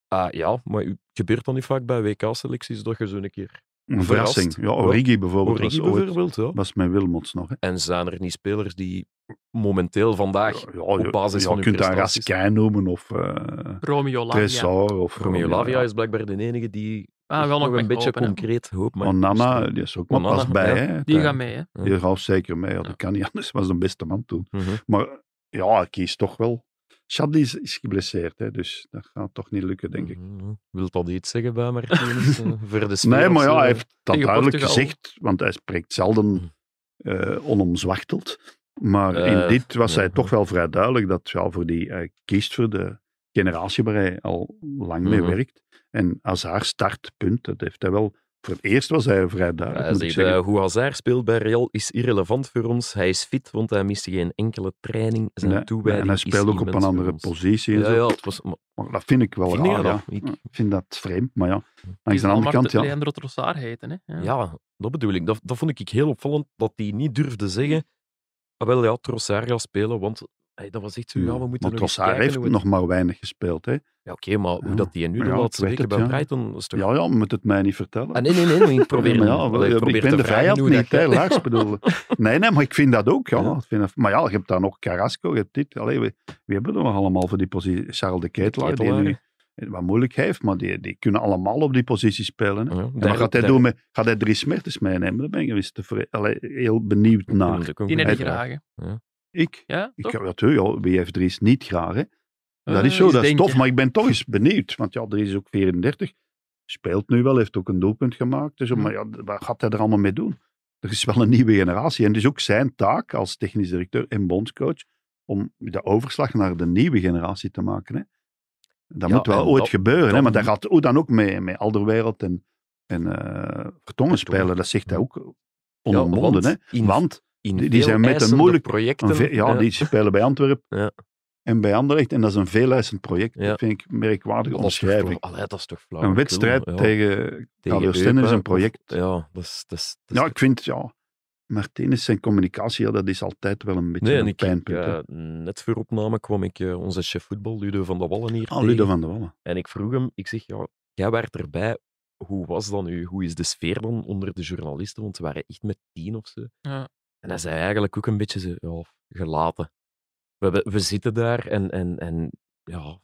[SPEAKER 2] Ah ja, maar u- gebeurt dat niet vaak bij WK-selecties dat je zo'n keer...
[SPEAKER 4] Een
[SPEAKER 2] Verrast.
[SPEAKER 4] verrassing. Ja, Origi bijvoorbeeld.
[SPEAKER 2] Origi
[SPEAKER 4] was, ooit-
[SPEAKER 2] bijvoorbeeld, ja.
[SPEAKER 4] was met Wilmots nog. Hè.
[SPEAKER 2] En zijn er niet spelers die momenteel vandaag
[SPEAKER 4] Ja, ja,
[SPEAKER 2] op basis
[SPEAKER 4] ja,
[SPEAKER 2] van
[SPEAKER 4] je
[SPEAKER 2] hun
[SPEAKER 4] kunt daar
[SPEAKER 2] prestaties-
[SPEAKER 4] Raskin noemen of eh
[SPEAKER 3] Romeo Lavia.
[SPEAKER 4] Tressor. Of,
[SPEAKER 2] Romeo
[SPEAKER 4] ja,
[SPEAKER 2] Lavia
[SPEAKER 4] ja.
[SPEAKER 2] is blijkbaar de enige die
[SPEAKER 3] Ah, wel
[SPEAKER 2] nog
[SPEAKER 3] nog
[SPEAKER 2] een
[SPEAKER 3] met
[SPEAKER 2] beetje
[SPEAKER 3] hopen, hè.
[SPEAKER 2] concreet hoop maakt.
[SPEAKER 4] Onana, die is ook maar
[SPEAKER 2] Onana,
[SPEAKER 4] pas bij.
[SPEAKER 2] ja.
[SPEAKER 4] Hè,
[SPEAKER 3] Die gaan mee, hè.
[SPEAKER 4] Die raast zeker mee, ja, dat kan niet anders. was de beste man toen.
[SPEAKER 2] Mhm.
[SPEAKER 4] Maar ja, hij kiest toch wel. Chadli is, is geblesseerd, hè, dus dat gaat toch niet lukken, denk ik.
[SPEAKER 2] Mhm. Wil dat iets zeggen bij Martinez? eh, voor de spelers,
[SPEAKER 4] Nee, maar ja,
[SPEAKER 2] eh,
[SPEAKER 4] hij heeft dat
[SPEAKER 3] Tegen
[SPEAKER 4] duidelijk
[SPEAKER 3] Portugal.
[SPEAKER 4] gezegd, want hij spreekt zelden eh, onomzwachteld. Maar in
[SPEAKER 2] Hm. Eh,
[SPEAKER 4] dit was hij
[SPEAKER 2] ja.
[SPEAKER 4] toch wel vrij duidelijk dat ja, voor die, hij kiest voor de generatie waar hij al lang mee
[SPEAKER 2] Mhm.
[SPEAKER 4] werkt. En Hazard startpunt, dat heeft hij wel... Voor het eerst was hij vrij duidelijk,
[SPEAKER 2] Hij
[SPEAKER 4] moet ik
[SPEAKER 2] zegt, eh,
[SPEAKER 4] zeggen.
[SPEAKER 2] hoe Hazard speelt bij Real is irrelevant voor ons. Hij is fit, want hij mist geen enkele training. Zijn
[SPEAKER 4] Nee,
[SPEAKER 2] toewijding
[SPEAKER 4] en hij
[SPEAKER 2] is
[SPEAKER 4] speelt ook op een
[SPEAKER 2] immens
[SPEAKER 4] andere
[SPEAKER 2] voor ons.
[SPEAKER 4] positie. En
[SPEAKER 2] Ja,
[SPEAKER 4] zo.
[SPEAKER 2] ja, het was... maar-
[SPEAKER 4] Maar dat vind ik wel
[SPEAKER 2] Vind je
[SPEAKER 4] raar.
[SPEAKER 2] dat?
[SPEAKER 4] ja.
[SPEAKER 2] Ik-
[SPEAKER 4] Ik vind dat vreemd, maar ja.
[SPEAKER 3] Die
[SPEAKER 4] Langs de andere kant, ja.
[SPEAKER 3] Leandro Trossard heten, hè. Ja.
[SPEAKER 2] ja, dat bedoel ik. Dat, dat vond ik heel opvallend, dat hij niet durfde zeggen... Ah, wel, ja, Trossard gaat spelen, want... hey, dat was echt zo, ja, we moeten
[SPEAKER 4] Mm,
[SPEAKER 2] nog
[SPEAKER 4] maar
[SPEAKER 2] eens
[SPEAKER 4] Trossard
[SPEAKER 2] kijken
[SPEAKER 4] heeft
[SPEAKER 2] hoe het-
[SPEAKER 4] nog maar weinig gespeeld. Hè.
[SPEAKER 2] Ja, oké, maar hoe
[SPEAKER 4] Ja.
[SPEAKER 2] dat hij nu de
[SPEAKER 4] Ja, ik
[SPEAKER 2] laatste
[SPEAKER 4] weet
[SPEAKER 2] weken
[SPEAKER 4] het,
[SPEAKER 2] bij
[SPEAKER 4] ja.
[SPEAKER 2] Brighton... is toch-
[SPEAKER 4] Ja, ja, moet het mij niet vertellen.
[SPEAKER 2] Ah, nee, nee, nee, maar ik probeer...
[SPEAKER 4] Ja, maar ja,
[SPEAKER 2] Allee,
[SPEAKER 4] wel,
[SPEAKER 2] probeer
[SPEAKER 4] ik ben
[SPEAKER 2] te
[SPEAKER 4] de
[SPEAKER 2] vragen
[SPEAKER 4] vrijheid
[SPEAKER 2] hoe dat
[SPEAKER 4] niet,
[SPEAKER 2] jij-
[SPEAKER 4] hè, Lars, bedoel. Nee, nee, maar ik vind dat ook. Ja.
[SPEAKER 2] Ja.
[SPEAKER 4] Ik Vind dat- maar ja, je hebt daar nog Carrasco, je hebt dit. Allee, wie, wie hebben we nog allemaal voor die positie? Charles de Ketelaar, die nu
[SPEAKER 2] Ketelaar.
[SPEAKER 4] het wat moeilijk heeft, maar die, die kunnen allemaal op die positie spelen. Hè.
[SPEAKER 2] Ja,
[SPEAKER 4] En
[SPEAKER 2] daar-
[SPEAKER 4] wat gaat hij
[SPEAKER 2] daar-
[SPEAKER 4] doen? Met, gaat hij drie smertes meenemen? Daar ben ik eens tevreden- allee, heel benieuwd
[SPEAKER 2] Dat
[SPEAKER 4] naar.
[SPEAKER 2] is ook een
[SPEAKER 3] Die heb
[SPEAKER 2] goede
[SPEAKER 3] ik
[SPEAKER 4] Hij-
[SPEAKER 2] vraag.
[SPEAKER 3] graag, hè.
[SPEAKER 4] Ik?
[SPEAKER 3] Ja,
[SPEAKER 4] ik
[SPEAKER 3] toch?
[SPEAKER 4] ja, natuurlijk, ja, wie heeft Dries niet graag? Hè?
[SPEAKER 2] Oh,
[SPEAKER 4] Dat
[SPEAKER 3] Eh,
[SPEAKER 4] is zo,
[SPEAKER 3] eens
[SPEAKER 4] dat is
[SPEAKER 3] denken.
[SPEAKER 4] tof. Maar ik ben toch eens benieuwd. Want ja, er is ook 34. Speelt nu wel, heeft ook een doelpunt gemaakt.
[SPEAKER 2] Hm.
[SPEAKER 4] Dus, Maar ja, wat gaat hij er allemaal mee doen? Er is wel een nieuwe generatie. En het is ook zijn taak als technisch directeur en bondscoach om de overslag naar de nieuwe generatie te maken. Hè. Dat
[SPEAKER 2] Ja,
[SPEAKER 4] moet wel
[SPEAKER 2] en
[SPEAKER 4] ooit
[SPEAKER 2] dat-
[SPEAKER 4] gebeuren. hè,
[SPEAKER 2] dat-
[SPEAKER 4] maar dat gaat hoe dan ook mee, met Alderwereld en, en eh Vertongen spelen. Dat zegt hij ook onomwonden.
[SPEAKER 2] Ja,
[SPEAKER 4] hè.
[SPEAKER 2] Hm. want in-
[SPEAKER 4] want
[SPEAKER 2] In
[SPEAKER 4] Die- die
[SPEAKER 2] veel
[SPEAKER 4] zijn met een
[SPEAKER 2] eisende
[SPEAKER 4] moeilijk-
[SPEAKER 2] projecten.
[SPEAKER 4] een ve- ja,
[SPEAKER 2] eh,
[SPEAKER 4] die spelen bij Antwerpen
[SPEAKER 2] Ja.
[SPEAKER 4] en bij Anderlecht. En dat is een veeleisend project.
[SPEAKER 2] Ja.
[SPEAKER 4] Dat vind ik een merkwaardige
[SPEAKER 2] dat is toch
[SPEAKER 4] omschrijving.
[SPEAKER 2] flauw- Allee, dat is toch flauw.
[SPEAKER 4] Een wedstrijd
[SPEAKER 2] Ja,
[SPEAKER 4] tegen
[SPEAKER 2] tegen
[SPEAKER 4] Carlos Stenne is
[SPEAKER 2] Eupen.
[SPEAKER 4] een project.
[SPEAKER 2] Ja, dat is... Dat is, dat is
[SPEAKER 4] Ja, ik vind, ja, Martinez, zijn communicatie, ja, dat is altijd wel een beetje
[SPEAKER 2] Nee, en
[SPEAKER 4] een
[SPEAKER 2] ik,
[SPEAKER 4] pijnpunt. hè.
[SPEAKER 2] eh, net voor opname kwam ik eh, onze chef voetbal, Ludo van der Wallen, hier
[SPEAKER 4] Ah,
[SPEAKER 2] tegen.
[SPEAKER 4] Ludo van der Wallen.
[SPEAKER 2] En ik vroeg hem, ik zeg, ja, jij werd erbij. Hoe was dat nu? Hoe is de sfeer dan onder de journalisten? Want ze waren echt met tien of zo.
[SPEAKER 3] Ja.
[SPEAKER 2] En hij zei eigenlijk ook een beetje zo, ja, gelaten. We, hebben- we zitten daar en, en, en ja...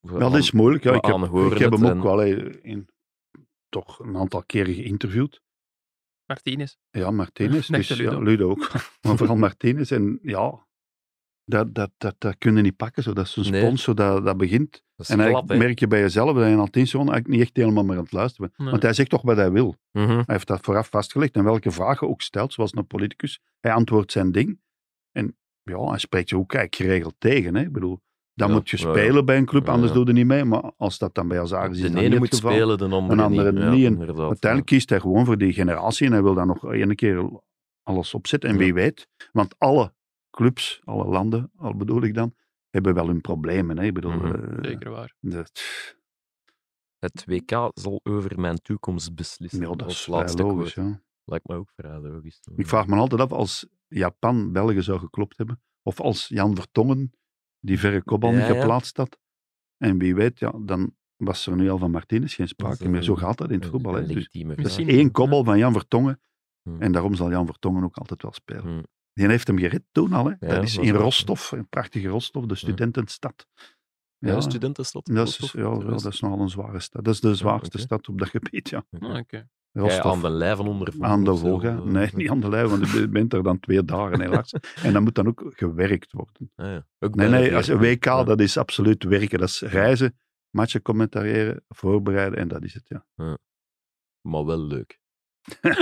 [SPEAKER 2] we-
[SPEAKER 4] Ja, dat is moeilijk. Ja.
[SPEAKER 2] we
[SPEAKER 4] Ik, heb,
[SPEAKER 2] aanhoren
[SPEAKER 4] ik heb
[SPEAKER 2] het
[SPEAKER 4] hem ook
[SPEAKER 2] en-
[SPEAKER 4] wel eh, in, toch een aantal keren geïnterviewd.
[SPEAKER 3] Martinez.
[SPEAKER 4] Ja, Martinez.
[SPEAKER 3] Next
[SPEAKER 4] Dus,
[SPEAKER 3] to Ludo.
[SPEAKER 4] Ja, Ludo ook. maar vooral Martinez. En ja, dat, dat, dat, dat kunnen niet pakken. Zo. Dat is een
[SPEAKER 2] Nee.
[SPEAKER 4] spons, zo, dat, dat begint.
[SPEAKER 2] dat is
[SPEAKER 4] en dan
[SPEAKER 2] glad, hè.
[SPEAKER 4] merk je bij jezelf dat je al tien seconden eigenlijk niet echt helemaal meer aan het luisteren bent.
[SPEAKER 3] Nee.
[SPEAKER 4] Want hij zegt toch wat hij wil.
[SPEAKER 2] Mhm.
[SPEAKER 4] Hij heeft dat vooraf vastgelegd. En welke vragen ook stelt, zoals een politicus, hij antwoordt zijn ding. En ja, hij spreekt je ook eigenlijk geregeld tegen. Hè? Ik bedoel, dan
[SPEAKER 2] Ja,
[SPEAKER 4] moet je
[SPEAKER 2] ja, ja.
[SPEAKER 4] spelen bij een club,
[SPEAKER 2] Ja,
[SPEAKER 4] anders
[SPEAKER 2] ja.
[SPEAKER 4] doe je niet mee. Maar als dat dan bij Azar is, is dat
[SPEAKER 2] De
[SPEAKER 4] niet
[SPEAKER 2] ene
[SPEAKER 4] het
[SPEAKER 2] moet
[SPEAKER 4] geval.
[SPEAKER 2] spelen, de andere,
[SPEAKER 4] een andere
[SPEAKER 2] niet. Ja,
[SPEAKER 4] niet. En
[SPEAKER 2] inderdaad,
[SPEAKER 4] Uiteindelijk kiest hij gewoon voor die generatie en hij wil daar nog één keer alles op zetten. En
[SPEAKER 2] Ja.
[SPEAKER 4] wie weet, want alle clubs, alle landen, al bedoel ik dan, hebben wel hun problemen. Hè? Ik bedoel,
[SPEAKER 2] Mhm.
[SPEAKER 4] eh,
[SPEAKER 3] Zeker waar.
[SPEAKER 4] dat-
[SPEAKER 2] ja. Het WK zal over mijn toekomst beslissen.
[SPEAKER 4] ja, dat
[SPEAKER 2] als
[SPEAKER 4] is vrij
[SPEAKER 2] laatste
[SPEAKER 4] logisch.
[SPEAKER 2] woord.
[SPEAKER 4] Ja.
[SPEAKER 2] Lijkt me ook vrij logisch.
[SPEAKER 4] Ik vraag me altijd af, als Japan België zou geklopt hebben, of als Jan Vertongen die verre kopbal niet
[SPEAKER 2] Ja, ja.
[SPEAKER 4] geplaatst had, en wie weet, ja, dan was er nu al van Martinez geen
[SPEAKER 2] Dat is
[SPEAKER 4] sprake
[SPEAKER 2] een-
[SPEAKER 4] meer. Zo gaat dat in het voetbal. Hè.
[SPEAKER 2] Een
[SPEAKER 4] Dus
[SPEAKER 2] legitieme
[SPEAKER 4] dat is
[SPEAKER 2] vraag.
[SPEAKER 3] Misschien.
[SPEAKER 4] één kopbal van Jan Vertongen,
[SPEAKER 2] Hmm.
[SPEAKER 4] en daarom zal Jan Vertongen ook altijd wel spelen.
[SPEAKER 2] Hmm.
[SPEAKER 4] Die heeft hem gered toen al. Hè.
[SPEAKER 2] dat
[SPEAKER 4] dat is
[SPEAKER 2] was
[SPEAKER 4] in
[SPEAKER 2] wel zo.
[SPEAKER 4] Rostov, een prachtige Rostov, de studentenstad.
[SPEAKER 2] Ja, studentenstad.
[SPEAKER 4] dat is,
[SPEAKER 2] Rostov,
[SPEAKER 4] ja, wel,
[SPEAKER 2] trouwens.
[SPEAKER 4] dat is nogal een zware stad. Dat is de zwaarste
[SPEAKER 2] oké.
[SPEAKER 4] stad op dat gebied, ja.
[SPEAKER 2] Oké.
[SPEAKER 3] Ah, Oké.
[SPEAKER 2] Ga je
[SPEAKER 4] Rostov.
[SPEAKER 2] aan de lijven ondervonden.
[SPEAKER 4] Aan de
[SPEAKER 2] of zo,
[SPEAKER 4] Volga?
[SPEAKER 2] of, eh,
[SPEAKER 4] Nee, niet aan de lijn, want je bent er dan twee dagen helaas. En dat moet dan ook gewerkt worden.
[SPEAKER 2] Ah, ja. Ook
[SPEAKER 4] Nee,
[SPEAKER 2] bijna
[SPEAKER 4] nee,
[SPEAKER 2] weer.
[SPEAKER 4] als een WK,
[SPEAKER 2] Ja.
[SPEAKER 4] dat is absoluut werken. Dat is reizen, matchen commentariëren, voorbereiden en dat is het, ja.
[SPEAKER 2] Maar wel leuk.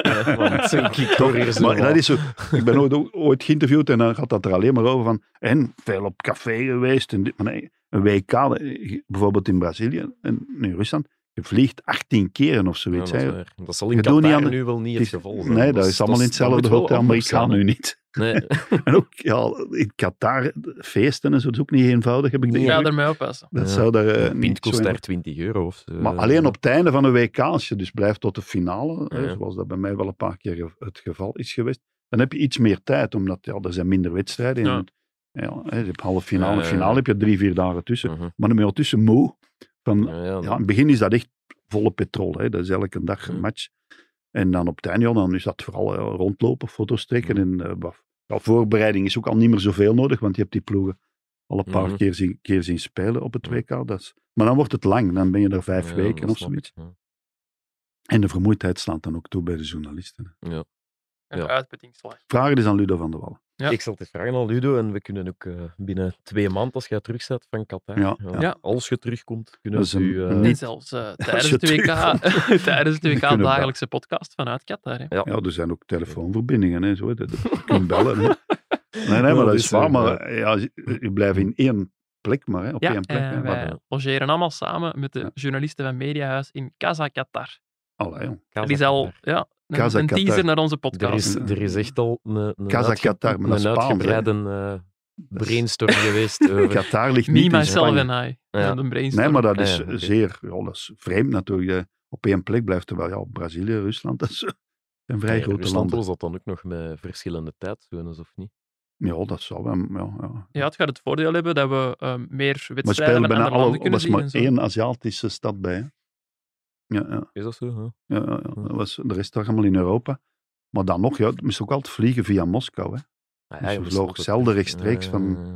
[SPEAKER 2] Ja, want zo'n kick
[SPEAKER 4] Toch?
[SPEAKER 2] hoor je zo
[SPEAKER 4] Maar
[SPEAKER 2] wel.
[SPEAKER 4] dat is zo. Ik ben ooit, ooit geïnterviewd en dan gaat dat er alleen maar over van. En veel op café geweest. En dit, maar nee, een WK, eh, bijvoorbeeld in Brazilië en in Rusland. Je vliegt 18 keren of
[SPEAKER 2] Ja,
[SPEAKER 4] zoiets.
[SPEAKER 2] dat, is
[SPEAKER 4] hè.
[SPEAKER 2] waar. dat zal in
[SPEAKER 4] Je doet niet
[SPEAKER 2] Qatar
[SPEAKER 4] aan-
[SPEAKER 2] nu wel niet
[SPEAKER 4] Het
[SPEAKER 2] het
[SPEAKER 4] is-
[SPEAKER 2] geval zijn.
[SPEAKER 4] nee, dat
[SPEAKER 2] Dus
[SPEAKER 4] is allemaal in
[SPEAKER 2] dat
[SPEAKER 4] hetzelfde
[SPEAKER 2] moet wel
[SPEAKER 4] hotel.
[SPEAKER 2] anders zijn.
[SPEAKER 4] Amerikaan nu niet.
[SPEAKER 2] Nee,
[SPEAKER 4] En ook ja, in Qatar, de feesten en zo, dat is ook niet eenvoudig, heb ik de
[SPEAKER 3] Ik ga
[SPEAKER 4] indruk.
[SPEAKER 3] ermee oppassen.
[SPEAKER 4] Dat
[SPEAKER 2] Ja.
[SPEAKER 4] zou daar eh,
[SPEAKER 2] een pint
[SPEAKER 4] niet zo
[SPEAKER 2] kost
[SPEAKER 4] in-
[SPEAKER 2] daar 20 euro. Of, zo.
[SPEAKER 4] Maar alleen op het einde van een WK, als je dus blijft tot de finale, hè,
[SPEAKER 2] Ja.
[SPEAKER 4] zoals dat bij mij wel een paar keer ge- het geval is geweest, dan heb je iets meer tijd, omdat ja, er zijn minder wedstrijden.
[SPEAKER 3] Ja.
[SPEAKER 4] Ja. Ja, hè, je hebt halve finale,
[SPEAKER 2] Ja, ja, ja.
[SPEAKER 4] finale heb je drie, vier dagen tussen.
[SPEAKER 2] Mhm.
[SPEAKER 4] Maar dan ben je ondertussen moe. Van,
[SPEAKER 2] Ja,
[SPEAKER 4] ja,
[SPEAKER 2] ja, Mm.
[SPEAKER 4] in het begin is dat echt volle petrol. Hè. Dat is elke dag
[SPEAKER 2] Ja.
[SPEAKER 4] een match. En dan op het einde, ja, dan is dat vooral eh, rondlopen, foto's trekken.
[SPEAKER 2] Ja.
[SPEAKER 4] En, eh, wat- ja, voorbereiding is ook al niet meer zoveel nodig, want je hebt die ploegen al een paar
[SPEAKER 2] Mhm.
[SPEAKER 4] keer, zien, keer zien spelen op het
[SPEAKER 2] Ja.
[SPEAKER 4] WK. Dat is, maar dan wordt het lang, dan ben je er vijf
[SPEAKER 2] Mm. ja,
[SPEAKER 4] weken
[SPEAKER 2] dat
[SPEAKER 4] of
[SPEAKER 2] snap
[SPEAKER 4] zoiets.
[SPEAKER 2] ik, ja.
[SPEAKER 4] En de vermoeidheid slaat dan ook toe bij de journalisten.
[SPEAKER 3] Een
[SPEAKER 2] Ja.
[SPEAKER 3] uitputtingsslag.
[SPEAKER 4] Vragen dus aan Ludo van der Wallen.
[SPEAKER 3] Ja.
[SPEAKER 2] Ik zal het eens vragen aan Ludo en we kunnen ook eh, binnen twee maanden, als jij terug zit van Qatar,
[SPEAKER 4] Ja,
[SPEAKER 2] ja,
[SPEAKER 4] ja.
[SPEAKER 3] Ja.
[SPEAKER 2] als je terugkomt, kunnen
[SPEAKER 4] Dat is
[SPEAKER 2] we u...
[SPEAKER 4] een-
[SPEAKER 2] eh,
[SPEAKER 3] Nee,
[SPEAKER 4] niet-
[SPEAKER 3] zelfs eh, tijdens,
[SPEAKER 4] je
[SPEAKER 3] het WK,
[SPEAKER 4] terugkomt.
[SPEAKER 3] tijdens het
[SPEAKER 4] Die
[SPEAKER 3] WK
[SPEAKER 4] kunnen
[SPEAKER 3] dagelijkse podcast vanuit Qatar. Hè.
[SPEAKER 2] Ja.
[SPEAKER 4] Ja, er zijn ook telefoonverbindingen en zo. hè. Dat, dat- je kunt bellen. Hè. Nee, nee,
[SPEAKER 2] Ja,
[SPEAKER 4] maar dat
[SPEAKER 2] dus,
[SPEAKER 4] is waar.
[SPEAKER 2] eh,
[SPEAKER 4] Maar ja, je, je blijft in één plek maar, hè, op
[SPEAKER 3] Ja,
[SPEAKER 4] één plek.
[SPEAKER 3] en
[SPEAKER 4] hè.
[SPEAKER 3] wij
[SPEAKER 2] ja. eh,
[SPEAKER 3] logeren allemaal samen met de
[SPEAKER 4] Ja.
[SPEAKER 3] journalisten van Mediahuis in Casa Qatar. Dus
[SPEAKER 4] Allee, joh.
[SPEAKER 3] Die is al ja, een,
[SPEAKER 4] Casa
[SPEAKER 3] een
[SPEAKER 4] Qatar.
[SPEAKER 3] teaser naar onze
[SPEAKER 2] Er
[SPEAKER 3] podcast.
[SPEAKER 2] is, er is echt al een, een,
[SPEAKER 4] Casa
[SPEAKER 2] uitge-
[SPEAKER 4] Qatar, maar dat
[SPEAKER 2] een
[SPEAKER 4] is Spaans, hè?
[SPEAKER 2] uitgebreide eh,
[SPEAKER 4] Dat is-
[SPEAKER 2] brainstorm geweest. Over,
[SPEAKER 4] Qatar ligt
[SPEAKER 3] Me,
[SPEAKER 4] niet in
[SPEAKER 3] Myself
[SPEAKER 4] Spanje.
[SPEAKER 3] en I.
[SPEAKER 2] Ja.
[SPEAKER 3] Een brainstorm.
[SPEAKER 4] Nee, maar dat is
[SPEAKER 2] Ah, ja, oké.
[SPEAKER 4] zeer ja, dat is vreemd natuurlijk. dat je op één plek blijft, terwijl ja, op Brazilië, Rusland, dat is- dat zijn vrij
[SPEAKER 2] Nee,
[SPEAKER 4] grote
[SPEAKER 2] Rusland
[SPEAKER 4] landen.
[SPEAKER 2] was dat dan ook nog met verschillende tijdzones, of niet?
[SPEAKER 4] Ja, dat zou wel. Ja, ja.
[SPEAKER 3] Ja, het gaat het voordeel hebben dat we ehm, meer
[SPEAKER 4] Maar
[SPEAKER 3] wedstrijden
[SPEAKER 4] spelen
[SPEAKER 3] met
[SPEAKER 4] bijna
[SPEAKER 3] andere
[SPEAKER 4] alle.
[SPEAKER 3] landen
[SPEAKER 4] Er
[SPEAKER 3] kunnen
[SPEAKER 4] was
[SPEAKER 3] zien.
[SPEAKER 4] maar
[SPEAKER 3] en zo.
[SPEAKER 4] één Aziatische stad bij. Hè. Ja, ja.
[SPEAKER 2] Is dat zo? hè?
[SPEAKER 4] Ja, ja, ja. Dat was, de rest toch allemaal in Europa. Maar dan nog, ja, het moest ook altijd vliegen via Moskou. Hè.
[SPEAKER 2] Ah,
[SPEAKER 4] Dus
[SPEAKER 2] ja,
[SPEAKER 4] we
[SPEAKER 2] je
[SPEAKER 4] vlogen
[SPEAKER 2] snapt het,
[SPEAKER 4] zelden
[SPEAKER 2] hè.
[SPEAKER 4] rechtstreeks
[SPEAKER 2] Ja,
[SPEAKER 4] van-
[SPEAKER 2] ja,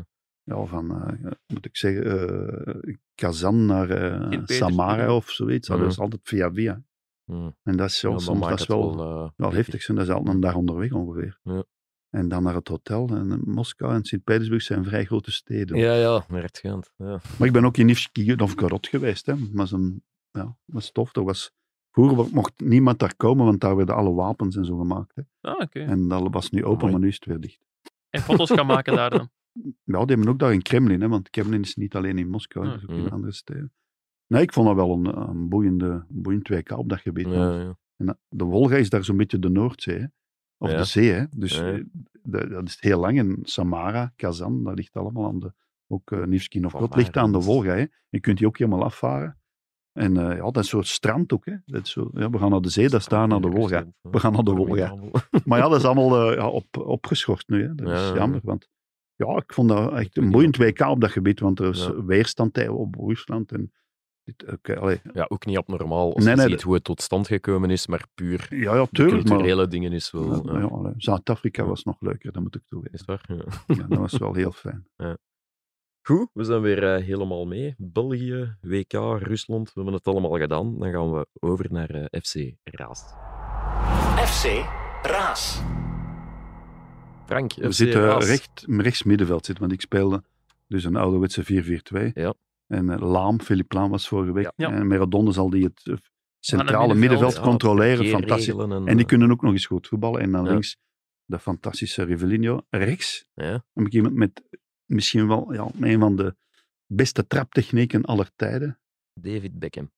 [SPEAKER 2] ja.
[SPEAKER 4] Ja, van, eh, moet ik zeggen, eh, Kazan naar eh,
[SPEAKER 3] Sint-Petersburg.
[SPEAKER 4] Samara of zoiets. Dat
[SPEAKER 2] Mhm.
[SPEAKER 4] is altijd via via.
[SPEAKER 2] Hmm.
[SPEAKER 4] En dat is, ja,
[SPEAKER 2] Ja, dan
[SPEAKER 4] soms
[SPEAKER 2] maakt
[SPEAKER 4] dat is
[SPEAKER 2] het
[SPEAKER 4] wel,
[SPEAKER 2] eh,
[SPEAKER 4] wel
[SPEAKER 2] tricky.
[SPEAKER 4] heftig. Zijn. Dat is altijd een dag onderweg ongeveer.
[SPEAKER 2] Ja.
[SPEAKER 4] En dan naar het hotel. En eh, Moskou en Sint-Petersburg zijn vrij grote steden.
[SPEAKER 2] Ja, ja, rechtgaand. Ja.
[SPEAKER 4] Maar ik ben ook in Nivski Novgorod geweest. Hè. Maar zo'n, ja, dat was tof. Er was, vroeger mocht niemand daar komen, want daar werden alle wapens en zo gemaakt. Hè.
[SPEAKER 3] Ah, oké.
[SPEAKER 4] En dat was nu open,
[SPEAKER 2] Amai.
[SPEAKER 4] maar nu is het weer dicht.
[SPEAKER 3] En foto's gaan maken daar dan.
[SPEAKER 4] Ja, die hebben ook daar in Kremlin, hè, want Kremlin is niet alleen in Moskou,
[SPEAKER 3] Ja.
[SPEAKER 4] dat is ook in
[SPEAKER 2] Mhm.
[SPEAKER 4] andere steden. Nee, ik vond dat wel een, een boeiende, boeiend WK op dat gebied.
[SPEAKER 2] Ja, ja.
[SPEAKER 4] En dat- de Wolga is daar zo'n beetje de Noordzee, hè. of
[SPEAKER 2] Ja.
[SPEAKER 4] de zee. Hè. Dus
[SPEAKER 2] Ja.
[SPEAKER 4] eh, dat, dat is heel lang. En Samara, Kazan, dat ligt allemaal aan de... Ook eh Nivski Novgorod
[SPEAKER 2] Samara,
[SPEAKER 4] ligt aan de
[SPEAKER 2] dat is-
[SPEAKER 4] Wolga. Hè. Je kunt die ook helemaal afvaren. En eh, ja, dat is een soort strand ook. Hè. Dat is zo, ja, we gaan naar de zee, dat is daar naar de Wolga. We gaan naar de Wolga. Maar ja, dat is allemaal eh, ja, op, opgeschort nu. Hè. Dat is
[SPEAKER 2] Ja.
[SPEAKER 4] jammer. Want ja, ik vond dat echt
[SPEAKER 2] weet
[SPEAKER 4] een
[SPEAKER 2] niet
[SPEAKER 4] boeiend WK op dat gebied. Want er is
[SPEAKER 2] Ja.
[SPEAKER 4] weerstand tegen op Rusland. En dit, oké, allee.
[SPEAKER 2] Ja, ook niet abnormaal als
[SPEAKER 4] Nee,
[SPEAKER 2] je
[SPEAKER 4] nee,
[SPEAKER 2] ziet hoe het tot stand gekomen is, maar puur
[SPEAKER 4] ja, ja,
[SPEAKER 2] de
[SPEAKER 4] tuurlijk. Maar,
[SPEAKER 2] culturele dingen is wel... eh,
[SPEAKER 4] Ja,
[SPEAKER 2] ja.
[SPEAKER 4] ja, allee. Zuid-Afrika was nog leuker, dat moet ik toegeven.
[SPEAKER 2] Is het waar? Ja.
[SPEAKER 4] Ja, dat was wel heel fijn.
[SPEAKER 2] Goed, we zijn weer eh, helemaal mee. België, WK, Rusland, we hebben het allemaal gedaan. Dan gaan we over naar eh, FC Raast.
[SPEAKER 5] FC Raas.
[SPEAKER 2] Frank,
[SPEAKER 4] We
[SPEAKER 2] FC
[SPEAKER 4] zitten
[SPEAKER 2] Raast.
[SPEAKER 4] recht, rechts middenveld zitten, want ik speelde dus een ouderwetse 4-4-2.
[SPEAKER 2] Ja.
[SPEAKER 4] En eh, Laam, Philippe Laam was vorige week.
[SPEAKER 3] Ja.
[SPEAKER 4] En Meradonde zal die het eh, centrale
[SPEAKER 3] middenveld.
[SPEAKER 4] middenveld,
[SPEAKER 2] Ja,
[SPEAKER 4] controleren.
[SPEAKER 2] Keer
[SPEAKER 4] Fantastisch.
[SPEAKER 2] regelen En,
[SPEAKER 4] En die
[SPEAKER 2] eh,
[SPEAKER 4] kunnen ook nog eens goed voetballen. En dan
[SPEAKER 2] Ja.
[SPEAKER 4] links de fantastische Rivellino. Rechts
[SPEAKER 2] ja.
[SPEAKER 4] heb ik iemand met misschien wel ja, een van de beste traptechnieken aller tijden.
[SPEAKER 2] David Beckham.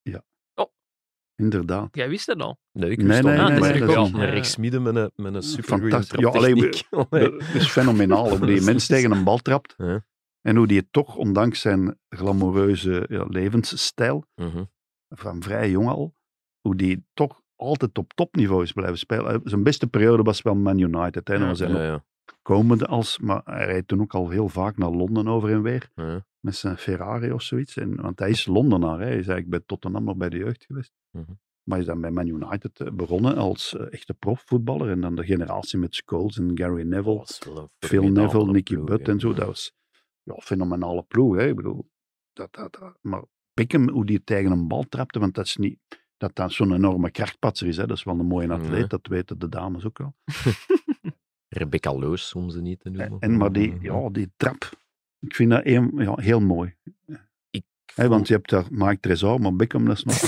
[SPEAKER 4] Inderdaad.
[SPEAKER 3] Jij wist het al.
[SPEAKER 2] Nee, ik
[SPEAKER 4] Nee,
[SPEAKER 2] wist
[SPEAKER 4] nee,
[SPEAKER 2] dat
[SPEAKER 3] nee,
[SPEAKER 2] niet.
[SPEAKER 3] nee,
[SPEAKER 2] Ik
[SPEAKER 3] dat
[SPEAKER 2] wist
[SPEAKER 3] is
[SPEAKER 2] dat
[SPEAKER 3] niet.
[SPEAKER 2] Een rechtsmidden met een, met een supergoeie
[SPEAKER 4] Fantastisch. Ja, alleen we-
[SPEAKER 2] traptechniek.
[SPEAKER 4] Dat is fenomenaal hoe die mens tegen een bal trapt.
[SPEAKER 2] Ja.
[SPEAKER 4] En hoe die het toch, ondanks zijn glamoureuze ja, levensstijl,
[SPEAKER 2] Mhm.
[SPEAKER 4] van vrij jong al, hoe die toch altijd op topniveau is blijven spelen. Hij- Zijn beste periode was wel Man United. Hè. Dan
[SPEAKER 3] Ja,
[SPEAKER 4] was hij
[SPEAKER 2] Ja,
[SPEAKER 4] nog
[SPEAKER 2] ja.
[SPEAKER 4] komende als, maar hij rijdt toen ook al heel vaak naar Londen over en weer.
[SPEAKER 2] Ja.
[SPEAKER 4] Met zijn Ferrari of zoiets. En, want hij is Londenaar. Hè. Hij is eigenlijk bij Tottenham nog bij de jeugd geweest.
[SPEAKER 2] Mhm.
[SPEAKER 4] Maar hij is dan bij Man United eh, begonnen als eh, echte profvoetballer. En dan de generatie met Scholes en Gary Neville.
[SPEAKER 2] Dat is wel een
[SPEAKER 4] Phil
[SPEAKER 2] formidabele
[SPEAKER 4] Neville, Nicky
[SPEAKER 2] ploeg,
[SPEAKER 4] Butt
[SPEAKER 2] hè.
[SPEAKER 4] en zo. Dat was ja, een fenomenale ploeg. Hè? Ik bedoel, dat, dat, dat- Maar Beckham, hoe die tegen een bal trapte, want dat is niet dat dat zo'n enorme krachtpatser is. Hè? Dat is wel een
[SPEAKER 2] Mm.
[SPEAKER 4] mooie atleet,
[SPEAKER 2] Ja.
[SPEAKER 4] dat weten de dames ook wel.
[SPEAKER 2] Rebecca Loos, om ze niet te
[SPEAKER 4] En,
[SPEAKER 2] noemen. Mhm.
[SPEAKER 4] en maar
[SPEAKER 2] Mm-hmm.
[SPEAKER 4] die, ja, die trap, ik vind dat een, ja, heel mooi. Hè? Want je hebt daar Mike Trezor, maar Beckham dat is nog...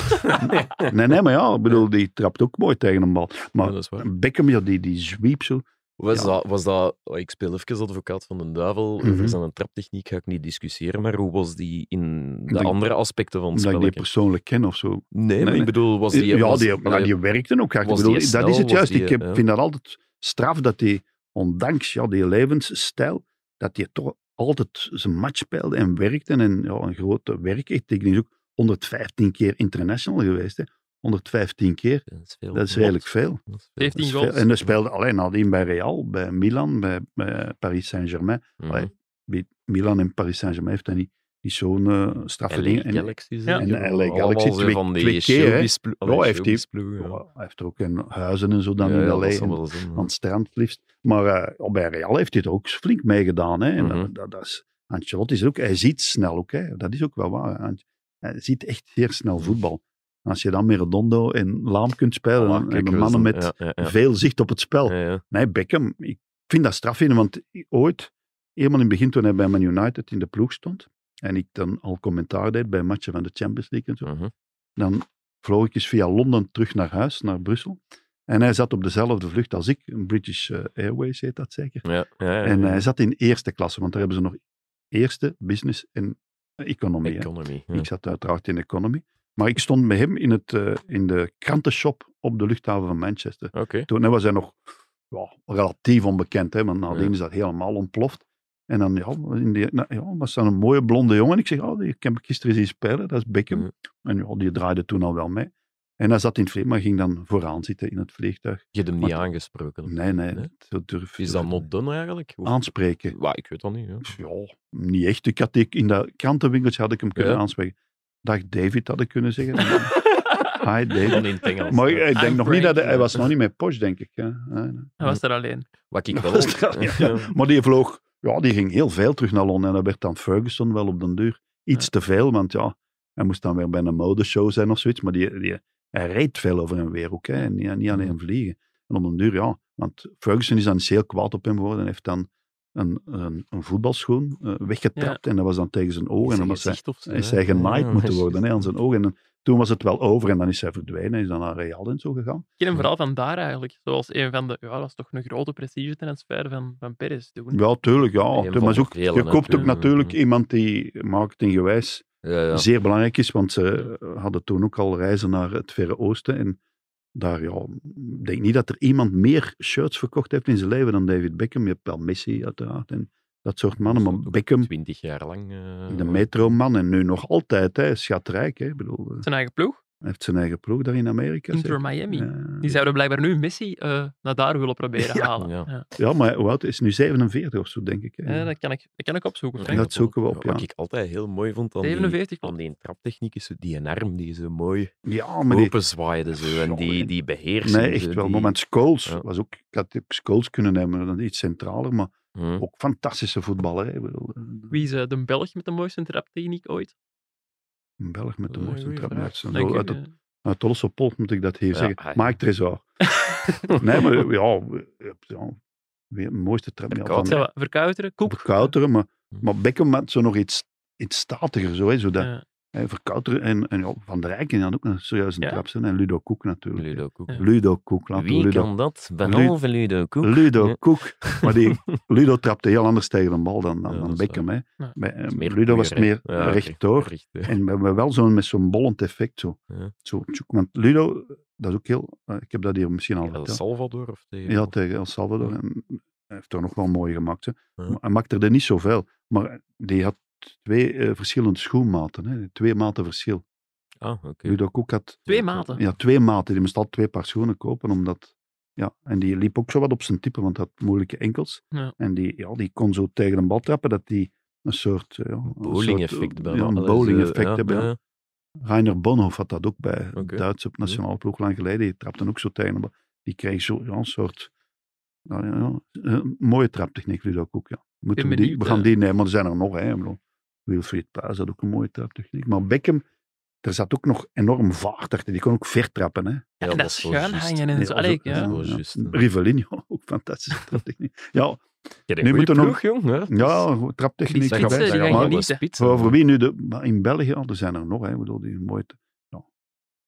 [SPEAKER 4] nee, nee, maar ja, ik bedoel, die trapt ook mooi tegen een bal.
[SPEAKER 2] Ja,
[SPEAKER 4] Maar
[SPEAKER 2] dat is waar.
[SPEAKER 4] Beckham, ja, die, die zweep zo.
[SPEAKER 2] Was,
[SPEAKER 4] Ja.
[SPEAKER 2] dat, was dat, oh, ik speel even advocaat van de duivel,
[SPEAKER 4] Mhm.
[SPEAKER 2] over zijn traptechniek ga ik niet discussiëren, maar hoe was die in de
[SPEAKER 4] Dat ik-
[SPEAKER 2] andere aspecten van het
[SPEAKER 4] Omdat ik
[SPEAKER 2] spelletje?
[SPEAKER 4] die persoonlijk ken of zo.
[SPEAKER 2] nee, maar
[SPEAKER 4] nee.
[SPEAKER 2] ik bedoel, was die...
[SPEAKER 4] ja,
[SPEAKER 2] was-
[SPEAKER 4] die, maar die werkte ook hard. Ik
[SPEAKER 2] was
[SPEAKER 4] bedoel,
[SPEAKER 2] die
[SPEAKER 4] dat is
[SPEAKER 2] snel,
[SPEAKER 4] het
[SPEAKER 2] was
[SPEAKER 4] juist.
[SPEAKER 2] die, eh,
[SPEAKER 4] ik heb-
[SPEAKER 2] ja.
[SPEAKER 4] vind dat altijd straf dat hij, ondanks ja, die levensstijl, dat hij toch altijd zijn match speelde en werkte. En ja, een grote werkethiek. Die is ook 115 keer international geweest. Hè. 115 keer,
[SPEAKER 2] dat is, veel.
[SPEAKER 4] dat is
[SPEAKER 2] Wat?
[SPEAKER 4] redelijk veel.
[SPEAKER 2] Dat is veel.
[SPEAKER 3] 17
[SPEAKER 4] Dat is
[SPEAKER 3] goals.
[SPEAKER 4] veel. En dat speelde alleen nadien bij Real, bij Milan, bij, bij Paris Saint-Germain.
[SPEAKER 2] Mhm.
[SPEAKER 4] Allee, bij Milan en Paris Saint-Germain heeft hij niet, niet zo'n eh, straffe
[SPEAKER 2] LA
[SPEAKER 4] dingen. En-
[SPEAKER 2] Galaxy.
[SPEAKER 3] Ja.
[SPEAKER 2] zijn die
[SPEAKER 4] en
[SPEAKER 2] wel
[SPEAKER 4] LA
[SPEAKER 2] allemaal
[SPEAKER 4] Galaxy
[SPEAKER 2] zo
[SPEAKER 4] twee-
[SPEAKER 2] van die
[SPEAKER 4] twee keer, hè.
[SPEAKER 2] showbiz plo- allee,
[SPEAKER 4] Ja, heeft die-
[SPEAKER 2] showbizploegen, ja.
[SPEAKER 4] ja, hij heeft er ook in huizen en zo dan
[SPEAKER 2] Ja, ja,
[SPEAKER 4] in
[SPEAKER 2] dat
[SPEAKER 4] LA.
[SPEAKER 2] zal
[SPEAKER 4] En-
[SPEAKER 2] wel zijn, ja.
[SPEAKER 4] aan het strand het liefst. Maar eh, ja, bij Real heeft hij er ook flink mee gedaan. Hè? En
[SPEAKER 2] Mhm.
[SPEAKER 4] dat, dat, dat is, Ancelotti is ook, hij ziet snel ook. Hè? Dat is ook wel waar. Ant- Hij ziet echt zeer snel voetbal. Als je dan met Redondo en Laam kunt spelen,
[SPEAKER 2] Ah,
[SPEAKER 4] dan
[SPEAKER 2] kijk,
[SPEAKER 4] hebben
[SPEAKER 2] we
[SPEAKER 4] mannen
[SPEAKER 2] zijn-
[SPEAKER 4] met
[SPEAKER 2] ja, ja, ja.
[SPEAKER 4] veel zicht op het spel.
[SPEAKER 2] Ja, ja.
[SPEAKER 4] Nee, Beckham, ik vind dat straf in, want ooit, helemaal in het begin toen hij bij Man United in de ploeg stond, en ik dan al commentaar deed bij matchen van de Champions League en zo,
[SPEAKER 2] Mhm.
[SPEAKER 4] dan vloog ik eens via Londen terug naar huis, naar Brussel. En hij zat op dezelfde vlucht als ik, een British eh, Airways heet dat zeker.
[SPEAKER 2] Ja, ja, ja,
[SPEAKER 4] En
[SPEAKER 2] ja.
[SPEAKER 4] hij zat in eerste klasse, want daar hebben ze nog eerste, business en economie. hè.
[SPEAKER 2] Economy. ja.
[SPEAKER 4] Ik zat uiteraard in economy. Maar ik stond met hem in, het, eh, in de krantenshop op de luchthaven van Manchester.
[SPEAKER 2] Oké.
[SPEAKER 4] Toen hè, was hij nog ja, relatief onbekend, hè, want nadien
[SPEAKER 2] Ja.
[SPEAKER 4] is dat helemaal ontploft. En dan ja, in die, nou, ja, was dan een mooie blonde jongen. Ik zeg, oh, die heb ik gisteren zien spelen, dat is Beckham.
[SPEAKER 2] Ja.
[SPEAKER 4] En ja, die draaide toen al wel mee. En hij zat in het vliegtuig, maar ging dan vooraan zitten in het vliegtuig.
[SPEAKER 2] Je hebt hem niet
[SPEAKER 4] Maar-
[SPEAKER 2] aangesproken.
[SPEAKER 4] Nee, Ah, nee,
[SPEAKER 2] Nee?
[SPEAKER 4] dat durf
[SPEAKER 2] Is dat not done eigenlijk? Of-
[SPEAKER 4] Aanspreken.
[SPEAKER 2] Wa, ik weet dat niet. Ja.
[SPEAKER 4] Ja, niet echt. Ik had die, in dat krantenwinkeltje had ik hem kunnen
[SPEAKER 2] Ja.
[SPEAKER 4] aanspreken. Dag David had ik kunnen zeggen. Hi David.
[SPEAKER 2] Dan in het Engels.
[SPEAKER 4] Maar ik ik denk
[SPEAKER 3] I'm
[SPEAKER 4] nog niet dat hij,
[SPEAKER 3] breaking.
[SPEAKER 4] hij was nog niet met Porsche, denk ik. hè. Nee, nee.
[SPEAKER 3] Hij was er alleen.
[SPEAKER 2] Ah, Wat ik
[SPEAKER 4] Dat
[SPEAKER 2] wel...
[SPEAKER 4] was het, ja.
[SPEAKER 2] Ja.
[SPEAKER 4] Maar die vloog, ja, die ging heel veel terug naar Londen. En dat werd dan Ferguson wel op den duur. Iets te veel, want ja, hij moest dan weer bij een modeshow zijn of zoiets. Maar die, die, hij reed veel over en weer ook, hè. En niet, niet alleen vliegen. En op den duur, ja, want Ferguson is dan eens heel kwaad op hem geworden. En heeft dan een, een, een voetbalschoen eh, weggetrapt. En dat was dan tegen zijn ogen.
[SPEAKER 2] Is hij
[SPEAKER 4] En dan was hij,
[SPEAKER 2] gezicht of zo,
[SPEAKER 4] is
[SPEAKER 2] hè?
[SPEAKER 4] hij genaaid
[SPEAKER 2] Ja,
[SPEAKER 4] moeten
[SPEAKER 2] precies.
[SPEAKER 4] worden hè, aan zijn ogen. En toen was het wel over en dan is hij verdwenen. Hij is dan naar Real en zo gegaan.
[SPEAKER 3] Ik ken hem vooral van daar eigenlijk. Zoals een van de... Ja, dat is toch een grote prestigetransfer van, van Perez doen.
[SPEAKER 4] Ja, tuurlijk, ja.
[SPEAKER 2] Een
[SPEAKER 4] Maar
[SPEAKER 2] van
[SPEAKER 4] is
[SPEAKER 2] de
[SPEAKER 4] ook,
[SPEAKER 2] velen,
[SPEAKER 4] je koopt
[SPEAKER 2] natuurlijk.
[SPEAKER 4] ook natuurlijk
[SPEAKER 2] Mhm.
[SPEAKER 4] iemand die marketinggewijs
[SPEAKER 2] Ja, ja.
[SPEAKER 4] zeer belangrijk is, want ze hadden toen ook al reizen naar het Verre Oosten. En daar, ja, ik denk niet dat er iemand meer shirts verkocht heeft in zijn leven dan David Beckham. Je hebt wel Messi, uiteraard. En dat soort mannen.
[SPEAKER 2] Dat is
[SPEAKER 4] Maar
[SPEAKER 2] ook
[SPEAKER 4] Beckham,
[SPEAKER 2] Twintig jaar lang. eh,
[SPEAKER 4] de metroman en nu nog altijd, hè, schatrijk. Hè. Ik bedoel, eh,
[SPEAKER 3] Zijn eigen ploeg,
[SPEAKER 4] hij heeft zijn eigen ploeg daar in Amerika.
[SPEAKER 3] Inter
[SPEAKER 4] zeker.
[SPEAKER 3] Miami.
[SPEAKER 4] Ja.
[SPEAKER 3] Die zouden blijkbaar nu een missie eh, naar daar willen proberen
[SPEAKER 4] Ja.
[SPEAKER 3] halen.
[SPEAKER 2] Ja.
[SPEAKER 3] Ja.
[SPEAKER 4] Ja, maar hoe oud is hij nu? 47 of zo, denk ik. hè.
[SPEAKER 3] Ja, dat, kan ik, dat kan ik opzoeken.
[SPEAKER 4] dat
[SPEAKER 3] Frank.
[SPEAKER 4] zoeken we op,
[SPEAKER 2] Wat
[SPEAKER 4] ja.
[SPEAKER 2] ik altijd heel mooi vond aan die,
[SPEAKER 3] 47
[SPEAKER 2] aan die traptechniek is zo die een arm die zo mooi
[SPEAKER 4] ja, maar die,
[SPEAKER 2] open zwaaide zo, en die, die beheersen.
[SPEAKER 4] nee,
[SPEAKER 2] zo,
[SPEAKER 4] echt wel.
[SPEAKER 2] die-
[SPEAKER 4] Moment, Scholes
[SPEAKER 2] Ja.
[SPEAKER 4] was ook, ik had ook Scholes kunnen nemen, dan iets centraler, maar
[SPEAKER 2] Hm.
[SPEAKER 4] ook fantastische voetballer. Hè. Ik bedoel, eh,
[SPEAKER 3] Wie is eh, de Belg met de mooiste traptechniek ooit?
[SPEAKER 4] Een Belg met
[SPEAKER 2] Dat is
[SPEAKER 4] de
[SPEAKER 2] een
[SPEAKER 4] mooiste
[SPEAKER 2] goeie
[SPEAKER 4] trap.
[SPEAKER 2] vraag.
[SPEAKER 4] Uit zijn
[SPEAKER 3] Dank
[SPEAKER 4] goal,
[SPEAKER 3] u,
[SPEAKER 4] uit het-
[SPEAKER 3] eh.
[SPEAKER 4] Uit Olse Polt moet ik dat hier
[SPEAKER 2] Ja,
[SPEAKER 4] zeggen.
[SPEAKER 2] hij-
[SPEAKER 4] Maak Tresor. nee, maar ja, ja, weer een mooiste trap. Ja,
[SPEAKER 2] Verkouteren.
[SPEAKER 3] Zijn
[SPEAKER 4] van
[SPEAKER 3] we Verkuiteren, eh, Koek.
[SPEAKER 4] Verkouteren, maar, maar Beckham had zo nog iets, iets statiger. Zo, hè, zo dat,
[SPEAKER 3] Ja.
[SPEAKER 4] hè, Verkouteren en, en ja, Van der Rijken had ook een serieuze
[SPEAKER 3] Ja.
[SPEAKER 4] trap zijn. En Ludo Koek natuurlijk. hè.
[SPEAKER 2] Ludo Koek.
[SPEAKER 3] Ja.
[SPEAKER 4] Ludo Koek, laten we
[SPEAKER 2] Wie
[SPEAKER 4] Ludo,
[SPEAKER 2] kan dat behalve Ludo Koek?
[SPEAKER 4] Ludo
[SPEAKER 2] Ja.
[SPEAKER 4] Koek. Maar die, Ludo trapte heel anders tegen een bal dan, dan,
[SPEAKER 2] Ja,
[SPEAKER 4] dan
[SPEAKER 2] dat is
[SPEAKER 4] Beckham. Hè.
[SPEAKER 3] Ja.
[SPEAKER 4] Bij, eh,
[SPEAKER 2] Dat is meer
[SPEAKER 4] Ludo was
[SPEAKER 2] puur, hè.
[SPEAKER 4] meer
[SPEAKER 2] Ja, oké.
[SPEAKER 4] rechtdoor.
[SPEAKER 2] Recht, hè.
[SPEAKER 4] En we hebben wel zo'n met zo'n bollend effect. Zo.
[SPEAKER 2] Ja.
[SPEAKER 4] Zo, tjoek. want Ludo, dat is ook heel. eh, ik heb dat hier misschien al
[SPEAKER 2] El
[SPEAKER 4] verteld.
[SPEAKER 2] Salvador of tegen...
[SPEAKER 4] Ja, tegen El Salvador. En hij heeft er nog wel mooi gemaakt. Hè.
[SPEAKER 2] Ja.
[SPEAKER 4] Maar Hij maakte er niet zoveel. Maar die had twee eh, verschillende schoenmaten. Hè. Twee maten verschil.
[SPEAKER 2] Ah, oké.
[SPEAKER 4] Ludo Koek had
[SPEAKER 3] Twee maten.
[SPEAKER 4] ja, twee maten. Die moest al twee paar schoenen kopen. Omdat, ja, en die liep ook zo wat op zijn type, want hij had moeilijke enkels.
[SPEAKER 3] Ja.
[SPEAKER 4] En die, ja, die kon zo tegen een bal trappen dat die een soort... eh, Ja, een
[SPEAKER 2] Bowling
[SPEAKER 4] soort,
[SPEAKER 2] effect
[SPEAKER 4] eh,
[SPEAKER 2] bijna.
[SPEAKER 4] Ja, een
[SPEAKER 2] Dat is,
[SPEAKER 4] bowling
[SPEAKER 2] eh,
[SPEAKER 4] effect
[SPEAKER 2] ja,
[SPEAKER 4] hebben. ja.
[SPEAKER 2] ja.
[SPEAKER 4] Rainer Bonhoff had dat ook bij
[SPEAKER 2] Oké.
[SPEAKER 4] Duits op nationale ploeg lang geleden. Die trapte ook zo tegen. de bal. Die kreeg zo ja, een soort nou, ja, een mooie traptechniek, Ludo ook. Ja. Moeten we,
[SPEAKER 3] Ben
[SPEAKER 4] die,
[SPEAKER 3] benieuwd,
[SPEAKER 4] we gaan
[SPEAKER 3] eh.
[SPEAKER 4] die nemen, maar er zijn er nog. Hè. Ik bedoel, Wilfried Paas had ook een mooie traptechniek. Maar Beckham, er zat ook nog enorm vaart achter. Die kon ook ver trappen. Hè.
[SPEAKER 3] Ja,
[SPEAKER 2] is
[SPEAKER 3] en dat
[SPEAKER 2] wel
[SPEAKER 3] schuin
[SPEAKER 2] juist.
[SPEAKER 3] hangen en
[SPEAKER 2] Ja,
[SPEAKER 3] zo.
[SPEAKER 2] dat is
[SPEAKER 3] Allee,
[SPEAKER 2] ook- dat is
[SPEAKER 3] ja.
[SPEAKER 2] wel juist, hè.
[SPEAKER 4] Rivellino, ook fantastische traptechniek. Ja,
[SPEAKER 2] Je hebt een
[SPEAKER 4] Nu
[SPEAKER 2] goeie
[SPEAKER 4] moeten we nog-
[SPEAKER 2] ploeg, jong. hè.
[SPEAKER 4] ja goed,
[SPEAKER 2] Die
[SPEAKER 4] traptechniek.
[SPEAKER 3] spitsen,
[SPEAKER 4] trap-
[SPEAKER 3] die gaan
[SPEAKER 4] maar-
[SPEAKER 3] genieten.
[SPEAKER 2] eh,
[SPEAKER 4] voor Over wie nu de, maar in België, oh, er zijn er nog, hè, Ik bedoel, die mooie. Ja.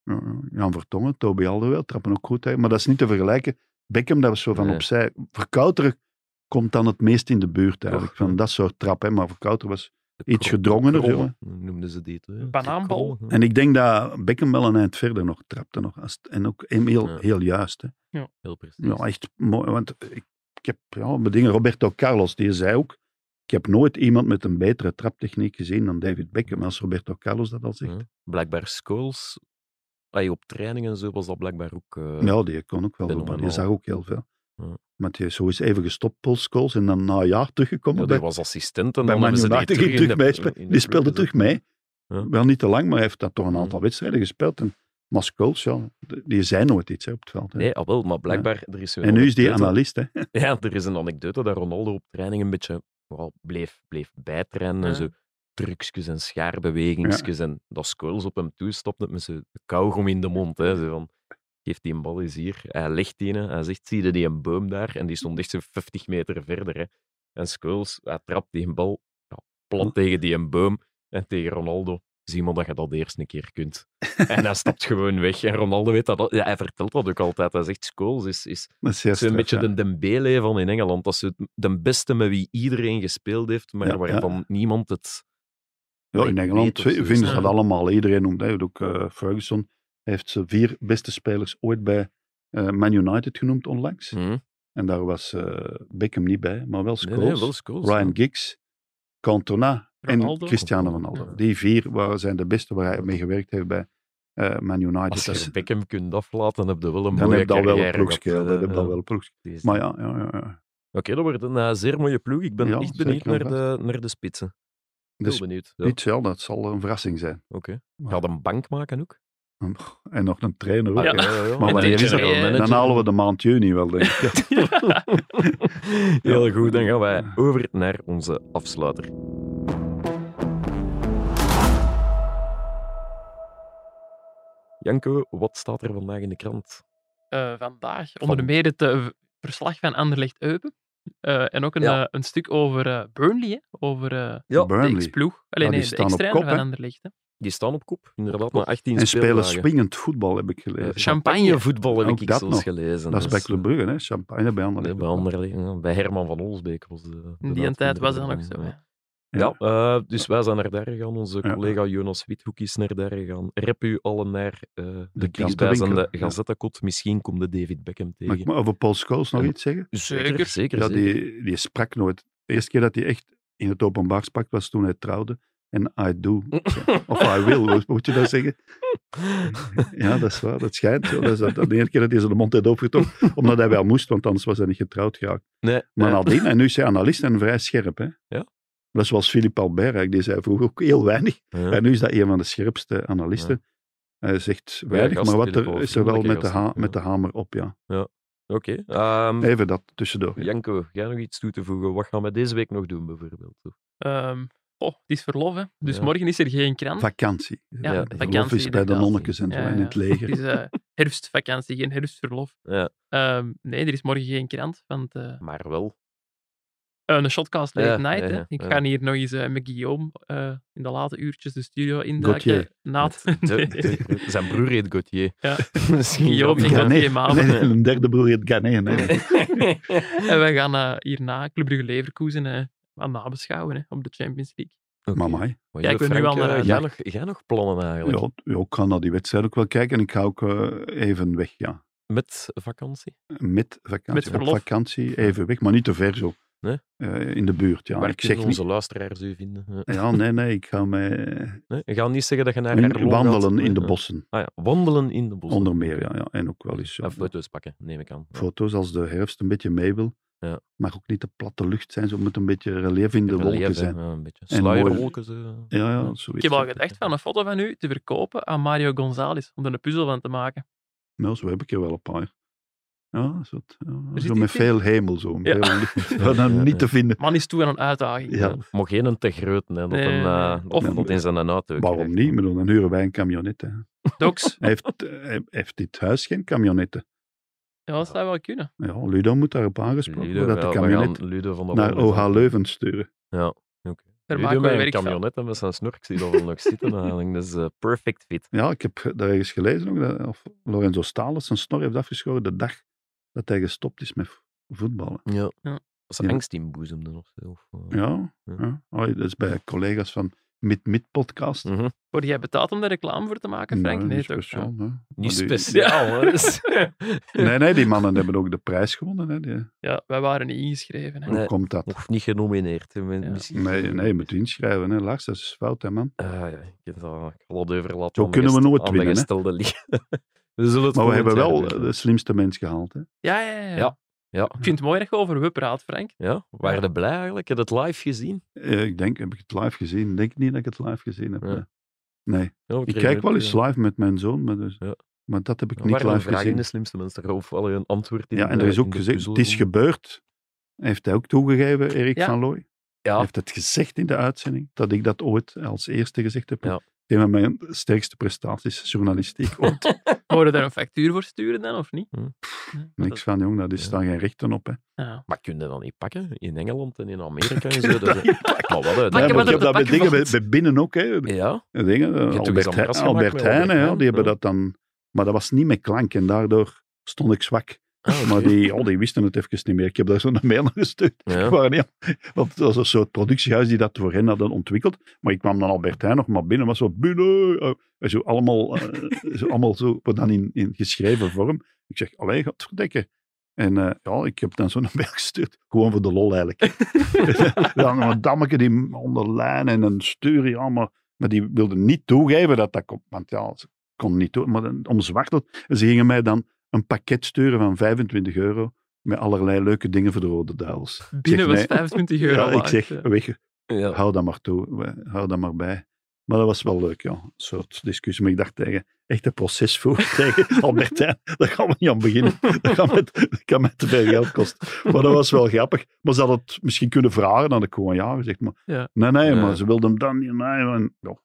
[SPEAKER 4] Eh, Jan Vertongen, Toby Alderweil, trappen ook goed. Hè, maar dat is niet te vergelijken. Beckham, dat was zo van
[SPEAKER 2] Nee.
[SPEAKER 4] opzij. Verkouteren komt dan het meest in de buurt eigenlijk.
[SPEAKER 2] Toch,
[SPEAKER 4] van
[SPEAKER 2] ja.
[SPEAKER 4] dat soort trap. Hè, maar Verkouteren was. iets gedrongener,
[SPEAKER 2] Krollen, noemden ze dit. hè.
[SPEAKER 3] Banaanbal.
[SPEAKER 2] De krollen,
[SPEAKER 4] En ik denk dat Beckham wel een eind verder nog trapte. Nog. Als- En ook heel,
[SPEAKER 2] Ja.
[SPEAKER 4] heel juist. Hè.
[SPEAKER 2] Heel precies.
[SPEAKER 4] Ja, echt mooi. Want ik, ik heb ja, mijn dingen. Roberto Carlos, die zei ook. Ik heb nooit iemand met een betere traptechniek gezien dan David Beckham. Als Roberto Carlos dat al zegt.
[SPEAKER 2] Ja. Blijkbaar Scholes, ay, op trainingen en zo was dat blijkbaar ook... eh,
[SPEAKER 4] Ja, die kon ook wel
[SPEAKER 2] ben
[SPEAKER 4] voetballen. Die
[SPEAKER 2] normaal.
[SPEAKER 4] zag ook heel veel.
[SPEAKER 2] Ja.
[SPEAKER 4] Maar die is zo eens even gestopt, Paul Scholes, en dan na een jaar teruggekomen
[SPEAKER 2] ja,
[SPEAKER 4] bij,
[SPEAKER 2] die was assistent en
[SPEAKER 4] bij
[SPEAKER 2] dan
[SPEAKER 4] Man
[SPEAKER 2] hebben ze
[SPEAKER 4] United.
[SPEAKER 2] die
[SPEAKER 4] Die,
[SPEAKER 2] terug,
[SPEAKER 4] ging
[SPEAKER 2] in
[SPEAKER 4] terug
[SPEAKER 2] de-
[SPEAKER 4] meespelen.
[SPEAKER 2] in de
[SPEAKER 4] die speelde
[SPEAKER 2] ploeg
[SPEAKER 4] terug mee.
[SPEAKER 2] Ja. Mm.
[SPEAKER 4] Wel niet te lang, maar hij heeft dat toch een aantal
[SPEAKER 2] Ja.
[SPEAKER 4] wedstrijden gespeeld. En, maar Scholes, ja, die- die zei nooit iets hè, op het veld. hè.
[SPEAKER 2] Nee, ah, wel, maar blijkbaar... Er is zo'n
[SPEAKER 4] en nu is die
[SPEAKER 2] anekdote-
[SPEAKER 4] analist, hè.
[SPEAKER 2] Ja, er is een anekdote dat Ronaldo op training een beetje wel, bleef, bleef bijtrainen. En
[SPEAKER 3] Ja.
[SPEAKER 2] zo trucjes en schaarbewegingsjes. En dat Scholes op hem toestapte met zijn kauwgom in de mond. Hè, zo van, geef die een bal eens hier. Hij legt die in. Hij zegt, zie je die een boom daar? En die stond echt zo'n 50 meter verder. Hè. En Scholes, hij trapt die een bal ja, plat tegen die een boom. En tegen Ronaldo, zie maar dat je dat eerst een keer kunt. En hij stapt gewoon weg. En Ronaldo weet dat. al- Ja, hij vertelt dat ook altijd. Hij zegt, Scholes is... is
[SPEAKER 4] Dat is zeer
[SPEAKER 2] het is een
[SPEAKER 4] straf,
[SPEAKER 2] beetje
[SPEAKER 4] ja.
[SPEAKER 2] de Dembele van in Engeland. Dat is het- de beste met wie iedereen gespeeld heeft, maar
[SPEAKER 4] Ja,
[SPEAKER 2] waarvan niemand het...
[SPEAKER 4] Ja, in
[SPEAKER 2] weet
[SPEAKER 4] Engeland
[SPEAKER 2] of zo,
[SPEAKER 4] vinden ze
[SPEAKER 2] ja.
[SPEAKER 4] dat allemaal. Iedereen noemt dat. Ook eh, Ferguson heeft zijn vier beste spelers ooit bij eh, Man United genoemd onlangs.
[SPEAKER 2] Hm?
[SPEAKER 4] En daar was eh, Beckham niet bij, maar wel
[SPEAKER 2] Nee,
[SPEAKER 4] Scholes.
[SPEAKER 2] nee, wel Scholes.
[SPEAKER 4] Ryan Giggs, Cantona en
[SPEAKER 3] Ronaldo.
[SPEAKER 4] Cristiano Ronaldo.
[SPEAKER 2] Ja.
[SPEAKER 4] Die vier wa- zijn de beste waar hij mee gewerkt heeft bij eh, Man United.
[SPEAKER 2] Als
[SPEAKER 4] Dat is-
[SPEAKER 2] je Beckham kunt aflaten, heb je wel een
[SPEAKER 4] dan
[SPEAKER 2] mooie
[SPEAKER 4] heb je al wel een
[SPEAKER 2] carrière
[SPEAKER 4] ploegje.
[SPEAKER 2] gehad,
[SPEAKER 4] Dan heb
[SPEAKER 2] eh,
[SPEAKER 4] je al
[SPEAKER 2] ja.
[SPEAKER 4] wel een ploegje.
[SPEAKER 2] Deze-
[SPEAKER 4] Maar ja, ja, ja, ja.
[SPEAKER 2] Oké, dat wordt een eh, zeer mooie ploeg. Ik ben
[SPEAKER 4] Ja,
[SPEAKER 2] echt benieuwd
[SPEAKER 4] zeker en
[SPEAKER 2] naar de, naar de spitsen. Heel
[SPEAKER 4] Dus
[SPEAKER 2] benieuwd. Ja,
[SPEAKER 4] dit, ja, dat zal een verrassing zijn.
[SPEAKER 2] Oké.
[SPEAKER 4] Maar-
[SPEAKER 2] Gaat een bank maken ook?
[SPEAKER 4] En nog een trainer ook.
[SPEAKER 2] Ah,
[SPEAKER 4] hè.
[SPEAKER 2] ja, ja, ja.
[SPEAKER 4] Maar
[SPEAKER 2] En
[SPEAKER 4] wanneer
[SPEAKER 2] die
[SPEAKER 4] is dat?
[SPEAKER 2] general manager.
[SPEAKER 4] Dan halen we de maand juni wel, denk ik.
[SPEAKER 2] Heel goed, dan gaan wij over naar onze afsluiter. Janko, wat staat er vandaag in de krant?
[SPEAKER 3] Eh, vandaag onder de mede het eh, v- verslag van Anderlecht Eupen. Eh, en ook een,
[SPEAKER 2] Ja.
[SPEAKER 3] eh, een stuk over eh, Burnley, hè. over eh,
[SPEAKER 2] Ja,
[SPEAKER 3] de
[SPEAKER 4] Burnley.
[SPEAKER 3] ex-ploeg. Alleen
[SPEAKER 4] Ja, die
[SPEAKER 3] nee, de
[SPEAKER 4] staan op
[SPEAKER 3] ex-trainer
[SPEAKER 4] kop,
[SPEAKER 3] van
[SPEAKER 4] hè.
[SPEAKER 3] Anderlecht. Hè.
[SPEAKER 2] Die staan op kop, inderdaad, maar 18
[SPEAKER 4] En spelen
[SPEAKER 2] speeldagen.
[SPEAKER 4] swingend voetbal, heb ik gelezen.
[SPEAKER 2] Eh, Champagnevoetbal heb
[SPEAKER 4] Ook
[SPEAKER 2] ik
[SPEAKER 4] dat
[SPEAKER 2] zelfs
[SPEAKER 4] nog.
[SPEAKER 2] gelezen.
[SPEAKER 4] Dat is bij
[SPEAKER 2] Dus,
[SPEAKER 4] Club Brugge, hè? Champagne bij
[SPEAKER 2] eh,
[SPEAKER 4] Anderlecht.
[SPEAKER 2] bij Anderlecht, ja. Bij Herman van Olsbeek was de... de
[SPEAKER 3] In die een
[SPEAKER 2] uitvinder
[SPEAKER 3] tijd was dat
[SPEAKER 2] ervan,
[SPEAKER 3] nog zo.
[SPEAKER 2] ja.
[SPEAKER 3] hè.
[SPEAKER 2] Ja, eh, dus wij zijn naar daar gegaan. Onze
[SPEAKER 4] Ja.
[SPEAKER 2] collega Jonas Withoek is naar daar gegaan. Rep u allen naar eh de
[SPEAKER 4] krantenwinkel.
[SPEAKER 2] dichtstbijzijnde
[SPEAKER 4] Ja.
[SPEAKER 2] gazettekot. Misschien komt de David Beckham
[SPEAKER 4] Mag ik
[SPEAKER 2] tegen.
[SPEAKER 4] maar over Paul Scholes nog
[SPEAKER 2] Ja.
[SPEAKER 4] iets zeggen?
[SPEAKER 2] Zeker,
[SPEAKER 3] Zeker.
[SPEAKER 2] zeker.
[SPEAKER 4] Ja,
[SPEAKER 2] zeker.
[SPEAKER 4] die, die sprak nooit. De eerste keer dat hij echt in het openbaarspak was toen hij trouwde. En I do. Of I will, hoe moet je dat zeggen? Ja, dat is waar, dat schijnt. zo. Dat is dat- de ene keer dat hij zijn mond heeft opgetrokken, omdat hij wel moest, want anders was hij niet getrouwd geraakt.
[SPEAKER 2] Nee, eh,
[SPEAKER 4] Maar nou,
[SPEAKER 2] nee.
[SPEAKER 4] nadien, en nu is hij analist en vrij scherp. Hè?
[SPEAKER 2] Ja.
[SPEAKER 4] Dat is zoals Philippe Albert, eigenlijk, die zei vroeger ook heel weinig.
[SPEAKER 2] Ja.
[SPEAKER 4] En nu is dat een van de scherpste analisten. Hij zegt weinig,
[SPEAKER 2] gast,
[SPEAKER 4] maar wat
[SPEAKER 2] Philippe
[SPEAKER 4] er
[SPEAKER 2] Albert,
[SPEAKER 4] is er wel
[SPEAKER 2] vriendelijke
[SPEAKER 4] met de,
[SPEAKER 2] gast,
[SPEAKER 4] ha-
[SPEAKER 2] ja.
[SPEAKER 4] met de hamer op, ja.
[SPEAKER 2] Oké. Ehm,
[SPEAKER 4] Even dat tussendoor. ja.
[SPEAKER 2] Janko, jij nog iets toe te voegen? Wat gaan we deze week nog doen, bijvoorbeeld?
[SPEAKER 3] Ehm, oh, het is verlof, hè. Dus
[SPEAKER 2] Ja.
[SPEAKER 3] morgen is er geen krant.
[SPEAKER 4] Vakantie.
[SPEAKER 3] ja,
[SPEAKER 2] ja,
[SPEAKER 4] De
[SPEAKER 3] vakantie.
[SPEAKER 4] Verlof is bij de
[SPEAKER 3] inderdaad.
[SPEAKER 4] nonnetjes en zo,
[SPEAKER 3] Ja,
[SPEAKER 4] en in
[SPEAKER 3] ja.
[SPEAKER 4] het leger.
[SPEAKER 3] Het is eh, herfstvakantie, geen herfstverlof.
[SPEAKER 2] Ja.
[SPEAKER 3] Ehm, nee, er is morgen geen krant, want eh,
[SPEAKER 2] Maar wel.
[SPEAKER 3] een shotcast late
[SPEAKER 2] Ja,
[SPEAKER 3] night.
[SPEAKER 2] ja,
[SPEAKER 3] hè.
[SPEAKER 2] ja,
[SPEAKER 3] Ik
[SPEAKER 2] ja.
[SPEAKER 3] ga hier nog eens eh, met Guillaume eh, in de late uurtjes de studio induiken.
[SPEAKER 4] Gauthier.
[SPEAKER 3] Na het-
[SPEAKER 2] De-
[SPEAKER 3] nee.
[SPEAKER 2] de- zijn broer heet Gauthier.
[SPEAKER 3] Ja.
[SPEAKER 2] Misschien
[SPEAKER 3] Guillaume,
[SPEAKER 2] grappig.
[SPEAKER 3] ik had
[SPEAKER 4] nee,
[SPEAKER 3] geen maanden.
[SPEAKER 4] nee, een derde broer heet Ghaneen. hè.
[SPEAKER 3] En wij gaan eh, hierna Club Brugge Leverkusen eh, aan nabeschouwen hè, op de Champions League.
[SPEAKER 2] Oké.
[SPEAKER 4] Mamai.
[SPEAKER 2] Maar
[SPEAKER 3] Ja, ik
[SPEAKER 2] Joe
[SPEAKER 3] ben nu
[SPEAKER 2] Frank,
[SPEAKER 3] al naar
[SPEAKER 2] eh,
[SPEAKER 3] uit.
[SPEAKER 2] jij, nog, jij nog plannen eigenlijk?
[SPEAKER 4] Ja, ja, ik ga naar die wedstrijd ook wel kijken en ik ga ook eh, even weg, ja.
[SPEAKER 2] Met vakantie?
[SPEAKER 4] Met vakantie.
[SPEAKER 3] Met
[SPEAKER 4] op
[SPEAKER 3] verlof.
[SPEAKER 4] vakantie, even weg, maar niet te ver zo.
[SPEAKER 2] Nee?
[SPEAKER 4] Eh, in de buurt, ja.
[SPEAKER 2] Waar
[SPEAKER 4] ik
[SPEAKER 2] kunnen
[SPEAKER 4] zeg
[SPEAKER 2] onze
[SPEAKER 4] niet...
[SPEAKER 2] luisteraars u vinden? Ja.
[SPEAKER 4] Ja, nee, nee, ik ga mij eh,
[SPEAKER 2] Nee? Je gaat niet zeggen dat je naar
[SPEAKER 4] in-
[SPEAKER 2] Erlo gaat?
[SPEAKER 4] wandelen in de
[SPEAKER 2] Ja.
[SPEAKER 4] bossen,
[SPEAKER 2] Ah, ja. Wandelen in de bos.
[SPEAKER 4] onder meer, ja. ja. En ook wel eens zo.
[SPEAKER 2] En foto's pakken, neem ik aan. Ja.
[SPEAKER 4] foto's als de herfst een beetje mee wil.
[SPEAKER 2] Ja.
[SPEAKER 4] Mag ook niet de platte lucht zijn, zo moet een beetje relief in de
[SPEAKER 2] Relief, hè.
[SPEAKER 4] wolken zijn.
[SPEAKER 2] Ja, een beetje.
[SPEAKER 4] En
[SPEAKER 2] Sluierwolken. zo.
[SPEAKER 4] Ja, ja,
[SPEAKER 2] Ik
[SPEAKER 4] zoiets.
[SPEAKER 3] Ik heb al gedacht van een foto van u te verkopen aan Mario González om er een puzzel van te maken.
[SPEAKER 4] Nou, zo heb ik er wel een paar. Ja, zo, ja,
[SPEAKER 3] zit
[SPEAKER 4] zo
[SPEAKER 3] iets
[SPEAKER 4] met
[SPEAKER 3] in.
[SPEAKER 4] veel hemel zo.
[SPEAKER 3] Ja.
[SPEAKER 4] Veel licht. Wat dan
[SPEAKER 2] Ja, ja.
[SPEAKER 4] niet te vinden.
[SPEAKER 3] Man is toe aan een uitdaging.
[SPEAKER 4] Ja.
[SPEAKER 2] Mocht geen een te groot, hè, dat,
[SPEAKER 3] Nee,
[SPEAKER 2] een, eh,
[SPEAKER 3] nee.
[SPEAKER 2] dat,
[SPEAKER 4] Of-
[SPEAKER 2] dat in zijn auto
[SPEAKER 4] Waarom
[SPEAKER 2] krijgt.
[SPEAKER 4] niet? Ik bedoel, dan huren wij een camionette. hè.
[SPEAKER 3] Docs.
[SPEAKER 4] Hij heeft, eh, hij heeft dit huis geen camionette.
[SPEAKER 3] Ja, dat zou wel kunnen.
[SPEAKER 4] Ja, Ludo moet daarop aangesproken
[SPEAKER 2] Ludo,
[SPEAKER 4] worden dat de
[SPEAKER 2] wel, we
[SPEAKER 4] camionet
[SPEAKER 2] gaan Ludo van de
[SPEAKER 4] naar
[SPEAKER 2] Wonderen
[SPEAKER 4] OH
[SPEAKER 2] zetten.
[SPEAKER 4] Leuven sturen.
[SPEAKER 3] Daar
[SPEAKER 2] Ludo
[SPEAKER 3] maken we
[SPEAKER 2] met
[SPEAKER 3] werk
[SPEAKER 2] een
[SPEAKER 3] van.
[SPEAKER 2] camionet en met zijn snor, ik zie dat wel nog zitten eigenlijk. Dat is eh, perfect fit.
[SPEAKER 4] Ja, ik heb daar ergens gelezen ook, dat, of Lorenzo Stalens zijn snor heeft afgeschoren de dag dat hij gestopt is met vo- voetballen.
[SPEAKER 2] Ja.
[SPEAKER 3] Ja.
[SPEAKER 2] Dat ze
[SPEAKER 4] Ja.
[SPEAKER 2] angst inboezemden of zo. Of, eh.
[SPEAKER 4] Ja,
[SPEAKER 2] Ja.
[SPEAKER 4] ja. Oh, dat is bij collega's van Mid-Mid-podcast.
[SPEAKER 2] Mhm.
[SPEAKER 3] Word jij betaald om daar reclame voor te maken,
[SPEAKER 2] Nou,
[SPEAKER 3] Frank?
[SPEAKER 4] niet
[SPEAKER 3] Nee, toch?
[SPEAKER 4] speciaal. hè.
[SPEAKER 2] Niet
[SPEAKER 4] Maar die-
[SPEAKER 2] speciaal, hè. Dus-
[SPEAKER 4] Nee, nee, die mannen hebben ook de prijs gewonnen. Hè. Die,
[SPEAKER 3] Ja, wij waren niet ingeschreven. Hè.
[SPEAKER 4] Hoe
[SPEAKER 2] Nee.
[SPEAKER 4] komt dat?
[SPEAKER 2] Of niet genomineerd. hè, men-
[SPEAKER 3] Ja.
[SPEAKER 2] Misschien.
[SPEAKER 4] Nee, nee, je moet inschrijven. Hè. Lars, dat is fout, hè, man.
[SPEAKER 2] Ah, ja, ik heb dat ik had dat overlaten.
[SPEAKER 4] Zo
[SPEAKER 2] aan de
[SPEAKER 4] kunnen we
[SPEAKER 2] gest-
[SPEAKER 4] nooit
[SPEAKER 2] aan de
[SPEAKER 4] winnen, hè.
[SPEAKER 2] gestelde liga. we zullen het
[SPEAKER 4] Maar we
[SPEAKER 2] volgend
[SPEAKER 4] hebben
[SPEAKER 2] jaar
[SPEAKER 4] wel dus-
[SPEAKER 2] doen.
[SPEAKER 4] de slimste mens gehaald. Hè.
[SPEAKER 3] Ja, ja, ja, ja.
[SPEAKER 2] Ja. Ja.
[SPEAKER 3] Ik vind het mooi dat je over we praat, Frank.
[SPEAKER 2] Ja, we waren blij eigenlijk. Heb je het live gezien?
[SPEAKER 4] Eh, ik denk, heb ik het live gezien? Ik denk niet dat ik het live gezien heb.
[SPEAKER 2] Ja.
[SPEAKER 4] hè. Nee,
[SPEAKER 2] Ja, we
[SPEAKER 4] ik
[SPEAKER 2] kregen
[SPEAKER 4] kijk wel
[SPEAKER 2] het,
[SPEAKER 4] eens
[SPEAKER 2] eh,
[SPEAKER 4] live met mijn zoon, maar, dus,
[SPEAKER 2] Ja.
[SPEAKER 4] maar dat heb ik
[SPEAKER 2] er
[SPEAKER 4] niet
[SPEAKER 2] waren een
[SPEAKER 4] live
[SPEAKER 2] vraag in
[SPEAKER 4] gezien.
[SPEAKER 2] de slimste mensen daarover, wel een antwoord in
[SPEAKER 4] Ja, en
[SPEAKER 2] de-
[SPEAKER 4] er is
[SPEAKER 2] in
[SPEAKER 4] ook
[SPEAKER 2] de
[SPEAKER 4] gezegd,
[SPEAKER 2] puzzel
[SPEAKER 4] het is
[SPEAKER 2] gewoon.
[SPEAKER 4] gebeurd. Heeft hij ook toegegeven, Erik
[SPEAKER 3] Ja.
[SPEAKER 4] van Looy.
[SPEAKER 2] Ja.
[SPEAKER 4] Hij heeft het gezegd in de uitzending, dat ik dat ooit als eerste gezegd heb.
[SPEAKER 2] Ja.
[SPEAKER 4] Een van mijn sterkste prestaties, journalistiek ooit.
[SPEAKER 3] Mogen we daar een factuur voor sturen dan, of niet?
[SPEAKER 2] Hm.
[SPEAKER 3] Nee, maar
[SPEAKER 4] Niks van, jong, daar is
[SPEAKER 2] Ja.
[SPEAKER 4] staan geen rechten op. Hè.
[SPEAKER 3] dat- ja.
[SPEAKER 2] Maar kun je dat niet pakken? In Engeland en in Amerika en zo. Dat is- maar wat, hè,
[SPEAKER 3] Pakken
[SPEAKER 2] dat-
[SPEAKER 3] we
[SPEAKER 4] maar ik
[SPEAKER 3] er
[SPEAKER 4] heb
[SPEAKER 3] te
[SPEAKER 4] dat bij
[SPEAKER 3] pakken
[SPEAKER 4] dingen, bij,
[SPEAKER 3] valt.
[SPEAKER 4] bij binnen ook. Hè.
[SPEAKER 2] Ja,
[SPEAKER 4] Dingen, eh,
[SPEAKER 2] eens
[SPEAKER 4] Albert,
[SPEAKER 2] een
[SPEAKER 4] Heijn-
[SPEAKER 2] ras gemaakt
[SPEAKER 4] Albert
[SPEAKER 2] met
[SPEAKER 4] Heijn,
[SPEAKER 2] Albert
[SPEAKER 4] hè,
[SPEAKER 2] Heijn,
[SPEAKER 4] die hebben
[SPEAKER 2] ja.
[SPEAKER 4] dat dan... Maar dat was niet met klank en daardoor stond ik zwak.
[SPEAKER 2] Ah, oké.
[SPEAKER 4] Maar die, oh, die wisten het even niet meer. Ik heb daar zo'n mail naar gestuurd.
[SPEAKER 2] Ja.
[SPEAKER 4] Waar die- want het was een soort productiehuis die dat voor hen hadden ontwikkeld. Maar ik kwam dan Albert Heijn nog maar binnen. was zo binnen. eh, en zo allemaal, eh, zo, allemaal zo, maar dan in, in geschreven vorm. Ik zeg, allee, gaat verdekken. En eh, ja, ik heb dan zo'n mail gestuurd. Gewoon voor de lol eigenlijk. dan een dammetje die onder lijn en een stuur. Ja, maar, maar die wilde niet toegeven dat dat komt. Want ja, ze kon niet toe. Maar dan omzwarteld. En ze gingen mij dan een pakket sturen van 25 euro met allerlei leuke dingen voor de Rode Duivels. Ik
[SPEAKER 3] Binnen
[SPEAKER 4] zeg,
[SPEAKER 3] was
[SPEAKER 4] nee.
[SPEAKER 3] 25 euro.
[SPEAKER 4] Ja, ik
[SPEAKER 3] waard, eh.
[SPEAKER 4] zeg,
[SPEAKER 3] hè.
[SPEAKER 4] weg,
[SPEAKER 2] ja.
[SPEAKER 4] hou dat maar toe, we- hou dat maar bij. Maar dat was wel leuk, ja. Een soort discussie. Maar ik dacht tegen, echt een proces voor tegen Albertijn, daar gaan we niet aan beginnen. Dat kan met, dat kan met te veel geld kosten. Maar dat was wel grappig. Maar ze hadden het misschien kunnen vragen, dan had ik gewoon ja gezegd. Maar,
[SPEAKER 3] Ja.
[SPEAKER 4] Nee, nee,
[SPEAKER 2] Ja.
[SPEAKER 4] maar ze wilden hem dan niet. Nee, en, ja,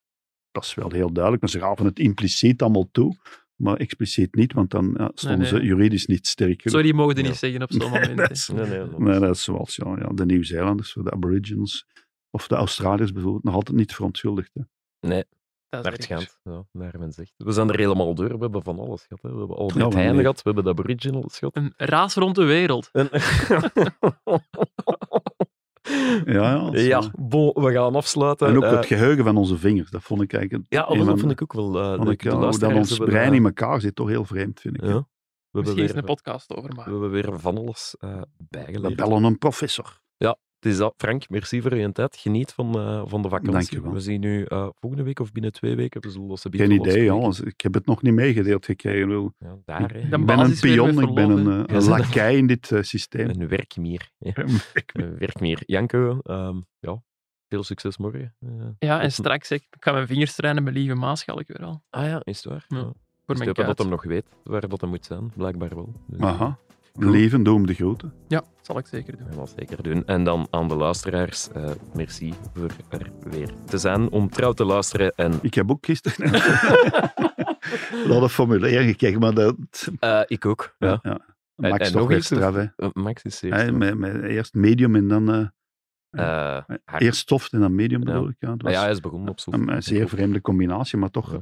[SPEAKER 4] dat is wel heel duidelijk. Maar ze gaven het impliciet allemaal toe, maar expliciet niet, want dan ja, stonden
[SPEAKER 3] nee.
[SPEAKER 4] ze juridisch niet sterk genoeg.
[SPEAKER 3] Sorry, mogen
[SPEAKER 2] Ja.
[SPEAKER 3] niet zeggen op zo'n moment.
[SPEAKER 4] dat
[SPEAKER 3] hè.
[SPEAKER 4] is-
[SPEAKER 2] Nee, nee, dat
[SPEAKER 4] Nee,
[SPEAKER 2] is-
[SPEAKER 4] dat is zoals ja, ja, de Nieuw-Zeelanders, de Aboriginals of de Australiërs bijvoorbeeld, nog altijd niet verontschuldigd. Hè.
[SPEAKER 3] Dat
[SPEAKER 2] Naar
[SPEAKER 3] is
[SPEAKER 2] het
[SPEAKER 3] waar.
[SPEAKER 2] schijnt, ja, naar men zegt. We zijn er helemaal door, we hebben van alles gehad. Hè. We hebben Albert
[SPEAKER 4] Ja, maar
[SPEAKER 2] Heijn
[SPEAKER 4] nee.
[SPEAKER 2] gehad, we hebben de Aboriginals gehad.
[SPEAKER 3] Een raas rond de wereld.
[SPEAKER 2] En...
[SPEAKER 4] Ja, ja, dat is,
[SPEAKER 2] ja,
[SPEAKER 4] eh,
[SPEAKER 2] bon, we gaan afsluiten.
[SPEAKER 4] En ook
[SPEAKER 2] Eh,
[SPEAKER 4] het geheugen van onze vingers, dat vond ik eigenlijk...
[SPEAKER 2] ja, oh,
[SPEAKER 4] een
[SPEAKER 2] dat
[SPEAKER 4] van-
[SPEAKER 2] vond ik ook wel... eh,
[SPEAKER 4] vond
[SPEAKER 2] de-
[SPEAKER 4] ik,
[SPEAKER 2] de
[SPEAKER 4] ja, hoe dat
[SPEAKER 2] luisteraars
[SPEAKER 4] ons
[SPEAKER 2] hebben,
[SPEAKER 4] brein
[SPEAKER 2] eh,
[SPEAKER 4] in elkaar zit, toch heel vreemd, vind ik. hè.
[SPEAKER 2] ja. We hebben
[SPEAKER 3] Misschien eens
[SPEAKER 2] weer,
[SPEAKER 3] een podcast over
[SPEAKER 2] we
[SPEAKER 3] maken.
[SPEAKER 2] hebben weer van alles eh
[SPEAKER 4] We
[SPEAKER 2] bijgeleerd.
[SPEAKER 4] bellen een professor.
[SPEAKER 2] Het is dat. Frank, merci voor je tijd. Geniet van, eh, van de vakantie.
[SPEAKER 4] Dankjewel.
[SPEAKER 2] We zien u eh, volgende week of binnen twee weken. We zullen losse
[SPEAKER 4] Geen idee, alles. Ik heb het nog niet meegedeeld gekregen. Ik bedoel,
[SPEAKER 2] Ja, daar, hè.
[SPEAKER 3] Dan
[SPEAKER 4] Ik ben een
[SPEAKER 3] basis weer
[SPEAKER 4] pion,
[SPEAKER 3] met
[SPEAKER 4] ik ben
[SPEAKER 3] verlof, hè.
[SPEAKER 4] een, eh, een lakij in dit eh, systeem.
[SPEAKER 2] Een werkmier. Ja, een werkmier. Janko, ehm, ja, veel succes morgen. Eh,
[SPEAKER 3] Ja, en straks zeg, ik ga mijn vingers trainen, mijn lieve maasschalk weer al.
[SPEAKER 2] ah ja, is het waar?
[SPEAKER 3] Ja,
[SPEAKER 2] Ja.
[SPEAKER 3] Voor
[SPEAKER 2] Dus
[SPEAKER 3] mijn
[SPEAKER 2] ik hoop dat
[SPEAKER 3] kuit.
[SPEAKER 2] hem nog weet waar dat hem moet zijn. Blijkbaar wel. Dus,
[SPEAKER 4] Aha. Leven, doe hem de groeten.
[SPEAKER 3] Ja, zal ik zeker doen.
[SPEAKER 2] Dat gaan we zeker doen. En dan aan de luisteraars, eh, merci voor er weer te zijn, om trouw te luisteren. En
[SPEAKER 4] Ik heb ook gisteren naar de Formule 1 gekeken, maar dat
[SPEAKER 2] eh, ik ook. Ja.
[SPEAKER 4] ja.
[SPEAKER 2] En-
[SPEAKER 4] maakt
[SPEAKER 2] en
[SPEAKER 4] toch
[SPEAKER 2] nog
[SPEAKER 4] weer
[SPEAKER 2] iets?
[SPEAKER 4] straf. Hè.
[SPEAKER 2] Eh, Max is zeer.
[SPEAKER 4] Hè, met, met eerst medium en dan... eh,
[SPEAKER 2] Eh, hard.
[SPEAKER 4] eerst stoft en dan medium
[SPEAKER 2] Ja.
[SPEAKER 4] bedoel ik. Ja, het
[SPEAKER 2] Ah
[SPEAKER 4] was
[SPEAKER 2] ja, hij is begonnen op zoek.
[SPEAKER 4] een, een zeer vreemde combinatie, maar toch
[SPEAKER 2] Ja.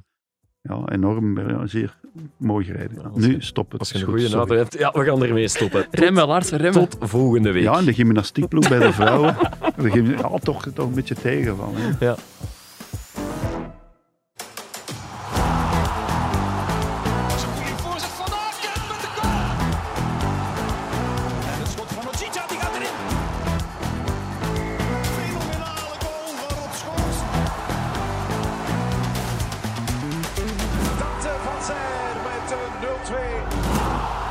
[SPEAKER 4] ja. enorm, ja, zeer mooi gereden.
[SPEAKER 2] Ja, als
[SPEAKER 4] nu
[SPEAKER 2] je-
[SPEAKER 4] stop het.
[SPEAKER 2] Als je
[SPEAKER 4] is
[SPEAKER 2] een
[SPEAKER 4] goed,
[SPEAKER 2] goede
[SPEAKER 4] sorry.
[SPEAKER 2] auto hebt, ja, we gaan ermee stoppen.
[SPEAKER 3] Remmen, Lars, remmen.
[SPEAKER 2] Tot volgende week.
[SPEAKER 4] Ja, en de gymnastiekploeg bij de vrouwen. De gym- ja, toch, toch een beetje tegenvallen. hè.
[SPEAKER 1] is een goede voorzet van Aken met de goal. En het schot van Ochita, die gaat erin. Fenomenale goal van Rob Schoors. Dante van Zijl met een 0-2.